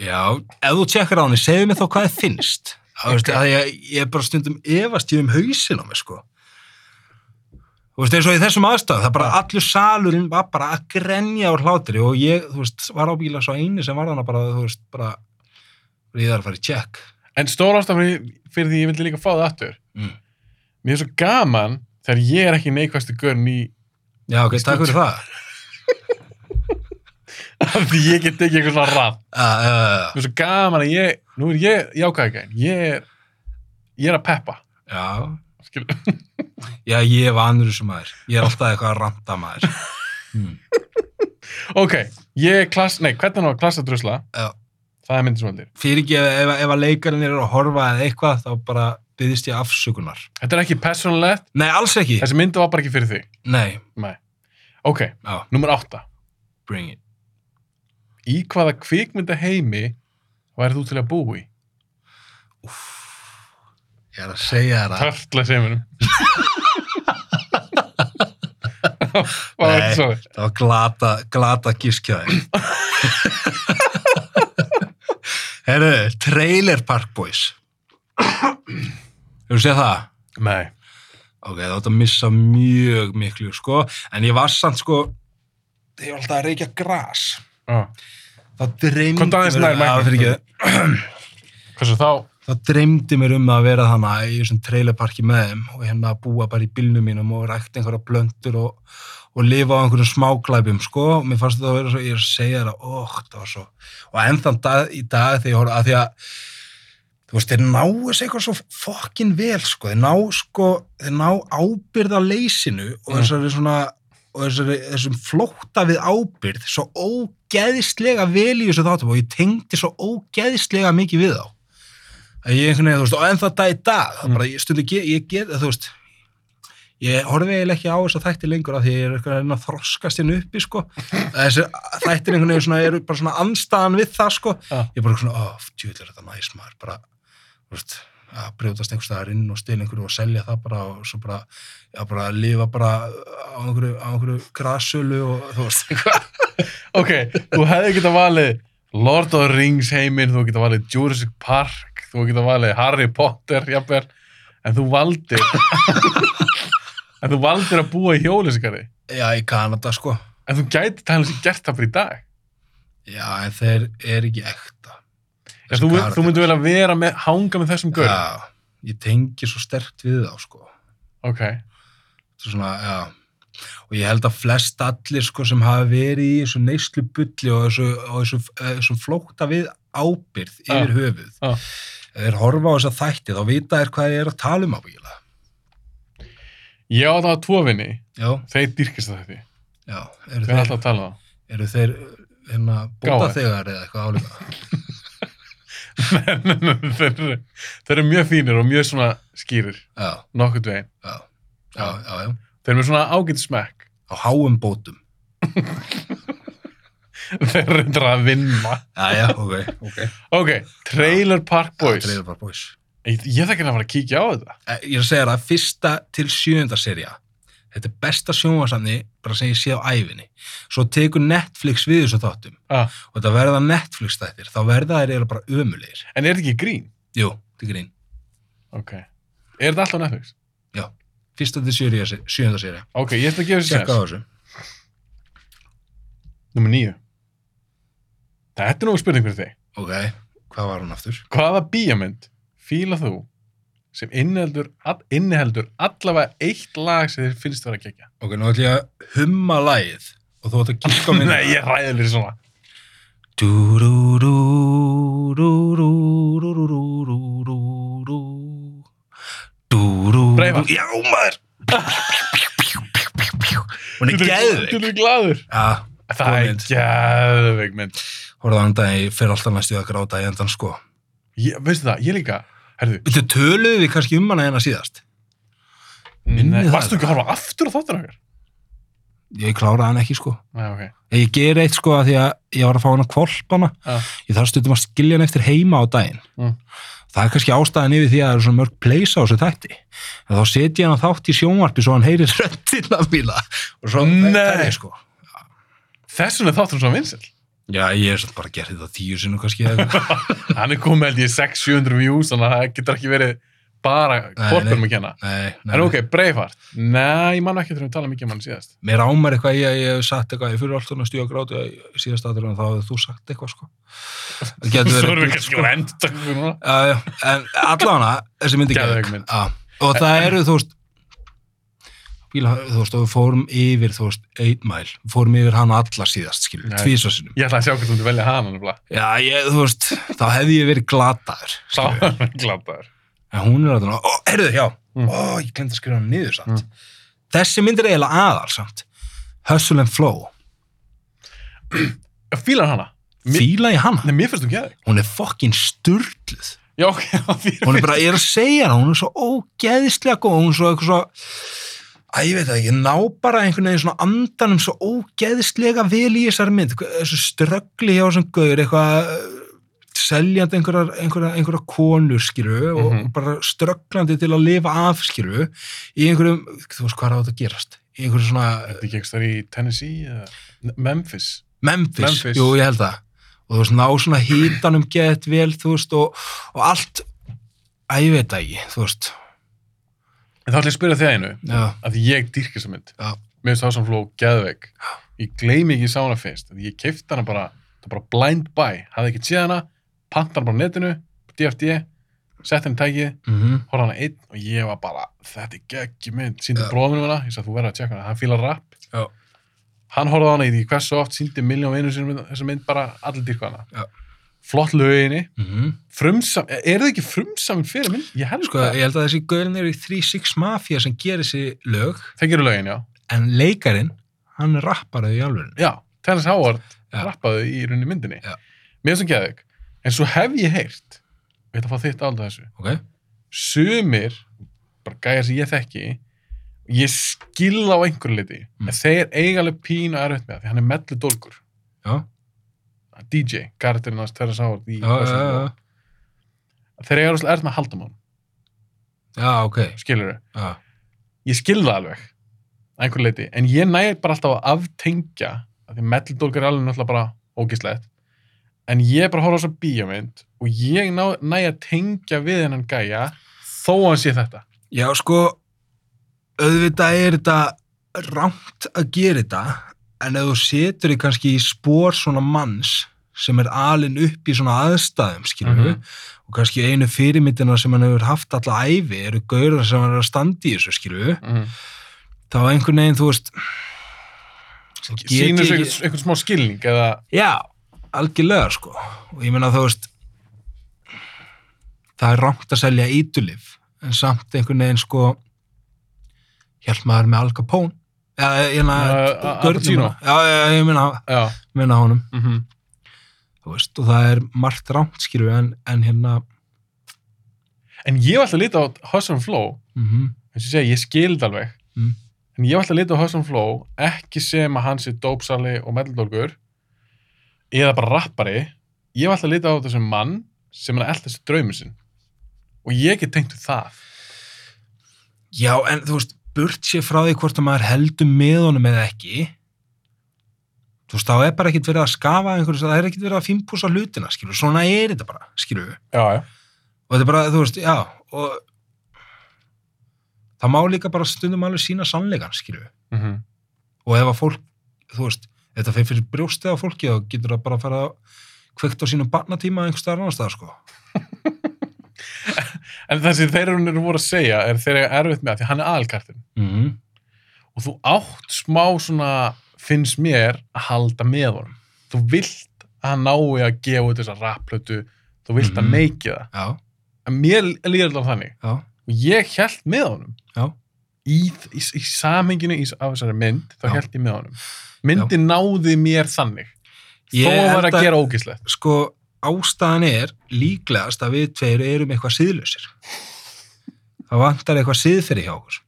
Já, ef þú tjekkar á henni, segðu mér þá hvað þið finnst. Það veist, að ég, ég er bara stundum efast ég um hausin á mig, sko. Þú veist, eins og í þessum aðstæðum, það bara allur salurinn var bara að grenja úr hlátri og ég, þú veist, var ábyggilega svo eini sem var hana bara, þú veist, bara, ég þarf að fara í tjekk. En stóra ástæðan fyrir, fyrir því ég vildi líka fá það aftur Mm. Mér er svo gaman þegar ég er ekki neikvæstu görn í (laughs) Já, ok, takk fyrir það. af því ég get ekki eitthvað svona rann Uh, uh, Mér er svo gaman að ég, nú er ég jákvæði gæn ég er, ég er að peppa já, Skil, já, ég er vanur þessu maður. Ég er alltaf eitthvað að ranta maður. Mm. (laughs) Ok, ég er klass, nei, hvernig hann var klassadrusla Já. Það er myndin sem heldur Fyrir ekki ef, ef að leikarinn er að horfa eða eitthvað, þá bara byggðist ég afsökunar. Þetta er ekki persónulegt, Nei, alls ekki. þessi mynd var bara ekki fyrir þig Nei, Nei Ok, Já. númer átta bring it. Í hvaða kvikmynda heimi værið þú til að búa í? Ég er að segja þér það. Törtla (laughs) seminum Var Nei. þetta svo? Það var glata, glata (laughs) gískjaði. Herru, Trailer Park Boys. Hefur séð það? Nei Ok, það átt að missa mjög miklu, sko. En ég var samt, sko, þegar ég var alltaf að reykja gras. ah. Þá dreymdi Komdu aðeins nær, Magni. Já, fyrirgefðu. Hversu þá? þá dreymdi mér um að vera þannig í þessum trailerparki með þeim og hérna að búa bara í bylnum mínum og rækta einhverja blöndur og, og lifa á einhverjum smáklæpjum, sko, og mér fannst þetta að vera svo, ég er að segja þér að, óh, það var svo og ennþann dag, í dag þegar ég horf að því að þú veist, þeir ná þessu eitthvað svo fokkin vel, sko, þeir ná sko, þeir ná ábyrða leysinu og Mm. þessari svona og þessari, þessum flótta við ábyrð svo ógeðislega vel í þessu þáttum og ég tengdi svo ógeðislega mikið við þá að ég einhvern veginn, þú veist, og ennþá dag í dag, það Mm. bara, ég stundi, ég, ég get, þú veist, ég horfi eiginlega ekki á þess að þætti lengur af því ég er eitthvað að reyna að þroskast hérna (laughs) uppi sko. þessi þættir einhvern veginn svona, eru bara svona anstaðan við það sko. Já. ég er bara svona, ó, djúvill er þetta næs maður bara, þú veist að brjótast einhvers staðar inn og stila einhverju og selja það bara og svo bara, já, bara að lifa bara á einhverju, á einhverju grasölu og þú veist eitthvað (laughs) Ok, þú hefði geta valið Lord of the Rings heiminn, þú geta valið Jurassic Park, þú geta valið Harry Potter, jafnvel, en þú (laughs) valdir en þú valdir að búa í hjólisikari já, í Kanada sko en þú gæti talað sér gert það fyrir í dag já, en þeir eru ekki ekta Já, þú, þú myndir vel að vera með, hanga með þessum gaur já, ég tengi svo sterkt við þá sko Ok, Þetta er svona, já og ég held að flest allir sko sem hafa verið í þessu neyslu bulli og þessu, og þessu, eh, þessu flókta við ábyrð Já. yfir höfuð Já. ef þeir horfa á þessa þætti þá vita þeir hvað þeir eru að tala um ábyggilega ég á það að tvo vinni já, þeir dýrkist það þetta, já, eru þeir er alltaf þeir, að tala um eru þeir hérna, Gáfaðir. bóta þegar eða eitthvað álíka það Nei, nei, nei, (laughs) þeir, eru- þeir eru mjög fínir og mjög svona skýrir, já, nokkurt veginn já, já, já, já þeir eru með svona ágætt smekk (laughs) á háum bótum þeir eru reyndar að vinna já, já, ok, ok Ok, Trailer Park Boys. Trailer Park Boys Ég, ég þekki hann að fara að kíkja á þetta. Eh, ég er að segja það, fyrsta til sjöunda serja þetta er besta sjónvarsamni bara sem ég sé á æfinni svo tekur Netflix við þessu þáttum Ah. og þetta verða Netflix þættir þá verða þeir eru bara ömulegir En er þetta ekki grín? jú, þetta er grín, Ok. Er þetta alltaf Netflix? fyrsta til sjöunda, se- sjöunda serja Ok, ég ætla að gefa þessu tjekka á sens. þessu Númer nýju. Þetta er nú spurning fyrir þig. ok, hvað var hún aftur? Hvaða bíjamynd fíla þú sem inniheldur, all, inniheldur allavega eitt lag sem þér finnst vera að kíkja? ok, nú ætlum ég að humma lagið og þú ætlum að kíska á (laughs) minna Nei, ég ræði fyrir svona. Breifar Já maður Hún er Þú geðvig eru gladur. Já, Það Góð er mynd. geðveik mynd. horfða andan ég fer alltaf næstu að gráta í endan sko Ég, veistu það, ég líka, herðu, Þú töluðu við kannski um hana hérna síðast Minni nei, það. varstu ekki að horfa aftur á þáttur okkar? Ég kláraði hann ekki sko Nei, ok. Ég ger eitt sko að því að ég var að fá hana kvolpana Já. Ég þarf stundum að skilja hann eftir heima á daginn Mm. Það er kannski ástæðan yfir því að það eru svona mörg pleysa á þessu þætti en þá setja hann þátt í sjónvarpi svo hann heyrir röddinn af bíla og svo Nei. það er sko Þess vegna er þátturinn svona vinsel. Já, ég er samt bara að gera þetta tíu sinu kannski (laughs) eða eitthvað. Hann er komið held ég 600-700 views þannig að það getur ekki verið bara korpurum að kenna. Nei, nei, En ok, Braveheart. Nei, ég man ekki þegar við tala mikið um hann síðast. Mér ámar eitthvað ég, ég hef sagt eitthvað ég fyrir alltaf að stjóða grátu síðast aðurinn þá hefur þú sagt eitthvað (laughs) sko Það getur Svo verið erum sko. við bull, kannski að enda takkum núna. Já, já, en allan að þessi myndi Geðveik geðveik. mynd. Já, og það eru þú veist bíla, þú veist, og við fórum yfir þú veist, 1 mile, við fórum yfir hann alla síðast, skilur, Já. tvísa sinum Ég ætla að sjá hvernig þú myndir velja hana nefnilega. já, ég, þú veist, þá hefði ég verið glataður Sá skilur, hann er glataður. en hún er að ó, heyrðu, já, Mm. ó, ég glemt að skrifa hann niður samt, Mm. þessi mynd er eiginlega aðal samt, Hustle and Flow Fílar hana? Mér- fíla ég hana, Nei, mér finnst þú geðið. hún er fucking sturluð Já, ok, (laughs) það hún fyrir. er bara, ég er að segja hana, hún er svo ógeðislega góð, hún er svo eitthvað svo að ég veit það ekki, ná bara einhvern veginn svona andanum svo ógeðislega vel í þessari mynd, Hva- þessu ströggli hjá sem gauður, eitthvað eh, seljandi einhverjar, einhverjar, einhverjar konur skilu og Mhm. bara strögglandi til að lifa af skilu í einhverjum, þú veist hvað er á þetta að gerast í einhverju svona eh, Þetta ekki ekki þar í Tennessee eða N- Memphis. Memphis, Memphis. jú ég held það og þú veist, ná svona hítanum gett vel þú veist, og, og allt að ég veit það ekki, þú veist En þá ætla ég að spyrja þig að einu. já, Að því ég dýrk þessa mynd. Já. Mér finnst það sem fló geðveik. Ég gleymi ekki ég sá hana fyrst. Ég kefti hana bara, það var bara blind buy. Hafði ekki séð hana, panta hana bara á netinu, DFD, sett henni tækið, mm horfði hana einn og ég var bara, þetta er geggjum mynd. Sýndi Já. bróðinu hana, ég sagði þú verður að tjekka hana, hann fílar rap. Já. Hann horfði á hana, ég veit ekki hversu oft, sýndi miljón vinur sinni mynd- um þessa mynd bara, allir dýrka hana. Já. Flott löginni, -hmm. frumsam, er það ekki frumsamin fyrir mynd? Ég held Sko, það. ég held að þessi gaurin eru í 3-6 Mafia sem gerir þessi lög, Það gerur lögin, já. en leikarin, hann rappar þau í alvörinu. Já, Terrence Howard Já. rappaði í rauninni myndinni. Já. Mér finnst hún geðveik. En svo hef ég heyrt, við ætlum að fá þitt álda þessu, Ok? sumir, bara gæjar sem ég þekki, ég skil á einhverju liti Mm. en þeir eiga alveg pínu erfitt með það því hann er mellu dólgur já, DJ, Garðurinn hans, Terra Sáard í, já, já, já, þeir eiga alveg erfitt með að halda mán já, ok, skilur þau, já, ég skil það alveg að einhverju liti, en ég næg bara alltaf að aftengja af því mellu dólgur er alveg náttúrulega bara ógislegt en ég er bara að horfa á svo bíómynd og ég ná- næg að tengja við hennan gæja þó hann sé þetta Já, sko, auðvitað er þetta rámt að gera þetta, en ef þú setur þig kannski í spór svona manns sem er alin upp í svona aðstæðum, skilur Mhm. og kannski einu fyrirmyndina sem hann hefur haft alla æfi eru gaurar sem hann er að standa í þessu, skilur mm. þá einhvern veginn, þú veist, þá get ég sínur ekki- þessu einhvern smá skilning eða Já, algjörlega sko og ég meina þú veist það er rangt að selja eitulif en samt einhvern veginn sko hjálp maður með Al Capone eða ég Já, meina Al Gaurnum Pacino. hana. já, já, ég meina, já, meina honum mhm þú veist, og það er margt rangt skilur en, en hérna En ég var alltaf að lita á Hustle and Flow, mm eins og ég segi, ég skildi alveg. Mm. En ég var alltaf að lita á Hustle and Flow, ekki sem að hann sé dópsali og meldolgur, eða bara rappari. Ég var alltaf að lita á þetta sem mann sem er að elda þessi draumur sinn. Og ég get tengt við það. já, en þú veist, burt sér frá því hvort að maður heldur með honum eða ekki þú veist, þá er bara ekkert verið að skafa einhverju, það er ekkert verið að fínpúsa hlutina skilur, svona er þetta bara, skilur Já, já. og þetta er bara, þú veist, já og það má líka bara stundum alveg sína sannleikan, skilju Mm og ef að fólk, þú veist þetta fyrir fyrir brjóstið á fólki þá getur það bara að fara kveikt á sínum barnatíma einhvers staðar annars staðar, sko En það sem þeir eru voru að segja er þeir eru erfitt með það, því hann er aðalkartin. mm -hmm. Og þú átt smá svona, finnst mér, að halda með honum. Þú vilt að hann nái að gefa út þessa rapplötu, þú vilt að Mhm. meiki það. já, En mér líður alltaf þannig. já, og ég held með honum Já. í, í, í samhenginu í, af þessari mynd, þá Já. held ég með honum myndin náði mér þannig Ég þó að held vera að að- gera ógislegt sko ástæðan er líklegast að við tveir erum eitthvað síðlausir það vantar eitthvað síðferði hjá okkur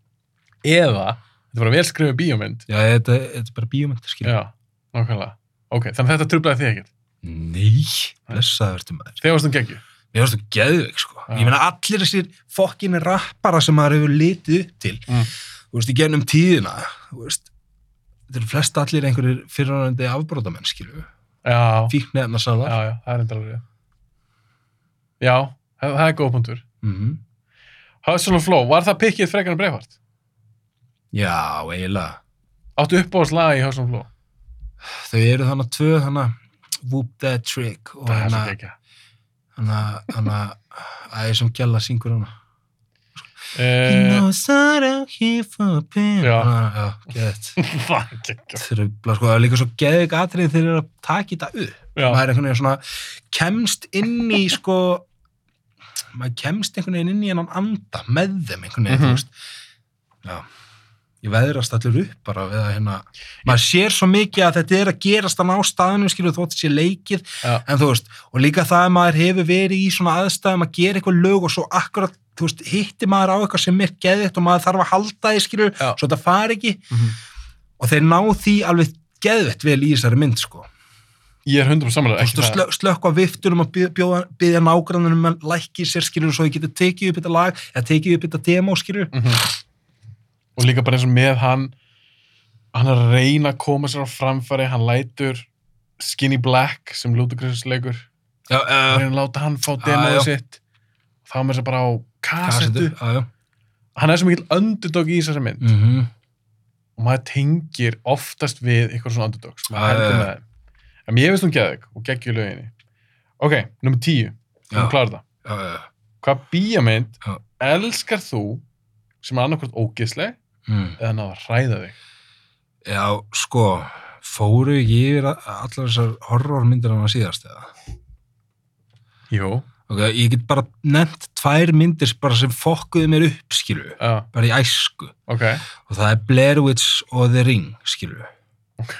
eða, þetta var að vel skrifa bíómynd já, þetta, þetta er bara bíómynd, skilju já, nákvæmlega ok, þannig að þetta trublaði þig ekkert nei, blessaður til maður þegar varst um geggju Mér finnst þú geðveik, sko. Já. Ég meina, allir þessir fokkin rappara sem maður hefur litið upp til, Mm. þú veist, í gennum tíðina, þú veist, þetta eru flest allir einhverjir fyrirhverjandi afbrótamenn, skilju. já, Fíknefna sálar. já, já, það er endur alveg rétt. já, það, það er góð punktur Mm Hustle and Flow, var það pikkið frekar en breyfart? Já, eiginlega. áttu uppbóðslaga í Hustle and Flow Þau eru þannig tvö, þannig Whoop That Trick og það hérna er svo hana, geggja hana, hana, að ég sem gæla syngur hana. You Eh, know, sorry, I'm here for a pin. Já. Hana, Ah, Já, gett. (laughs) það er geggja Þurfa, sko, það er líka svo geðveik atrið þegar þeir eru að taka þetta upp. já, maður er einhvern veginn svona kemst inn í sko maður kemst einhvern veginn inn í hennan anda með þeim einhvern veginn, Mhm. þú veist já, ég veðrast allir upp bara við að hérna, maður sér svo mikið að þetta er að gerast hann á staðinu skilur þótt sé leikið, Já. en þú veist og líka það að maður hefur verið í svona aðstæðum að gera eitthvað lög og svo akkurat þú veist, hitti maður á eitthvað sem er geðitt og maður þarf að halda því skilur, Já. svo þetta fari ekki Mhm. og þeir ná því alveg geðvett vel í þessari mynd sko ég er hundrum samanlega Þú veist, ekki og það slö, slökk á viftunum og bjóða, byrja nágrannunum að lækki sér skilur svo ég geti tekið upp þetta lag eða tekið upp þetta demo skilur Mhm. og líka bara eins og með hann hann er að reyna að koma sér á framfæri hann lætur Skinny Black sem Ludacris leikur já, Ah, hann er að láta hann fá demóið já. sitt þá er mér sér bara á kassettu kassetu já, já. hann er svo mikill underdog í þessari mynd Mm -hmm. og maður tengir oftast við eitthvað svona underdogs maður Ah, Já, heldur já, með þeim en mér finnst hún geðvig og geggjur löginni ok, nummer 10, við erum já, klára það já, já. hvað bíjamynd Já. elskar þú sem er annarkvært ógisleg Mm. eða náða að hræða þig já, sko fóru ekki yfir a- allar þessar horrormyndir hann að síðast eða jú, ok, ég get bara nefnt tvær myndir bara sem fokkuðu mér upp skilur já, bara í æsku ok og það er Blair Witch og The Ring (laughs) skilur Ok.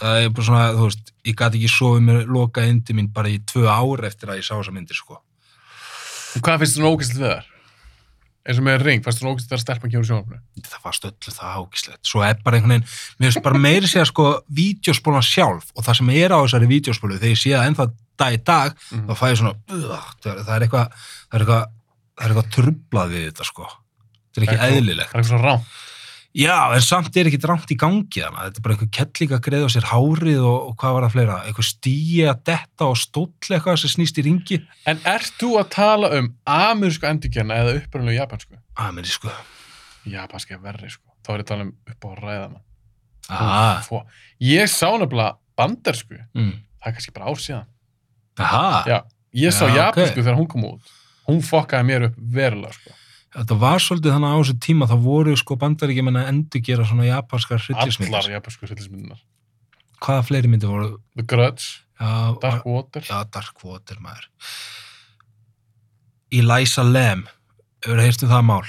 það er bara svona, þú veist ég gat ekki sofið mér loka indi mín bara í tvö ár eftir að ég sá þessa myndir sko Og hvað finnst þér um svona ógæstlið við þar? um eins og með ring, fannst þú svona ógæst þegar stelpan kemur í sjónvarpinu? það varst öllu það ágislegt svo er bara einhvern veginn, mér finnst bara meiri segja sko vídeospólan sjálf og það sem er á þessari vídeospólu þegar ég sé það ennþá dag í dag, Mhm. þá fæ ég svona uh, það er eitthvað það er eitthvað, það er eitthvað trublað við þetta sko þetta er Það er ekki eitthvað- eðlilegt Það er eitthvað svona rám. já, en samt er ekki drámt í gangi þannig þetta er bara einhver kelling að greiða á sér hárið og, og hvað var það fleira, einhver stíi að detta og stóll eitthvað sem snýst í ringi En ert þú að tala um amerísku endurkjana eða upprunalegu japansku? aðmeri sko Japanski er verri, sko. Þá er ég að tala um upp á ræðamann. Ah. aha, Fó. Ég sá nefnilega bandarsku, mm. það er kannski bara ár síðan. aha. Já, ég sá Já, japansku ok. þegar hún kom út. Hún fokkaði mér upp verulega, sko. Þetta var svolítið þannig á þessu tíma, þá voru sko bandaríkjumenn að endurgera svona japanskar hryllismyndir. Allar japansku hryllismyndunar. Hvaða fleiri myndir voru? The Grudge, Já, Dark Water. já, Dark Water, maður. Eliza Lam, hefur það heyrst um það mál?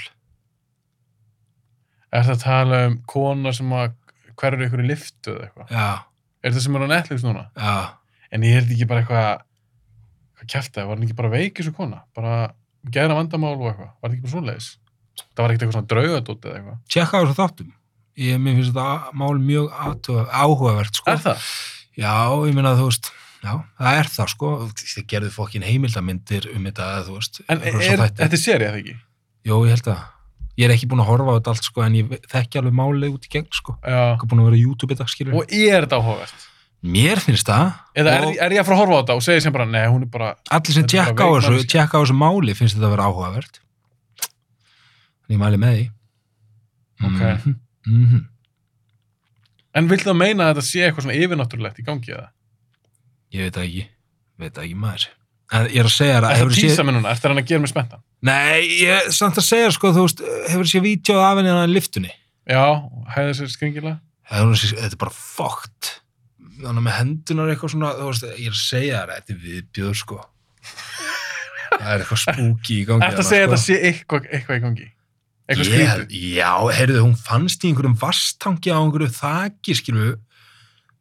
Er það að tala um kona sem að hverju ykkur í liftu eða eitthvað? Já, Er það sem er á Netflix núna? já, En ég held ekki bara eitthvað, hvað kjæfti það? Var hann ekki bara veik þessu kona? Bara geðra vandamál og eitthvað? Var það ekki bara svoleiðis? Það var ekkert eitthvað svona draugadótt eða eitthvað? tjekka á þessu þáttum. Ég, mér finnst þetta mál mjög athugað- áhugavert, sko. Er það? Já, ég meina þú veist, já, það er það, sko. Þið gerðu fokkin heimildamindir um þetta, þú veist. En er, einhverja svo þætti. þetta er sérið eða ekki? Jó, ég held að. Ég er ekki búin að horfa á þetta allt, sko, en ég ve- þekki alveg málið út í gegn, sko. Já. Ég er búin að vera á YouTube í dag, skilur. Og er þetta áhugavert? Mér finnst það. Eða er, og er ég að fara að horfa á þetta og segja sem bara, nei, hún er bara, allir sem Þetta er bara sko. tjekka á veik þessu, manneskja. tjekka á þessu máli finnst þetta að vera áhugavert. En ég mæli með því. Ok. Mhm, mhm. en vill það meina að þetta sé eitthvað svona yfirnáttúrulegt í gangi eða? Ég veit það ekki. Veit það ekki maður. En ég er að segja þér Er að það hefur tísa séð... sé... núna? Er það hann að gera mig spenntan? Nei, ég er samt að segja, sko, þú veist, hefur séð vítjóð af henni hérna hann liftunni. Já, hefði þessi skringilega? Það er hún sem- Þetta er bara fókt. Þannig með hendunar eitthvað svona, þú veist, ég er að segja þér að þetta er viðbjöður, sko. Það er eitthvað spooky í gangi. Er það að þarna, segja að sko. þetta sé eitthvað, eitthvað í gangi? Eitthvað Ég- skrítið? Já, heyrðu, hún fannst í einhverjum vastangi á einhverju þaki, skilju,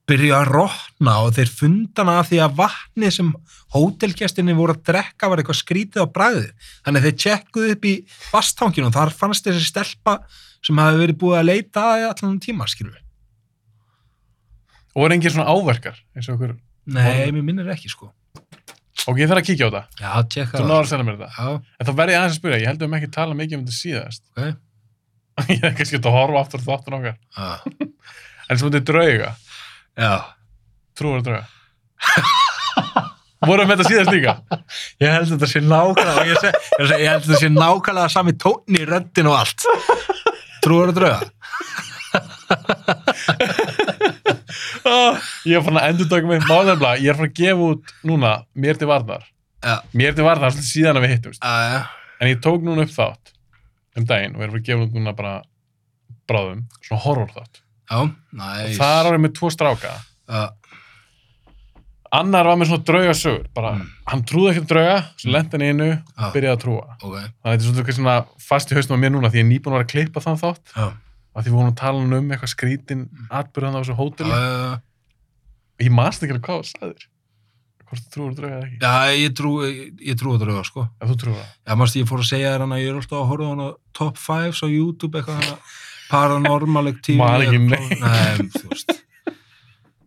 byrja að rotna og þeir fundana af því að vatnið sem hótelgjastinni voru að drekka var eitthvað skrítið á bræði. Þannig að þeir tjekkuðu upp í vastanginu og þar fannst þessi stelpa sem hafi verið búið að leita að allan tíma, skilju. Og er engin svona áverkar? eins og okkur- Nei, mér minnir ekki, sko. Ok, ég þarf að kíkja á þetta. Já, tjekka Þú það. náður að senda mér þetta. Já, En þá verð ég aðeins að spyrja, ég held að við höfum ekki tala mikið um þetta síðast. Ok. (laughs) ég hef kannski að horfa aftur á þáttun okkar. já. En sem þetta er drauga, já. trúar að drauga. (laughs) Vorum við þetta síðast líka? Ég held að þetta sé nákvæmlega, ég, seg, ég, seg, ég held að þetta sé nákvæmlega sami tónni í röndin og allt. Trúar að drauga? Ah, (laughs) ég er fann að endur taka mig málefla, ég er fann að gefa út núna mér til varnar. Já. Mér til varnar, svolítið síðan að við hittumst. Já, En ég tók núna upp þátt um daginn og ég er fann að gefa út núna bara bráðum, svona horror þátt. já, Uh, næs. Það er árið með tvo stráka. Já, annar var með svona draugasögur bara, Mm. hann trúði ekki um drauga svo lendi hann í einu Já. og byrjaði að trúa ok. þannig að þetta er svona, eitthvað svona fast í haustum á mér núna því ég er nýbúin að vera að klippa þann þátt Já, af því við vorum að tala um eitthvað skrítin atbyrðan á þessu já, hóteli já, já. ég manst ekki alveg hvað þú sagðir hvort þú trúir á drauga eða ekki já, ég trú, ég, ég trú að drauga, sko. ef þú trúir á það Já, mástu, ég fór að segja þér hann að ég er alltaf að horfa á hann á top 5 á YouTube, eitthvað hann að paranormal (laughs) activity. Man ekki eitthvað. neitt. Nei, þú veist.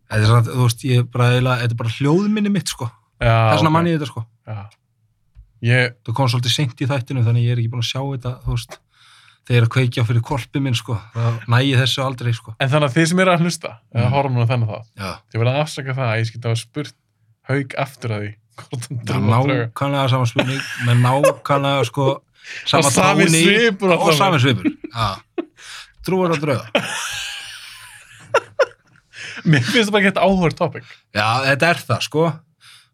Þetta er svona, þú veist, ég er bara, eiginlega- þetta er bara hljóðminni mitt, sko. já, Það er svona ok. manni þetta, sko. já. ég, þú kom svolítið seint í þættinu þannig ég er ekki búin að sjá þetta þú veist, þegar ég er að kveikja fyrir korpi minn sko, það nægi þessu aldrei sko. en þannig að þið sem eru að hlusta eða Mm. horfa núna þennan þátt já, ég vil að afsaka það að ég skilta að hafa spurt haug aftur að því hvort hann það er trúir á drauga nákvæmlega sama spurning með nákvæmlega (laughs) sko sama Og sami tóni svipur og allavega. sami svipur já. trúar að drauga mér finnst það bara gett áhverð topic já, þetta er það sko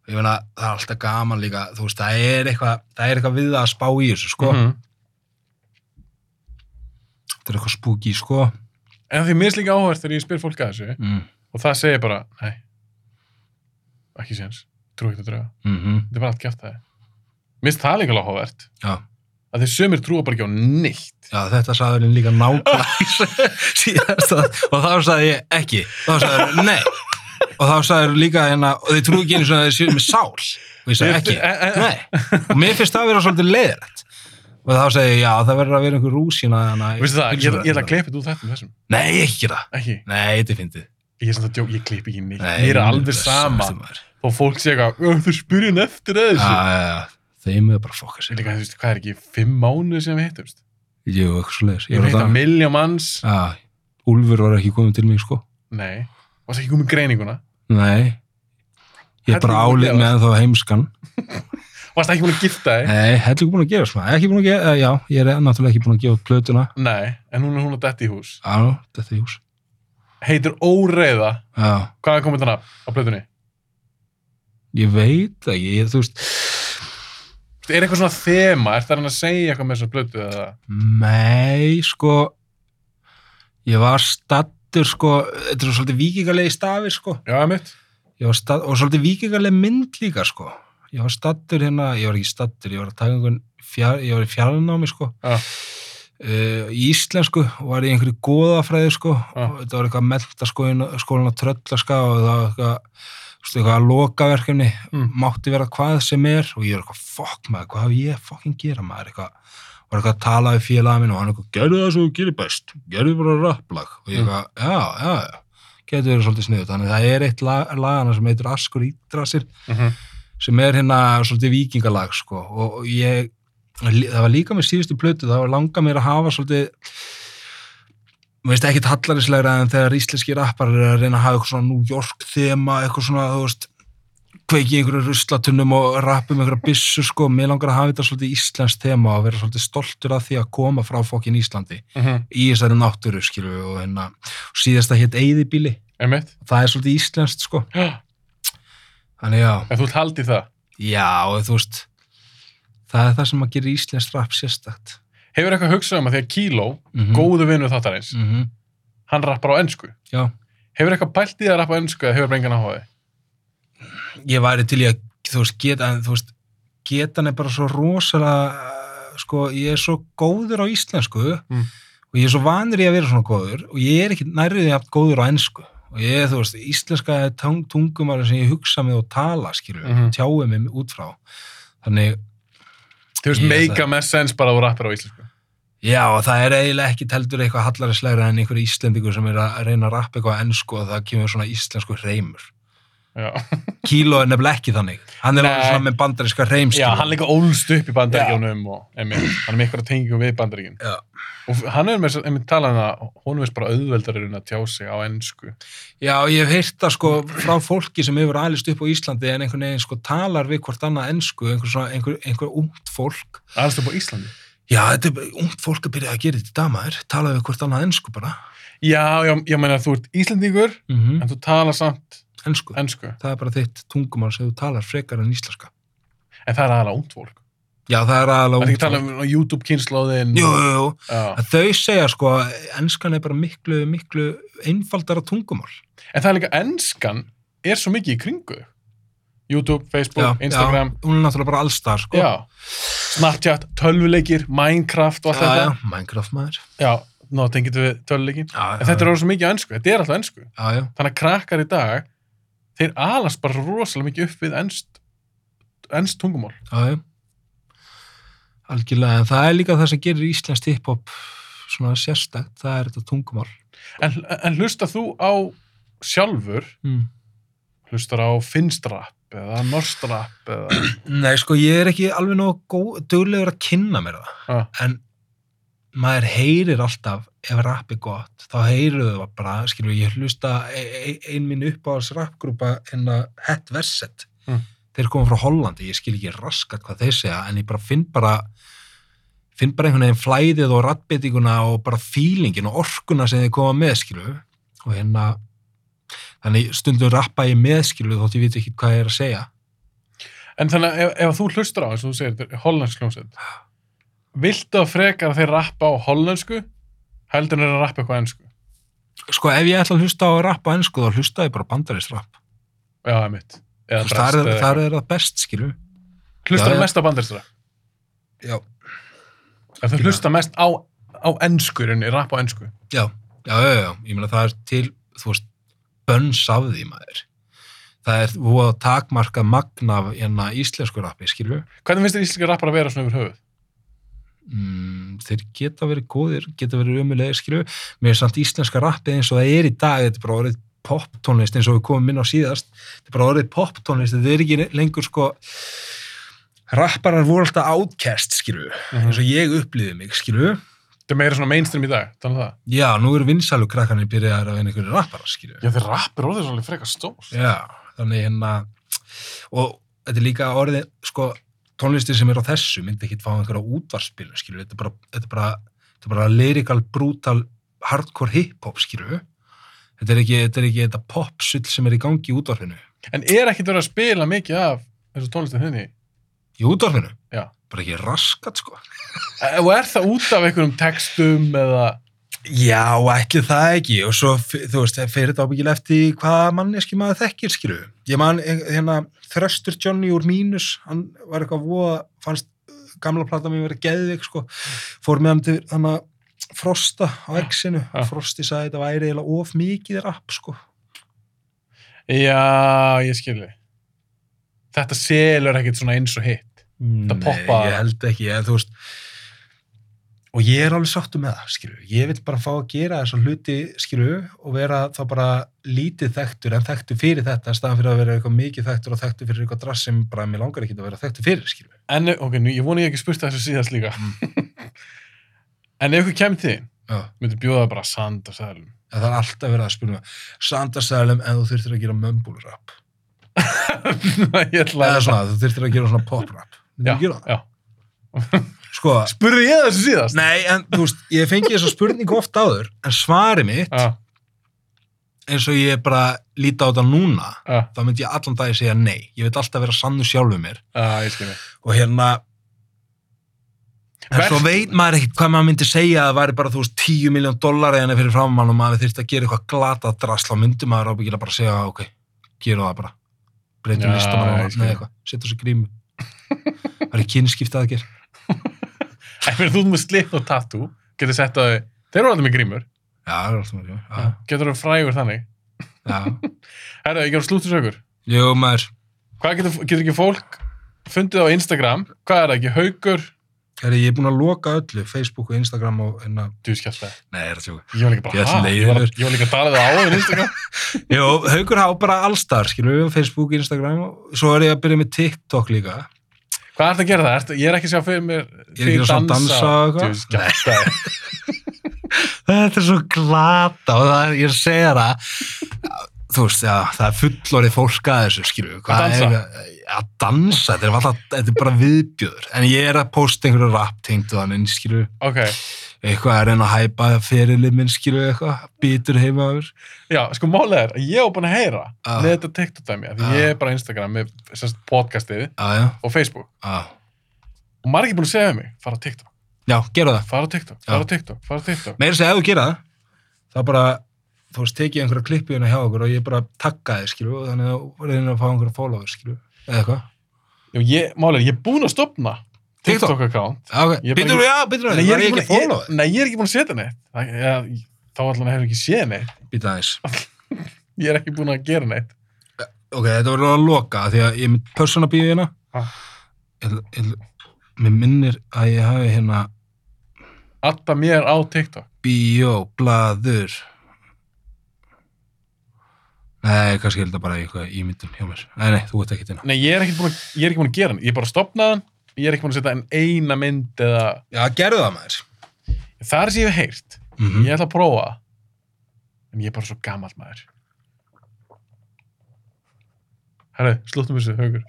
ég meina, það er alltaf gaman líka þú veist, það er eitthvað, það er eitthvað við það að spá í þessu sko, Mhm. þetta er eitthvað spooky sko en því mér finnst líka áhverð þegar ég spyr fólk að þessu mm. og það segir bara, nei ekki séns, trú ekki að drauga Mm þetta er bara allt gert það minnst það líka alveg áhugavert já að þeir sömur trúa bara ekki á neitt Já, þetta sagði hann líka (laughs) (laughs) nákvæmlega síðast að, og þá sagði ég ekki, þá sagði hann nei og þá sagði hann líka hérna og þið trú ekki einu svona að þið séu með sál og ég sagði Ég- ekki, eh, eh. nei og mér finnst það að vera svolítið leiðrætt og þá segi ég, já, það verður að vera einhver hérna, rúsina þannig Veistu það, ég, ég ætla að klippa þetta úr þetta með þessum. Nei, ekki það. Ekki. Nei, þetta er fyndið. Ég er samt að djók, ég klipp ekki neitt. Nei, Mér er þetta alveg sama. sama, maður. Þó fólk sé eitthvað, "Ö, þú spyrir hann eftir að Já, þessu. já, já. Þeim er bara að fokka Ég sér. líka, þú veist, hvað er ekki, fimm mánuði sem við hittumst? Jú, eitthvað svo leiðis. Ég hef hitt að miljón manns. Já, Úlfur var ekki komið til mig, sko. Nei, varst ekki komið greininguna? Nei. Ég er bara Hellingur búin að álið með þá heimskan. Varst ekki búin að gifta þig? Nei, hellingur búin að gefa smá. Ekki búin að gefa, eh, já, ég er náttúrulega ekki búin að gefa út plötuna. Nei, en hún er hún að detti í hús. Já, þetta er hús. Heitir Óreiða. Já, Hvað er komið þarna á plötunni? ég veit það ekki, ég, þú veist, Þú veist, Er eitthvað svona þema? Er það hann að segja eitthvað með þessar plötu eða? mei, sko, ég var stattur, sko, þetta er svolítið vikingalegi stafir, sko. Já, mitt. Ég var statt, og svolítið vikingarleg mynd líka sko. Ég var stattur hérna, ég var ekki stattur, ég var að taka einhvern fjár, ég var í fjarnámi sko. Já. Eh, Í íslensku og var í einhverju góðafræði sko. Já. Og Þetta var eitthvað mentaskólin á tröllaska og það var eitthvað, stu, eitthvað lokaverkefni, Mm. mátti vera hvað sem er og ég var eitthvað, fokk maður, hvað hef ég fokkin gera maður, eitthvað var eitthvað að tala við félaga minn og hann eitthvað, gerðu það sem þú gerir best, gerðu bara rapplag og ég Mm. eitthvað, já, já, já getur verið svolítið sniðut, þannig að það er eitt lag, lagana sem heitir Askur Ídrasir Mm -hmm. sem er hérna svolítið vikingalag sko og og ég, það var líka með síðustu plötu, það var langað mér að hafa svolítið mér veist ekkit hallarislegra en þegar íslenski rappar er að reyna að hafa eitthvað svona New York þema, eitthvað svona, þú veist kveiki í einhverju ruslatunnum og rappum einhverja byssu sko, mér langar að hafa þetta svolítið íslensk þema og vera svolítið stoltur af því að koma frá fokkin Íslandi mhm, í þessari náttúru skilur og hérna og síðasta hétt Eyðibíli Einmitt. það er svolítið íslenskt sko Já. þannig já, En þú ert haldið það. já og þú veist það er það sem að gera íslenskt rap sérstakt Hefur eitthvað hugsað um að því að Kíló, mm góðu vinnu þáttarins, -hmm. hann rappar á ennsku. já, Hefur eitthvað pælt í það að rappa á ennsku eða hefur bara engan áhugaði? ég væri til í að þú veist, geta, en, þú veist getan er bara svo rosalega eh, sko, ég er svo góður á íslensku Mm. og ég er svo vanur í að vera svona góður og ég er ekki nærrið að góður á ensku og ég er, þú veist, íslenska er tung, tungumar sem ég hugsa með og tala skilur, mm Mhm. tjáum mig út frá þannig, Þú veist, Ég make ætla- a mess sense bara að þú rappar á íslensku. Já, og það er eiginlega ekki teltur eitthvað hallarislegra en einhver íslendingur sem er að reyna að rappa eitthvað á ensku og það kemur svona íslensku reymur. Já, (laughs) Kíló er nefnilega ekki þannig. Hann er Nei. alveg svona með bandaríska reymskil. Já hann líka ólst upp í bandaríkjónum og einmitt, hann er með eitthvað tengingu við bandaríkjum. Já. Og hann er með, einmitt talað um það, honum veist bara auðveldarinn að tjá sig á ennsku. Já, og ég hef heyrt það sko frá fólki sem hefur alist upp á Íslandi en einhvern veginn sko talar við hvort annað ensku, einhver svona, einhver, einhver ungt fólk. Alls upp á Íslandi. Já, þetta er bara- ungt fólk að byrja að gera þetta í damaður, tala við hvort annað ensku bara. Já, já, ég meina þú ert Íslandingur, Mm en þú talar samt Ensku. ennsku. Það er bara þitt tungumál sem þú talar frekar en íslenska. En það er aðalega ungt fólk. Já, það er Það er aðalega ekki ungt að tala fólk. um YouTube-kynslóðin. Jú, jú, jú. Já. að þau segja sko að ennskan er bara miklu, miklu einfaldara tungumál. En það er líka ennskan er svo mikið í kringu. þau. YouTube, Facebook, Sko, Instagram. Já, hún er náttúrulega bara allstar sko. Já. Snapchat, tölvuleikir, Minecraft og allt já, þetta. já, Minecraft maður. Já, ná, tengið við tölvuleikin. Já, En þetta er alveg svo mikið á ennsku, þetta er alltaf ennsku. Já, já, Þannig að krakkar í dag, þeir alast bara rosalega mikið upp við ennst, ennst tungumál. já, já. Algjörlega, en það er líka það sem gerir íslenskt hiphop svona sérstakt, það er þetta tungumál. En, en hlusta þú á sjálfur, Mm. hlustar á finnstrapp eða norstrapp eða... Nei, sko, ég er ekki alveg nóg duglegur að kynna mér það, Ah, en maður heyrir alltaf ef rap er gott, þá heyrir þau bara, skilur, ég hlusta e- e- ein minn uppáhalds rapgrúpa en að Het Verset, Mm. þeir koma frá Hollandi, ég skil ekki raskat hvað þeir segja, en ég bara finn bara finn bara einhvern veginn flæðið og rattbyttinguna og bara feelingin og orkuna sem þeir koma með, skilur og hérna þannig stundum rappa ég með, skilur, þótt ég veit ekki hvað ég er að segja En þannig að ef, ef þú hlustar á, eins og þú segir, þetta er hollensk hljómsveit, viltu að frekar að þeir rappa á hollensku heldur en að rappa eitthvað ensku? sko, ef ég ætla að hlusta á að rappa ennsku, þá hlusta ég bara bandarist rapp Já, eh, það er mitt. Eða Þú veist, breskt þar eða er, eitthvað. þar er það best, skilur Hlustar Já, já. mest á bandaristra? Já. Ef þú hlustar mest á, á ensku, rauninni, rapp á ensku. Já, já, já, já, ég meina það er til, þú veist, bönns af því maður. Það er voða takmarkað magn af hérna íslensku rappi, skilju. Hvernig finnst þér íslenska rappar að vera svona yfir höfuð? mm, þeir geta verið góðir, geta verið umulegir skilju, mér er samt íslenska rappið eins og það er í dag, þetta er bara orðið poptónlist eins og við komum inn á síðast þetta er bara orðið poptónlist, þetta er ekki lengur sko rapparar voru alltaf outcast skilju eins og ég upplýði mig skilju Þetta er meira svona mainstream í dag, þannig það. já, nú eru vinsælu krakkanir byrjaðar að vera einhverju rapparar skilju Já, þeir rappir orðið svolítið frekar stór. Já, þannig hérna og þetta er líka orðið sko, tónlistin sem er á þessu myndi ekki fá einhverja útvarspilu, skilju þetta er bara, þetta er bara, þetta er bara lyrical, brutal hardcore hip-hop, skilju þetta er ekki þetta, er ekki, þetta pop-sull sem er í gangi í útvarfinu En er ekkert verið að spila mikið af þessu tónlistin þinni? í útvarfinu, Já. bara ekki raskat sko E- Og er það út af einhverjum textum eða... Já, ætli það ekki og svo, f- þú veist, það fer þetta ábyggilega eftir hvað manneski maður þekkir, skilju ég man, eh, hérna, Þröstur Johnny úr Mínus, hann var eitthvað voða, fannst eh, gamla plata mér verið geðvik, sko, fór með hann til hann að Frosta á exinu Já. Frosti sagði þetta væri eiginlega of mikið rapp, sko, Já, ég skilji. Þetta selur ekkert svona eins og hitt. Nei, poppa- ég held ekki, ég, þú veist og ég er alveg sáttu með það, skilju, ég vil bara fá að gera þessa hluti, skilju, og vera þá bara lítið þekktur en þekktur fyrir þetta, en staðan fyrir að vera eitthvað mikið þekktur og þekktur fyrir eitthvað drass sem bara mér langar ekki að vera þekktur fyrir, skilju. En, ok, nú, ég vona ég hef ekki spurt þessu síðast líka. Mm. (laughs) en ef ykkur kemur til, þín, Já, myndir bjóða bara sand og (laughs) sæðlum. en það er alltaf verið að spyrja mig, sandarsælum en þú þurftir að gera mömbulrap. ég ætla Eða svona, þú þurftir að gera svona poprap. Já, Myndirðu gera það? já. Sko, Spurði ég þessu síðast? nei, en þú veist, ég fengi þessa spurningu oft áður, en svari mitt, Já, eins og ég bara líti á þetta núna, já, þá myndi ég allan dagi segja nei. Ég veit alltaf vera sannu sjálfur mér. já, ég skilji. Og hérna, en Verk- svo veit maður ekkert hvað maður myndi segja að það væri bara, þú veist, 10 miljón dólar eða fyrir framann og maður þyrfti að gera eitthvað glata drasl og myndi maður ábyggilega bara segja, "Ah, ok, gera það bara. Breytum Já, listum ég og skil. neða eitthvað, setja svo grímu. Það er kynnskipta að gera. En fyrir þú ert með slitt og tattoo, getur sett að þau, þeir eru alveg með grímur, Já, það er alltaf mjög, já, getur þau frægur þannig. já. Herra, ég gerur slúttisökur. Jú, maður, Hvað getur, getur ekki fólk fundið á Instagram? Hvað er það ekki? Haugur? herri, ég er búin að loka öllu, Facebook og Instagram og hérna, Þú skjátt það. nei, er það tjóka. Ég var líka Ég bara, ætla ha? Ég var, leiður. ég var líka að tala við á áður (laughs) Instagram. Jó, haugur há bara allstar, skilur við, um Facebook, Instagram og svo er ég að byrja með TikTok líka. Hvað er það að gera það? Ertu, ég er ekki að sjá fyrir mér Ég er ekki að sjá dansa og eitthvað. Þú skjátt það. Þetta er svo glata og það er, ég segja það, þú veist, já, það er fullorið fólk að þessu, skilur við. hvað Að dansa? Er, að dansa, þetta er, alltaf, þetta er bara viðbjöður. En ég er að posta einhverju rap tengt og þannig, skilur við, (laughs) Ok, eitthvað að reyna að hæpa ferilið minn, skilur við, eitthvað, bítur heima yfir. já, sko málið er að ég var búin að heyra Ah. með þetta TikTok-dæmi, af því Ah. ég er bara á Instagram með sérst, podcastið Já, já, og Facebook já. og maður er ekki búin að segja við mig, fara á TikTok, Já, gera það. fara á TikTok, Ah. fara á TikTok, fara á TikTok. Meira að segja, ef þú gera það, þá bara, þú veist, tekið einhverja klippi hérna hjá okkur og ég bara takka þið, skilur við, og þannig að reyna að fá einhverja followers, skilur við, eða eitthvað. Já, ég, málið er, ég er búin að stopna TikTok? TikTok-account. Já, ok. Ég er bara ekki- Býtur þú, já, býtur Nei, þú, ég var er ég ekki ekki búin að- fólóð? ég- nei, ég er ekki búin að setja neitt. Það- ja, Þá allan hefur ekki séð neitt. Býtur aðeins. Ég er ekki búin að gera neitt. Ok, þetta var alveg að loka, af því að ég er með personabíu hérna. Ha. Ég- ég- Mér minnir að ég hafi hérna Adda mér á TikTok. bíó, blaður. Nei, kannski er þetta bara eitthvað ímyndun hjá mér. Nei, nei, þú ert ekki hérna. Nei, ég er ekki búin að, ég er ekki búin að gera hann. Ég er bara að stopna hann. Ég er ekki búin að setja en eina mynd eða... Já, gerðu það maður. Það er sem ég hef heyrt. Mm Ég ætla að prófa það. En ég er bara svo gammal maður. Herru, slúttum þessu, haugur.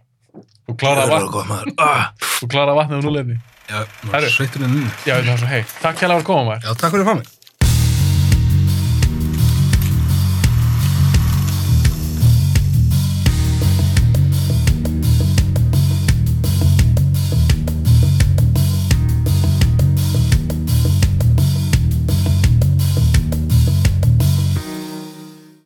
Þú kláraði vatn, góð maður. Ah, þú kláraði vatnið á núlefni. já, Herru. sveiturinn. Já, það er svo heitt. Takk hérlega fyrir að koma maður. Já, takk fyrir að fá mig.